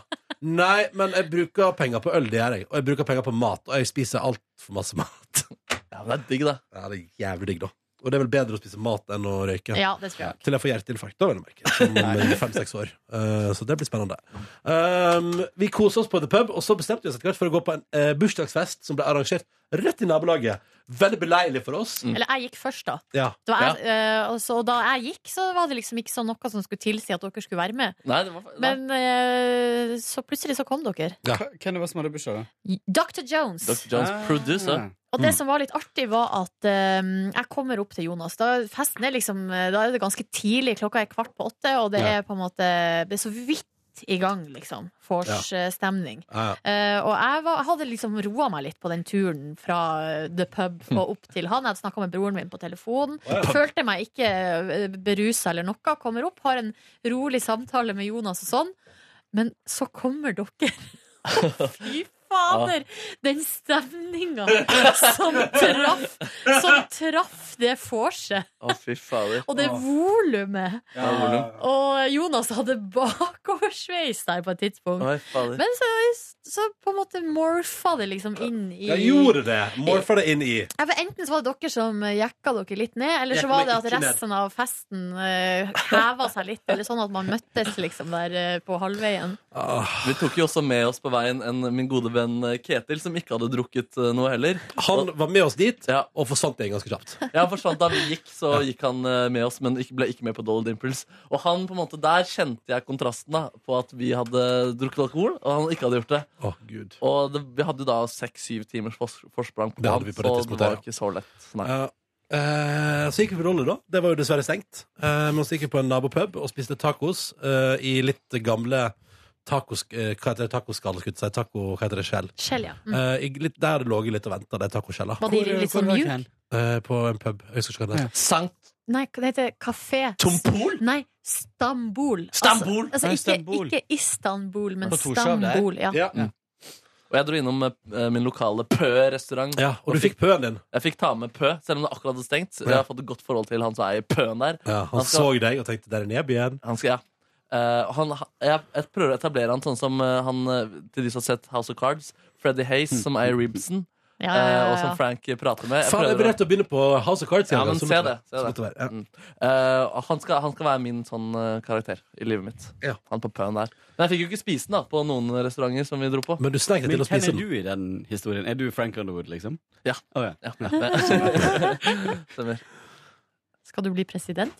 Nei, men jeg bruker penger på øl, det gjør jeg. Og jeg bruker penger på mat, og jeg spiser altfor masse mat. Ja, men det er digg, da. Ja, det er jævlig digg, da. Og det er vel bedre å spise mat enn å røyke. Ja, det tror jeg. Til jeg får hjerteinfarkt, da, vel å merke. Som fem-seks år. Eh, så det blir spennende. Um, vi koser oss på The Pub, og så bestemte vi oss etter hvert for å gå på en eh, bursdagsfest som ble arrangert rett i nabolaget. Veldig beleilig for oss. Eller jeg gikk først, da. Ja. Det var jeg, eh, og så- og da jeg gikk, så var det liksom ikke sånn noe som skulle tilsi at dere skulle være med. Nei, det var... Nei. Men eh, så plutselig så kom dere. Hvem var det som hadde bursdag, da? Dr. Jones. Dr. Jones, Ah. producer. Og det som var litt artig, var at eh, jeg kommer opp til Jonas. Da, festen er liksom, eh, da er det ganske tidlig, klokka er kvart på åtte, og det Ja. er på en måte Det er så vidt i gang, liksom. Vors-stemning. Ja, ja. Eh, og jeg, var, jeg hadde liksom roa meg litt på den turen fra eh, the pub og opp til han. Jeg hadde snakka med broren min på telefonen. Følte meg ikke berusa eller noe. Kommer opp, har en rolig samtale med Jonas og sånn. Men så kommer dere. Fy fader! Den stemninga som traff Som traff det vorset. Å, fy fader. Og det volumet. Ja, volum. Og Jonas hadde bakoversveis der på et tidspunkt. Oi, fader. Men så, så på en måte morfa det liksom inn i Jeg gjorde det! Morfa det inn i. Ja, for Enten så var det dere som eh, jekka dere litt ned, eller Jekka så var meg det at ikke ned. resten av festen eh, heva seg litt. Eller sånn at man møttes liksom der eh, på halvveien. Vi tok jo også med oss på veien en, min gode venn eh, Ketil, som ikke hadde drukket eh, noe heller. Han var med oss dit, Ja. og forsvant igjen ganske kjapt. Ja, han forsvant Da vi gikk, så gikk han eh, med oss, men ikke, ble ikke med på Dolly Dimples. Og han på en måte, Der kjente jeg kontrasten da, på at vi hadde drukket alkohol, og han ikke hadde gjort det. Å, gud. Og det, vi hadde jo da seks-syv timers fors forsprang, på Det hadde han, vi på det så tidspunktet, det var ja. ikke så lett. Nei. Ja. Eh, så gikk vi på Dolly, da. Det var jo dessverre stengt. Eh, men så gikk vi på en nabopub og spiste tacos eh, i litt gamle tacos... eh, hva heter det? Tacoskall, skulle jeg si. Taco, hva heter det? Skjell. Skjell, ja. Mm. Eh, i litt, der det lå litt og venta, de tacoskjella. Var de litt sånn mjuke? Eh, på en pub. Jeg husker ikke hva det heter. Sankt Nei, hva det heter Kafé Tompol? Nei, Stambol. Stambol? Altså, altså Nei, ikke, Stambol. ikke Istanbul, men På Torshov der. Stambol. Ja. Ja. Og jeg dro innom eh, min lokale Pø-restaurant. Ja, og du fikk pøen din. Jeg fikk ta med Pø, selv om det akkurat hadde stengt. Jeg har fått et godt forhold til han som er i Pøen der. Ja, han Han skal- så deg og tenkte 'der er Neb igjen'. Han skal, ja. Eh, han, jeg, jeg prøver å etablere han sånn som eh, han eh, til de som har sett House of Cards. Freddy Hayes, som er i Ribson, Ja, eh, ja, ja, og som ja. Frank prater med. Jeg Mm. Faen, jeg prøver å- vurderte å begynne på House of Cards. Ja, igjen, men så se måtte- det, se så det. måtte være, ja. Eh, han, skal, han skal være min sånn eh, karakter i livet mitt. Ja. Han på pøen der. Men jeg fikk jo ikke spise den da, på noen restauranter som vi dro på. Men du snek deg til Men å hvem spise er den. du i den historien? Er du Frank Underwood, liksom? Ja. Å, ja. Ja. Stemmer. Skal du bli president?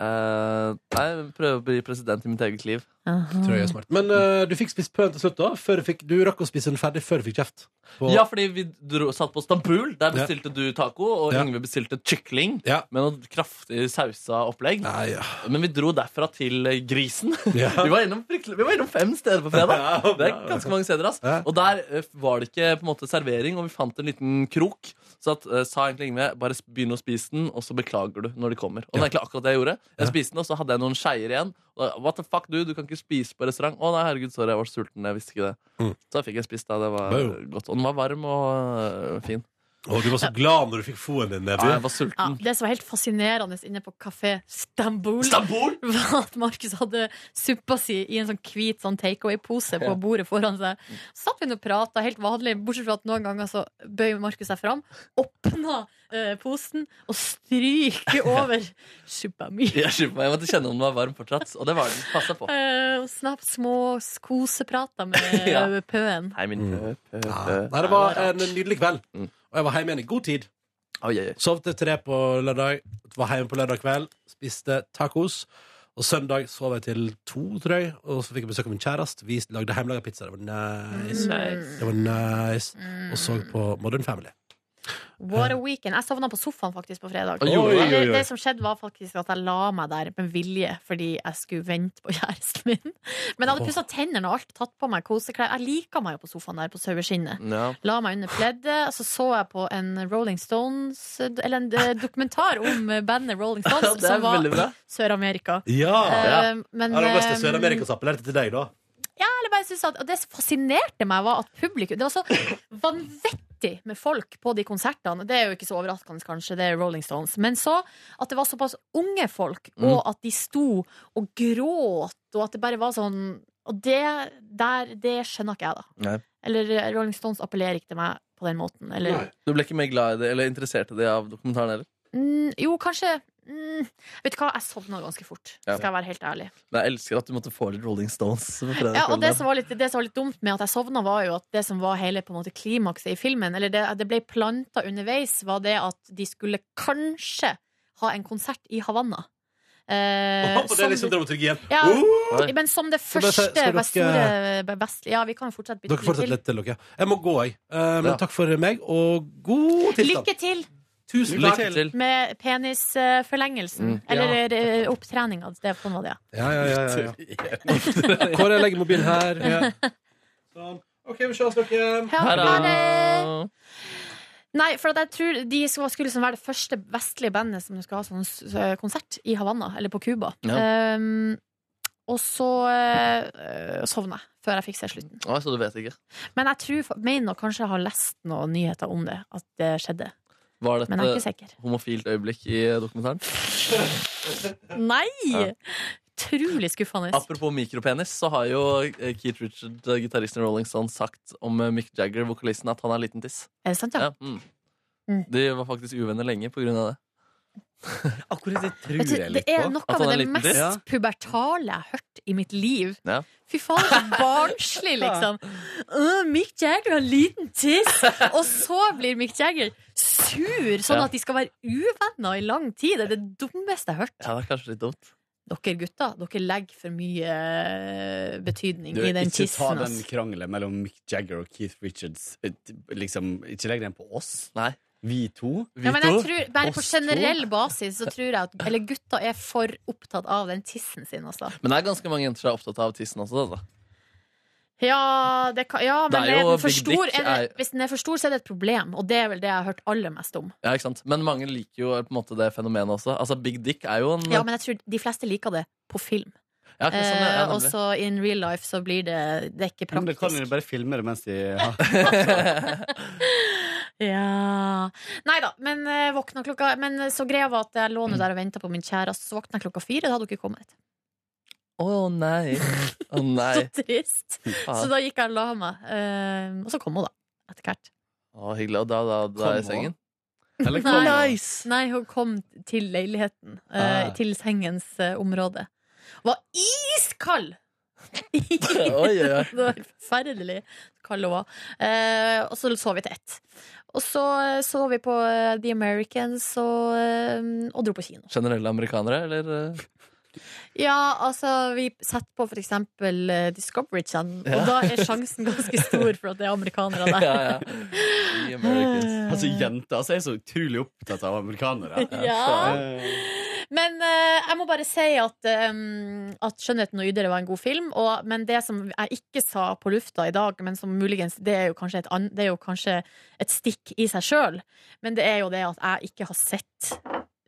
Eh, nei, prøve å bli president i mitt eget liv. Tror jeg er smart. Men eh, du fikk spist pøen til slutt, da? Før du, fikk, du rakk å spise den ferdig før du fikk kjeft? På- Ja, fordi vi dro, satt på Stambul. Der Ja. bestilte du taco, og Ja. Yngve bestilte kykling Ja. med noe kraftig sausa opplegg. Nei, ja. Men vi dro derfra til eh, Grisen. Ja. Vi, var innom, fryktelig- vi var innom fem steder på fredag. Ja, Det er bra. ganske mange steder ass. Ja. Og der eh, var det ikke på en måte servering, og vi fant en liten krok. Så at, eh, sa egentlig Yngve bare s- begynn å spise den, og så beklager du når de kommer. Og det Ja. er egentlig akkurat det jeg gjorde. Jeg Ja. spiste den, og så hadde jeg noen skeier igjen. Og, What the fuck, du? Du kan ikke spise på restaurant. Å nei, herregud, sorry, jeg var sulten. Jeg visste ikke det. Mm. Så da fikk jeg spist, da. Det var Boom. godt. Og den var varm og øh, fin. Og du var så glad når du fikk foen din, Ja, Nebu. jeg var Ja, sulten. det som var helt fascinerende inne på kafé Stambol, Stambol! var at Markus hadde suppa si i en sånn hvit sånn takeaway-pose på bordet foran seg. Så satt vi nå og prata helt vanlig, bortsett fra at noen ganger så bøyer Markus seg fram, åpna eh, posen og stryker over suppa mi. Jeg, skyldte meg. jeg måtte kjenne om den var varm fortsatt. Og det var den. Passa Mm. på. Eh, Og snapp små koseprater med Ja. eh, pøen. Hei, min pø, pø, Ja. pø. Nei, det var en nydelig kveld. Mm. Og jeg var hjemme igjen i god tid. Oi, oi, oi. Sov til tre på lørdag. Var hjemme på lørdag kveld. Spiste tacos. Og søndag sov jeg til to, tror jeg. Og så fikk jeg besøk av min kjæreste. Vi lagde hjemmelaga pizza. Det var nice. Det var nice. Mm. Og så på Modern Family. What a weekend. Jeg sovna på sofaen faktisk på fredag. Oi, gjorde du det? Eller, det som skjedde, var faktisk at jeg la meg der med vilje fordi jeg skulle vente på kjæresten min. Men jeg hadde pussa tennene og alt, tatt på meg koseklær. Jeg liker meg jo på sofaen der på saueskinnet. Ja. La meg under pleddet, så så jeg på en Rolling Stones Eller en eh, dokumentar om eh, bandet Rolling Ja, Stones, det er som var veldig bra. Sør-Amerika. Ja! Ja. Eh, Men Ja, det var best jeg eh, Sør-Amerikas appellerte til deg, da. jeg bare synes at, og det som fascinerte meg, var at publikum Det var så vanvittig med folk på de konsertene. Det er jo ikke så overraskende, kanskje, det er Rolling Stones. Men så at det var såpass unge folk, Mm. og at de sto og gråt, og at det bare var sånn Og det der, det skjønner ikke jeg, da. Nei. Eller eh, Rolling Stones appellerer ikke til meg på den måten. Eller Nei. Du ble ikke mer glad i det, eller interessert i det av dokumentaren heller? mm, Jo, kanskje mm, Vet du hva, jeg sovna ganske fort, Ja. skal jeg være helt ærlig. Men jeg elsker at du måtte få litt Rolling Stones. På fredag Ja, og det kveld. som, var litt, det som var litt dumt med at jeg sovna, var jo at det som var hele på en måte, klimakset i filmen, eller det, det ble planta underveis, var det at de skulle kanskje ha en konsert i Havanna. Eh, Og det som er liksom det- dramaturgien. Ja. Uh! Oi. men som det Så bare første se- skal dere- store best, Ja, vi kan fortsette bytte Dere fortsetter litt til, dere. Jeg må gå, jeg. Eh, men Ja. takk for meg, og god til. tilstand. Lykke til Tusen takk. Lykke til. med penisforlengelsen. Mm. Eller eh, opptreninga. Det var det, ja. Ja, ja, ja, ja, ja. Kåre, jeg legger mobilen her. Sånn. OK, vi ses, dere. Ja, Ha ha det! det. Nei, for at jeg tror de skulle, skulle liksom være det første vestlige bandet som skulle ha sånn s- s- konsert i Havanna, eller på Cuba. Um, og så uh, sovna jeg før jeg fikk se slutten. Oi, så du vet ikke. Men jeg tror, fa- mener nok kanskje jeg har lest noen nyheter om det, at det skjedde. Var Men jeg er dette ikke sikker. homofilt øyeblikk i dokumentaren? Nei! Ja. Utrolig skuffende. Apropos mikropenis, så har jo eh, Keith Richard, eh, gitaristen i Rolling Stones, sagt om eh, Mick Jagger, vokalisten, at han er liten tiss. Er det sant, ja? Ja. Mm. Mm. De var faktisk uvenner lenge på grunn av det. Akkurat det tror Vet du, jeg Altså, det litt er på. noe At han av er det liten mest til. Ja. pubertale jeg har hørt i mitt liv. Ja. Fy faen, så barnslig, liksom. Øh, Mick Jagger har liten tiss! Og så blir Mick Jagger sur, sånn Ja. at de skal være uvenner i lang tid. Det er det dummeste jeg har hørt. Ja, det er kanskje litt dumt. Dere gutter, dere legger for mye eh, betydning Du, i den ikke ta tissen. den ass. krangelen mellom Mick Jagger og Keith Richards. Eh, Liksom, ikke legg den på oss. Nei. Vi to. Vi Ja, men jeg to. tror, bare på oss to. generell basis så tror jeg at Eller gutter er for opptatt av den tissen sin, altså. Men det er ganske mange jenter som er opptatt av tissen også. Da. Ja, det kan, ja Det men er er jo den for Big stor, Dick er er- det, hvis den er for stor, så er det et problem. Og det er vel det jeg har hørt aller mest om. Ja, ikke sant? Men mange liker jo på en måte det fenomenet også. Altså, Big dick er jo en Ja, Men jeg tror de fleste liker det på film. Ja, ikke sant, ja, eh, og nemlig. så in real life så blir det Det er ikke Men da kan dere praktisk. bare filme det mens de har Ja Nei da, men eh, våkna klokka Men eh, så greia var at jeg lå nå der og venta på min kjæreste, så våkna jeg klokka fire, da hadde hun ikke kommet. Å nei. Å nei. Så trist. Så Faen. da gikk jeg og la meg. eh, og så kom hun, da. Etter hvert. Å, hyggelig. Og da, da, da er jeg i Kom sengen. Eller Nei. kan- Nei, hun kom til leiligheten. eh, Ah. Til sengens eh, område. Var iskald! Oi, oi, oi. Det var forferdelig kald hun var. Eh, og så sov vi til ett. Og så eh, så vi på eh, The Americans og, eh, og dro på kino. Generelle amerikanere, eller? eh? Ja, altså, vi setter på for eksempel eh, Discovery Channel, og da er sjansen ganske stor for at det er amerikanere der. Ja, ja. The Eh, Americans. Altså, jenter altså, er så utrolig opptatt av amerikanere. Ja. Eh, Men eh, jeg må bare si at, eh, at 'Skjønnheten og ydere' var en god film. Og, men det som jeg ikke sa på lufta i dag, men som muligens Det er jo kanskje et, ann- det er jo kanskje et stikk i seg sjøl, men det er jo det at jeg ikke har sett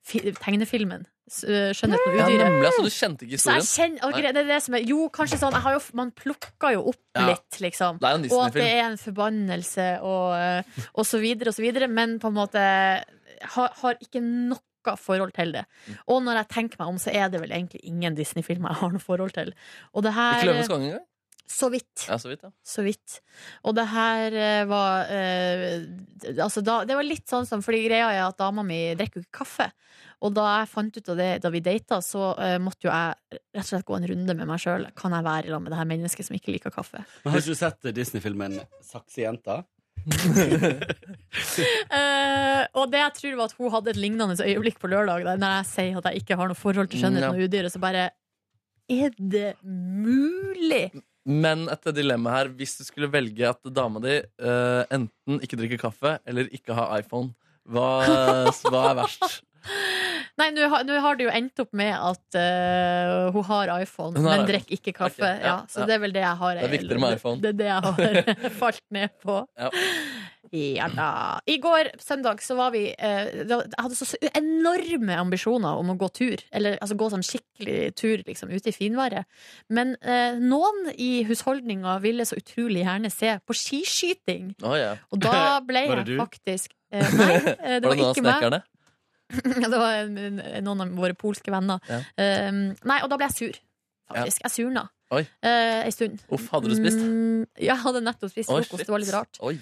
fi tegnefilmen s- eh, 'Skjønnheten og Ja, udyret'. nemlig. Altså, du kjente ikke Så jeg historien? kjenner, ok, det er det som er, jo, kanskje sånn jeg har jo, Man plukker jo opp Ja. litt, liksom. Det er jo en Og at det Disney-film. er en forbannelse og, eh, og så videre og så videre. Men på en måte har, har ikke noe forhold til det. Og når jeg tenker meg om, så er det vel egentlig ingen Disney-filmer jeg har noe forhold til. Og det Ikke her eh, Løvenes konge engang? Så vidt. Ja, så vidt, ja. Så vidt. Og det her eh, var eh, d- Altså, da, det var litt sånn som Fordi greia er at dama mi drikker jo ikke kaffe. Og da jeg fant ut av det da vi data, så eh, måtte jo jeg rett og slett gå en runde med meg sjøl. Kan jeg være i lag med det her mennesket som ikke liker kaffe? men Har du sett eh, Disney-filmen Saksejenta? Eh, og det jeg tror var at hun hadde et lignende øyeblikk på lørdag, der når jeg sier at jeg ikke har noe forhold til skjønnheten Ja. og udyret, så bare Er det mulig? Men et dilemma her. Hvis du skulle velge at dama di eh, enten ikke drikker kaffe eller ikke har iPhone, hva, hva er verst? Nei, nå har, nå har det jo endt opp med at eh, hun har iPhone, Hun har men iPhone. drikker ikke kaffe. Ok, ja, ja, så ja. det er vel det jeg har Det er viktigere med iPhone. Det, det er det jeg har falt ned på. Ja. Ja da. I går, søndag, så var vi eh, det var- Jeg hadde så så enorme ambisjoner om å gå tur. Eller altså gå sånn skikkelig tur liksom ute i finværet. Men eh, noen i husholdninga ville så utrolig gjerne se på skiskyting. Å, ja. Og da ble Var det jeg du? faktisk eh, Nei, eh, det Var det var noen av ikke meg. snekkerne? Ja, Det var en- en- noen av våre polske venner. Ja. Um, nei, og da ble jeg sur, faktisk. Jeg surna. Oi. Eh, en stund. Uff, hadde du spist? Mm, ja, jeg hadde nettopp spist Oi, frokost. Det var litt shit. rart. Oi.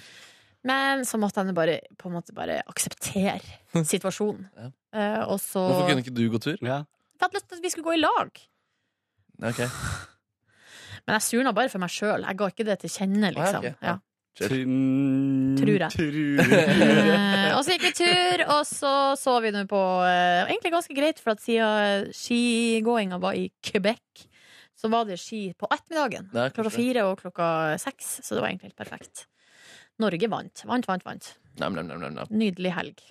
Men så måtte jeg bare, på en måte bare akseptere situasjonen. Eh, og så Hvorfor kunne ikke du gå tur? Ja. For Jeg hadde lyst til at vi skulle gå i lag. Ok. Men jeg surna bare for meg sjøl. Jeg ga ikke det til kjenne, Ah, ja, liksom. ok. Ja. Tror Tror jeg. Tror Eh, og så gikk vi tur, og så så vi nå på eh, Egentlig ganske greit, for at siden skigåinga var i Quebec, så var det ski på ettermiddagen. Det er Klokka kanskje det. fire og klokka seks, så det var egentlig helt perfekt. Norge vant. Vant, vant, vant. Nam, nam, nam, nam, nam. Nydelig helg.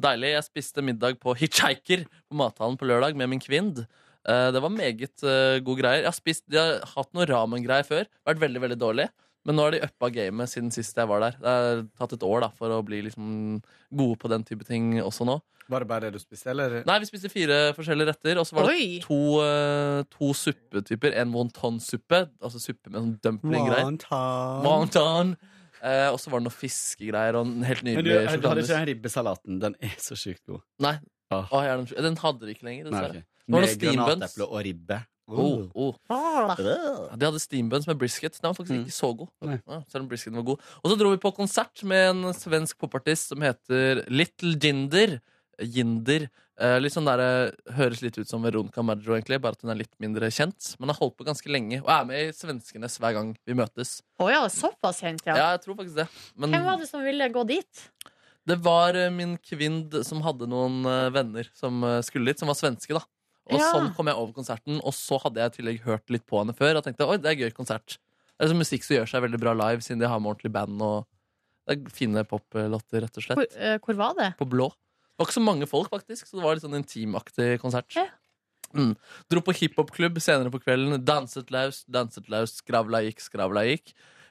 Deilig. Jeg spiste middag på Hitchhiker på mathallen på lørdag med min kvind. Eh, Det var meget eh, gode greier. Jeg har, spist, jeg har hatt noe ramen-greier før. Vært veldig, veldig dårlig. Men nå har de uppa gamet siden sist jeg var der. Det har tatt et år da, for å bli liksom gode på den type ting også nå. Var det bare det du spiste, eller? Nei, vi spiste fire forskjellige retter, og så var det Oi! to, eh, to suppetyper. En wonton-suppe, altså suppe med sånn dumpling-greier. Wonton. Wonton! Eh, og så var det noe fiskegreier og en helt Men nydelig du, du hadde sjokolademus. ikke den ribbesalaten? Den er så sjukt god. Nei. Ah. Å, jeg er den- den hadde de ikke lenger, Nei, dessverre. ok. Var det Med steambuns? granateple og ribbe. Uh. Oh, oh. Øh. De hadde steambuns med brisket. Den var faktisk Mm. ikke så god. Nei. Ja, selv om brisketen var god. Og så dro vi på konsert med en svensk popartist som heter Little Jinder. Jinder. Eh, litt sånn der, eh, høres litt ut som Veronica Maggio, egentlig, bare at hun er litt mindre kjent. Men har holdt på ganske lenge, og er med i Svenskenes hver gang vi møtes. Å ja, såpass kjent, Ja, ja. jeg tror faktisk det. Men Hvem var det som ville gå dit? det var eh, min kvind som hadde noen eh, venner som eh, skulle dit, som var svenske, da. Og Ja. sånn kom jeg over konserten, og så hadde jeg i tillegg hørt litt på henne før og tenkte oi, det er gøy konsert. Det er sånn musikk som gjør seg veldig bra live, siden de har med ordentlig band og det er fine poplåter, rett og Hvor, slett. eh, hvor var det? På blå. Det var ikke så mange folk, faktisk, så det var litt sånn intimaktig konsert. Ja. Mm. Dro på hiphopklubb senere på kvelden. Danset løs, danset løs, skravla gikk, skravla gikk.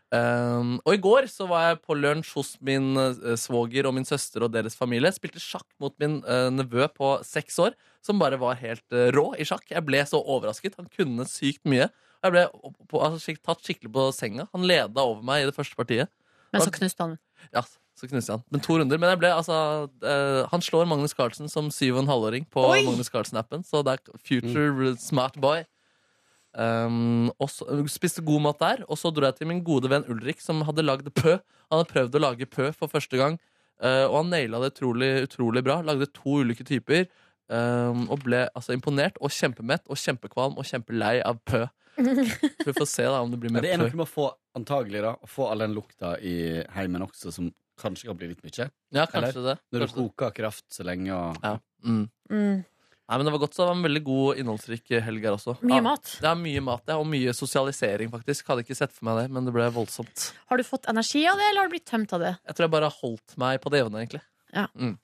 Um, og i går så var jeg på lunsj hos min eh, svoger og min søster og deres familie. Spilte sjakk mot min eh, nevø på seks år, som bare var helt eh, rå i sjakk. Jeg ble så overrasket. Han kunne sykt mye. Og Jeg ble opp- på, altså, skik- tatt skikkelig på senga. Han leda over meg i det første partiet. Men så knuste han. Ja, så knuste jeg han. Men to runder. Men jeg ble, altså, eh, han slår Magnus Carlsen som syv og en halvåring på Oi! Magnus Carlsen-appen. Så det er future Mm. smart boy. Um, og så, spiste god mat der, og så dro jeg til min gode venn Ulrik, som hadde lagd pø. Han hadde prøvd å lage pø for første gang, eh, og han naila det utrolig, utrolig bra. Lagde to ulike typer, um, og ble altså, imponert og kjempemett og kjempekvalm og kjempelei av pø. Så vi får se da om det blir Men mer det er opptøy. noe med å få antagelig da, å få all den lukta i heimen også, som kanskje kan bli litt mye. Ja, kanskje det. Når du Kanskje det. koker kraft så lenge og Ja. Mm. Mm. Nei, men Det var godt, så det var en veldig god innholdsrik helg her også. Mye Ja. mat. Det er mye mat ja, og mye sosialisering, faktisk. Hadde ikke sett for meg det, men det ble voldsomt. Har du fått energi av det, eller har du blitt tømt av det? Jeg tror jeg bare holdt meg på det jevne, egentlig.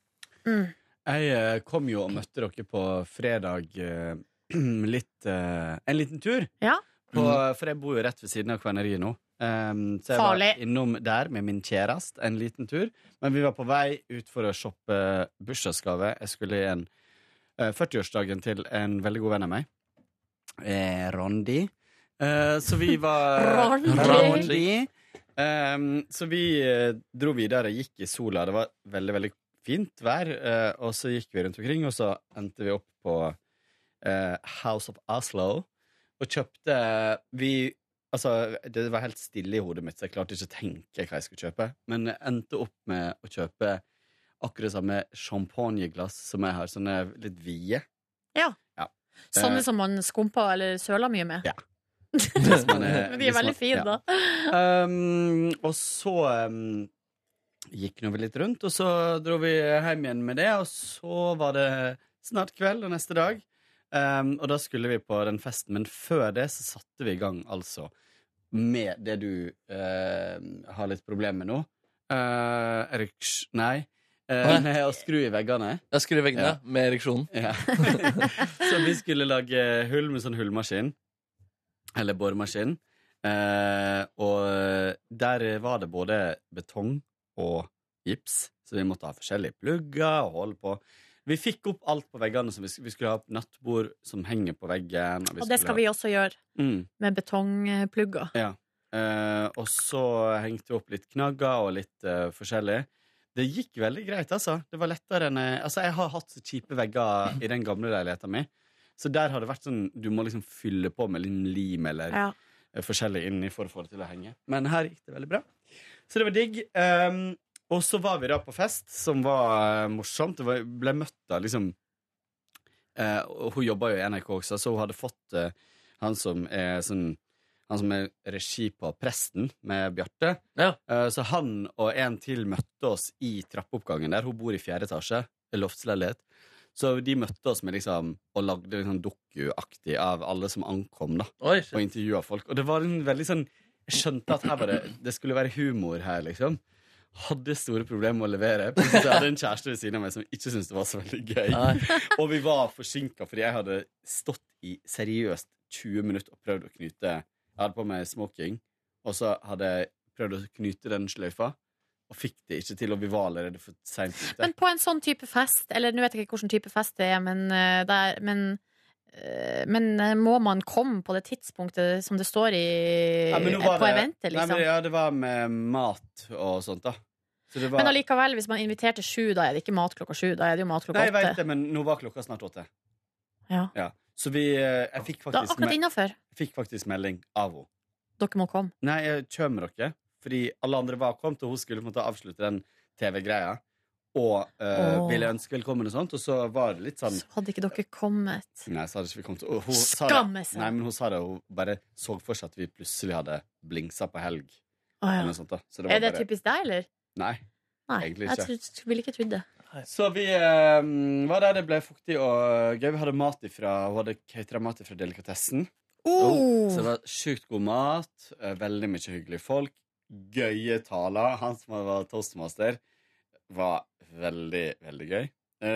Mm. Jeg eh, kom jo og møtte dere på fredag eh, litt eh, En liten tur. Ja. På, eh, For jeg bor jo rett ved siden av Kverneriet nå. Um, så jeg Farlig. var innom der med min kjæreste en liten tur. Men vi var på vei ut for å shoppe bursdagsgave. Jeg skulle i en eh, 40-årsdagen til en veldig god venn av meg. Eh, Rondi. Eh, så vi var Rondi. Rondi. Um, så vi eh, dro videre, gikk i sola. Det var veldig, veldig fint vær. eh, og så gikk vi rundt omkring, og så endte vi opp på eh, House of Oslo. Og kjøpte eh, Vi Altså, det var helt stille i hodet mitt, så jeg klarte ikke å tenke hva jeg skulle kjøpe. Men jeg endte opp med å kjøpe akkurat samme champagneglass som jeg har, sånne litt vide. Sånne som man skumper eller søler mye med. Ja. hvis man er- Men de er hvis man- veldig fine, ja. da. Um, og så um, gikk nå vi litt rundt, og så dro vi hjem igjen med det. Og så var det snart kveld og neste dag. Um, og da skulle vi på den festen, men før det så satte vi i gang altså med det du eh, har litt problemer med nå. Eh, Erik Sch- Nei. eh, Hæ? med å skru i veggene. Jeg skrur i veggene Ja. med ereksjonen. Ja. så vi skulle lage hull med sånn hullmaskin. Eller boremaskin. Eh, og der var det både betong og gips, så vi måtte ha forskjellige plugger og holde på. Vi fikk opp alt på veggene. Som vi, sk- vi skulle ha opp nattbord som henger på veggen. Og det skal vi også gjøre, Mm. med betongplugger. Eh, og så hengte vi opp litt knagger og litt eh, forskjellig. Det gikk veldig greit, altså. Det var lettere enn jeg- Altså, jeg har hatt så kjipe vegger i den gamle leiligheten min. Så der har det vært sånn Du må liksom fylle på med lim- lim eller Ja. eh, forskjellig inni for å få det til å henge. Men her gikk det veldig bra. Så det var digg. Ehm, og så var vi da på fest, som var eh, morsomt. Det var, ble møtt av liksom eh, og Hun jobba jo i NRK også, så hun hadde fått eh, han som er sånn han som er regi på Presten med Bjarte. Ja. Eh, Så han og en til møtte oss i trappeoppgangen der. Hun bor i fjerde etasje, i loftsleilighet. Så de møtte oss med liksom, og lagde liksom dokuaktig av alle som ankom, da Oi, shit. og intervjua folk. Og det var en veldig sånn Jeg skjønte at her var det, det skulle være humor her, liksom. Hadde store problemer med å levere. Plutselig så hadde jeg en kjæreste ved siden av meg som ikke syntes det var så veldig Nei. gøy. Og vi var forsinka fordi jeg hadde stått i seriøst 20 minutter og prøvd å knyte Jeg hadde på meg smoking, og så hadde jeg prøvd å knyte den sløyfa. Og fikk det ikke til, og vi var allerede for seint ute. Men på en sånn type fest, eller nå vet jeg ikke hvilken type fest det er, men, eh, der, men, eh, men eh, må man komme på det tidspunktet som det står i, Ja, men nå var eh, på det- eventet, Nei, liksom? men, ja, det var med mat og sånt, da. Så det var- Men allikevel, hvis man inviterer til sju, da er det ikke mat klokka sju, da er det jo mat klokka Nei, jeg vet åtte. det, men nå var klokka snart åtte. Ja. Så vi eh, Jeg fikk Da, faktisk, akkurat me innafor. fikk faktisk melding av henne. Dere må komme. Nei, jeg kommer dere. Fordi alle andre var kommet, og hun skulle på en måte avslutte den TV-greia. Og eh, Åh. ville ønske velkommen og sånt, og så var det litt sånn Så hadde ikke dere kommet. Nei, så hadde ikke vi kommet og hun sa det- Skamme Nei, seg! men hun sa det, hun bare så for seg at vi plutselig hadde blingsa på helg. Å, Eller ja. noe sånt, da. Så altså, det var Er det bare typisk deg, eller? Nei. Nei, Egentlig jeg ikke. trodde- ville ikke trodd det. Så vi eh, var der det ble fuktig og gøy. Vi hadde mat ifra Hun hadde catera mat ifra delikatessen. Oh. Oh, Så det var sjukt god mat, eh, veldig mye hyggelige folk, gøye taler. Han som var toastmaster, var veldig, veldig gøy.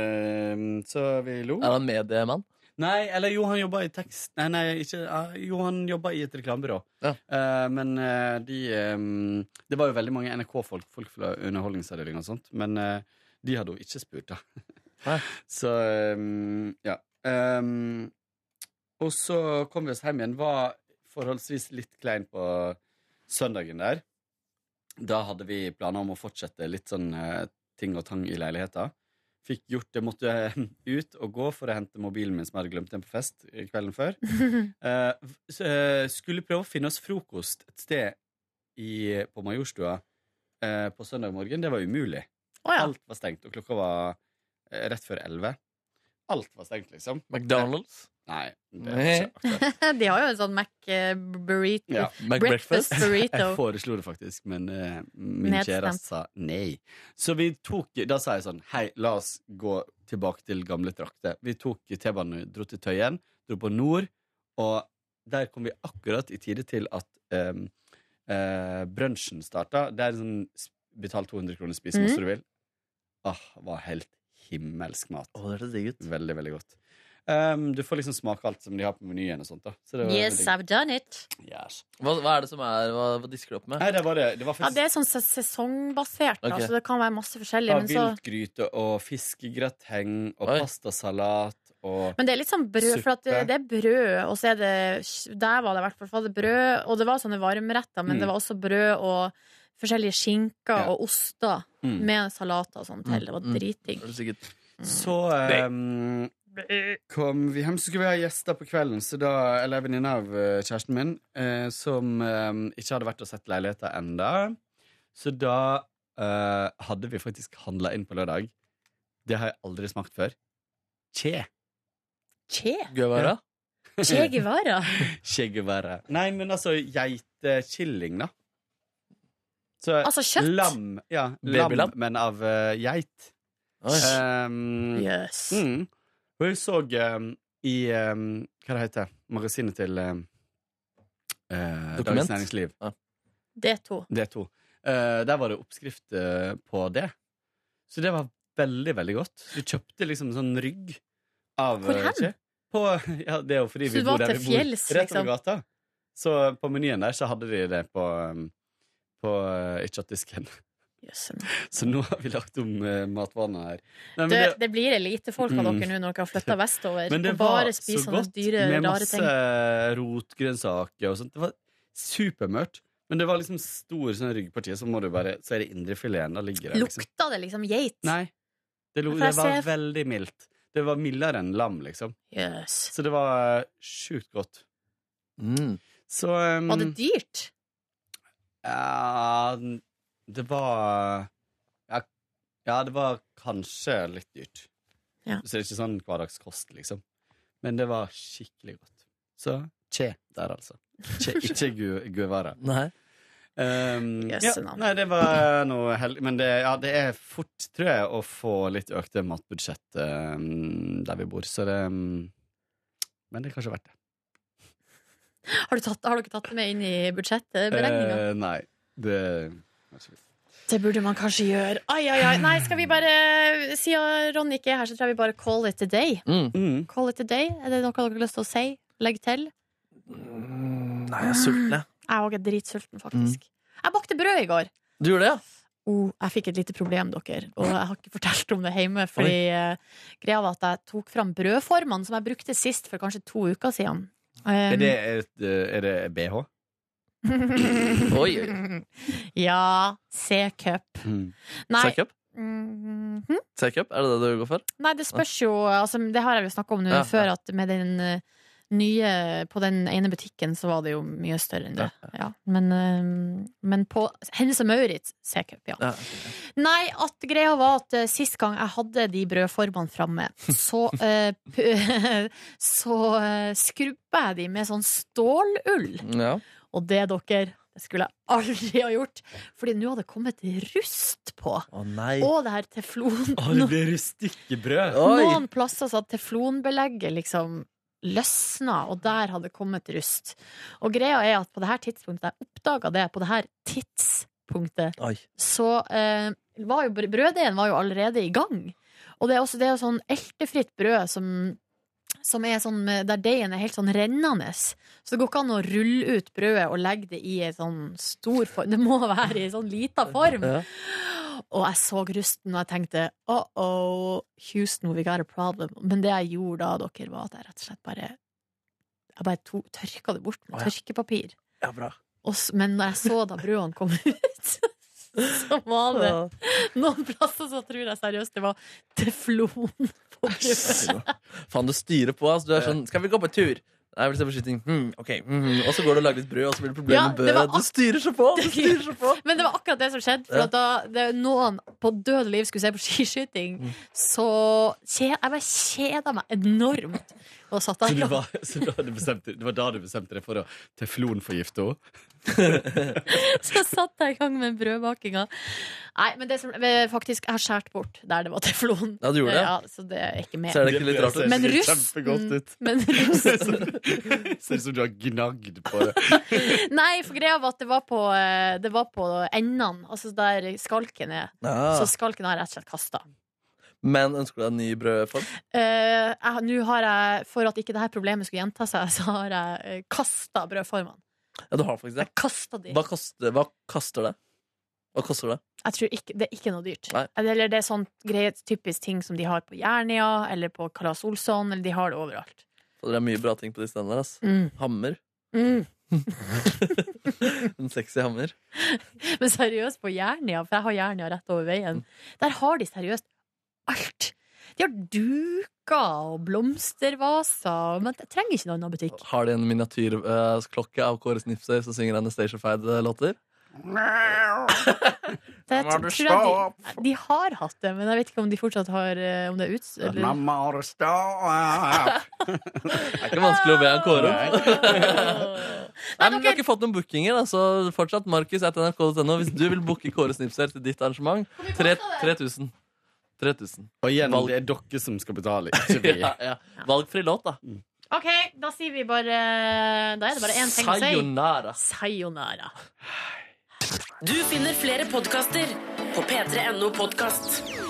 Ehm, så vi lo. Er han mediemann? Nei, eller jo, han jobba i tekst... Nei, nei, ikke ah, Jo, han jobba i et reklamebyrå. Ja. Eh, men eh, de ehm, Det var jo veldig mange NRK-folk, folk fra Underholdningsavdelingen og sånt, men eh, de hadde hun ikke spurt, da. Nei. så ehm, ja. Ehm, og så kom vi oss hjem igjen. Var forholdsvis litt klein på søndagen der. Da hadde vi planer om å fortsette litt sånn eh, ting og tang i leiligheten. Fikk gjort det, måtte ut og gå for å hente mobilen min som jeg hadde glemt den på fest eh, kvelden før. Eh, v- så, eh, skulle prøve å finne oss frokost et sted i, på Majorstua eh, på søndag morgen. Det var umulig. Å ja. Alt var stengt, og klokka var eh, rett før elleve. Alt var stengt, liksom. McDonald's. Nei. Det er ikke aktuelt. De har jo en sånn Mac eh, burrito. Ja. Breakfast burrito. Jeg foreslo det faktisk, men eh, min Nedstemt. kjæreste sa nei. Så vi tok Da sa jeg sånn Hei, la oss gå tilbake til gamle trakter. Vi tok T-banen, dro til Tøyen, dro på Nord, og der kom vi akkurat i tide til at um, brunsjen starta. Det er en sånn s- betal 200 kroner, spis så Mhm. masse du vil. Åh, var helt himmelsk mat. Å, det er så digg ut. Veldig, veldig godt. Um, du får liksom smake alt som de har på menyen og sånt. da så det var Yes, veldig- I've done it. Yes. Hva, hva er det som er Hva, hva disker du opp med? Nei, det var det. Det var Ja, faktisk det er sånn ses- sesongbasert, da, Ok. så det kan være masse forskjellig. Ja, Men, så, viltgryte og fiskegrateng og Oi. pastasalat og men det er litt sånn brød, for at det, Suppe. det er brød, og så er det Der var det i hvert fall for det var brød, og det var sånne varmretter, men Mm. det var også brød og forskjellige skinker Ja. og oster Mm. med salater og sånn til. Det var Mm. dritdigg. Er det sikkert Så ehm, kom vi hjem, så skulle vi ha gjester på kvelden. Så da, eller en venninne av eh, kjæresten min, eh, som ehm, ikke hadde vært og sett leiligheter enda Så da eh, hadde vi faktisk handla inn på lørdag. Det har jeg aldri smakt før. Che. Che? gøy å være? Che Mm. Guevara? Che Guevara. Nei, men altså geitekilling, da. Så Altså kjøtt? lam. Ja, Babylam? lam, men av eh, geit. Oi. Um, Yes. mm. Og jeg så um, i um, Hva det heter magasinet til um, eh, Dokument? Dagens Næringsliv. Det er to. D2. Eh, der var det oppskrift eh, på det. Så det var veldig, veldig godt. Du kjøpte liksom sånn rygg av Hvor eh, hen? kje. På, ja, det er jo fordi Så vi du var bor der til vi bor. fjells, Rett over liksom? gata. Så på menyen der så hadde de det på, um, på eh, ikke at disken. Yes. Så nå har vi lagt om eh, matvanene her. Nei, men Det, det- det blir elitefolk av Mm. dere nå når dere har flytta vestover. Men det og var bare så spiser sånne godt dyre, med rare masse ting. rotgrønnsaker og sånt. Det var supermørt. Men det var liksom stor sånn ryggparti, så, må du bare, så er det indrefileten. Da ligger det liksom. Lukta det liksom geit? Nei. Det, lo, For det jeg var ser- veldig mildt. Det var mildere enn lam, liksom. Yes. Så det var sjukt godt. Mm. Så um, Var det dyrt? ja, det var ja, ja, det var kanskje litt dyrt. Ja. Så det er ikke sånn hverdagskost, liksom. Men det var skikkelig godt. Så che der, altså. Che, ikke gu, Guevara. Nei. Um, Yes, ja, no. nei, det var noe heldig. Men det, ja, det er fort, tror jeg, å få litt økte matbudsjett um, der vi bor. Så det um, Men det er kanskje verdt det. Har, du tatt, har dere tatt det med inn i budsjettberegninga? Eh, nei. Det var ikke vits. Det burde man kanskje gjøre. Ai, ai, ai. Nei, skal vi bare Siden Ronny ikke er her, så tror jeg vi bare call it a day. Mm. Mm. Call it a day. Er det noe dere har lyst til å si? Legg til? Nei, jeg er sulten, jeg. Jeg òg er dritsulten, faktisk. Mm. Jeg bakte brød i går. Du gjorde det, ja? oh, jeg fikk et lite problem, dere. Og jeg har ikke fortalt om det hjemme. Fordi eh, greia var at jeg tok fram brødformene som jeg brukte sist, for kanskje to uker siden. Um, Mm. Er det, et, eh, er det BH? Oi, oi. Um, ja. C-cup. Nei. Sekup? mhm. Sekup? Er det det du går for? Nei, det spørs jo altså, Det har jeg jo snakka om nå Ja, ja. før, at med den eh, nye På den ene butikken så var det jo mye større enn det. Ja. Men, eh, men på Hennes og Maurits C-cup, ja. Ja. Nei, at greia var at eh, sist gang jeg hadde de brødformene framme, så eh, pu- Så uh, skrubba jeg de med sånn stålull. Ja. Og det, dere, det skulle jeg aldri ha gjort. Fordi nå hadde det kommet rust på. Å nei. Og det her teflon det blir rustikkebrød! Oi! noen plasser så hadde teflonbelegget liksom løsna, og der hadde det kommet rust. Og greia er at på det her tidspunktet, jeg oppdaga det på det her tidspunktet, Oi. så eh, var jo br- brøddeigen var jo allerede i gang. Og det er også det er jo sånn eltefritt brød som som er sånn, med- der deigen er helt sånn rennende. Så det går ikke an å rulle ut brødet og legge det i en sånn stor form. Det må være i en sånn lita form. Ja. Og jeg så rusten, og jeg tenkte oh oh, Houston, we got a problem. Men det jeg gjorde da, dere, var at jeg rett og slett bare Jeg bare to, tørka det bort med Å, ja. tørkepapir. Ja, bra. Og, s- men når jeg så da brødene kom ut, så var det noen plasser så tror jeg seriøst det var teflon på brødet. Faen, du styrer på, ass. Du er sånn Skal vi gå på tur? Jeg vil se beskytting. Hmm, ok. mhm. Og så går du og lager litt brød, og så blir det problemer Ja, med det brødet. var Du styrer så på! Du styrer så på. Men det var akkurat det som skjedde. For Ja. at da det, noen på døde liv skulle se på skiskyting, Mm. så kje, jeg bare kjeda meg enormt. Og satt Så, der du og var, så da du bestemte, det var da du bestemte deg for å teflonforgifte henne? så satt jeg i gang med brødbakinga. Nei, men det som eh, faktisk Jeg har skåret bort der det var teflon. Ja, du gjorde det? Ja, så det er ikke med. Ser det ikke litt rart ut? Men ser rusten, kjempegodt ut. men rusten Ser ut som du har gnagd på det. Nei, for greia var at det var på, eh, det var på endene, altså der skalken er. Ah. Så skalken har jeg rett og slett kasta. Men ønsker du deg en ny brødform? Eh, jeg- Nå har jeg, for at ikke det her problemet skulle gjenta seg, så har jeg uh, kasta brødformene. Ja, du har faktisk det. Jeg kasta de. Hva koster, hva koster det? Hva koster det? Jeg tror ikke, det er ikke noe dyrt. Nei. Eller det er sånn greie, typisk ting som de har på Jernia eller på Kalas Olsson, eller de har det overalt. For det er mye bra ting på de stedene der. ass. Mm. Hammer. Mm. En sexy hammer. Men seriøst, på Jernia, for jeg har Jernia rett over Mm. veien, der har de seriøst alt. De har duker og blomstervaser, men jeg trenger ikke noen annen butikk. Har de en miniatyrklokke av Kåre Snipser som synger en Stationfied-låter? Så jeg tror jeg de, de har hatt det, men jeg vet ikke om de fortsatt har eh, Om det er ut... Eller... har stått Det er ikke vanskelig å be han Kåre om. Nei, men Vi har dere- ikke fått noen bookinger, da, så fortsatt markus at nrk.no hvis du vil booke Kåre Snipser til ditt arrangement. tre- 3000. 3000. Og igjen, Valg. det er dere som skal betale, ikke vi. Ja, ja. Valgfri låt, da. OK, da sier vi bare Da er det bare én ting å si. Sayonara. Sayonara. Du finner flere podkaster på p3.no podkast.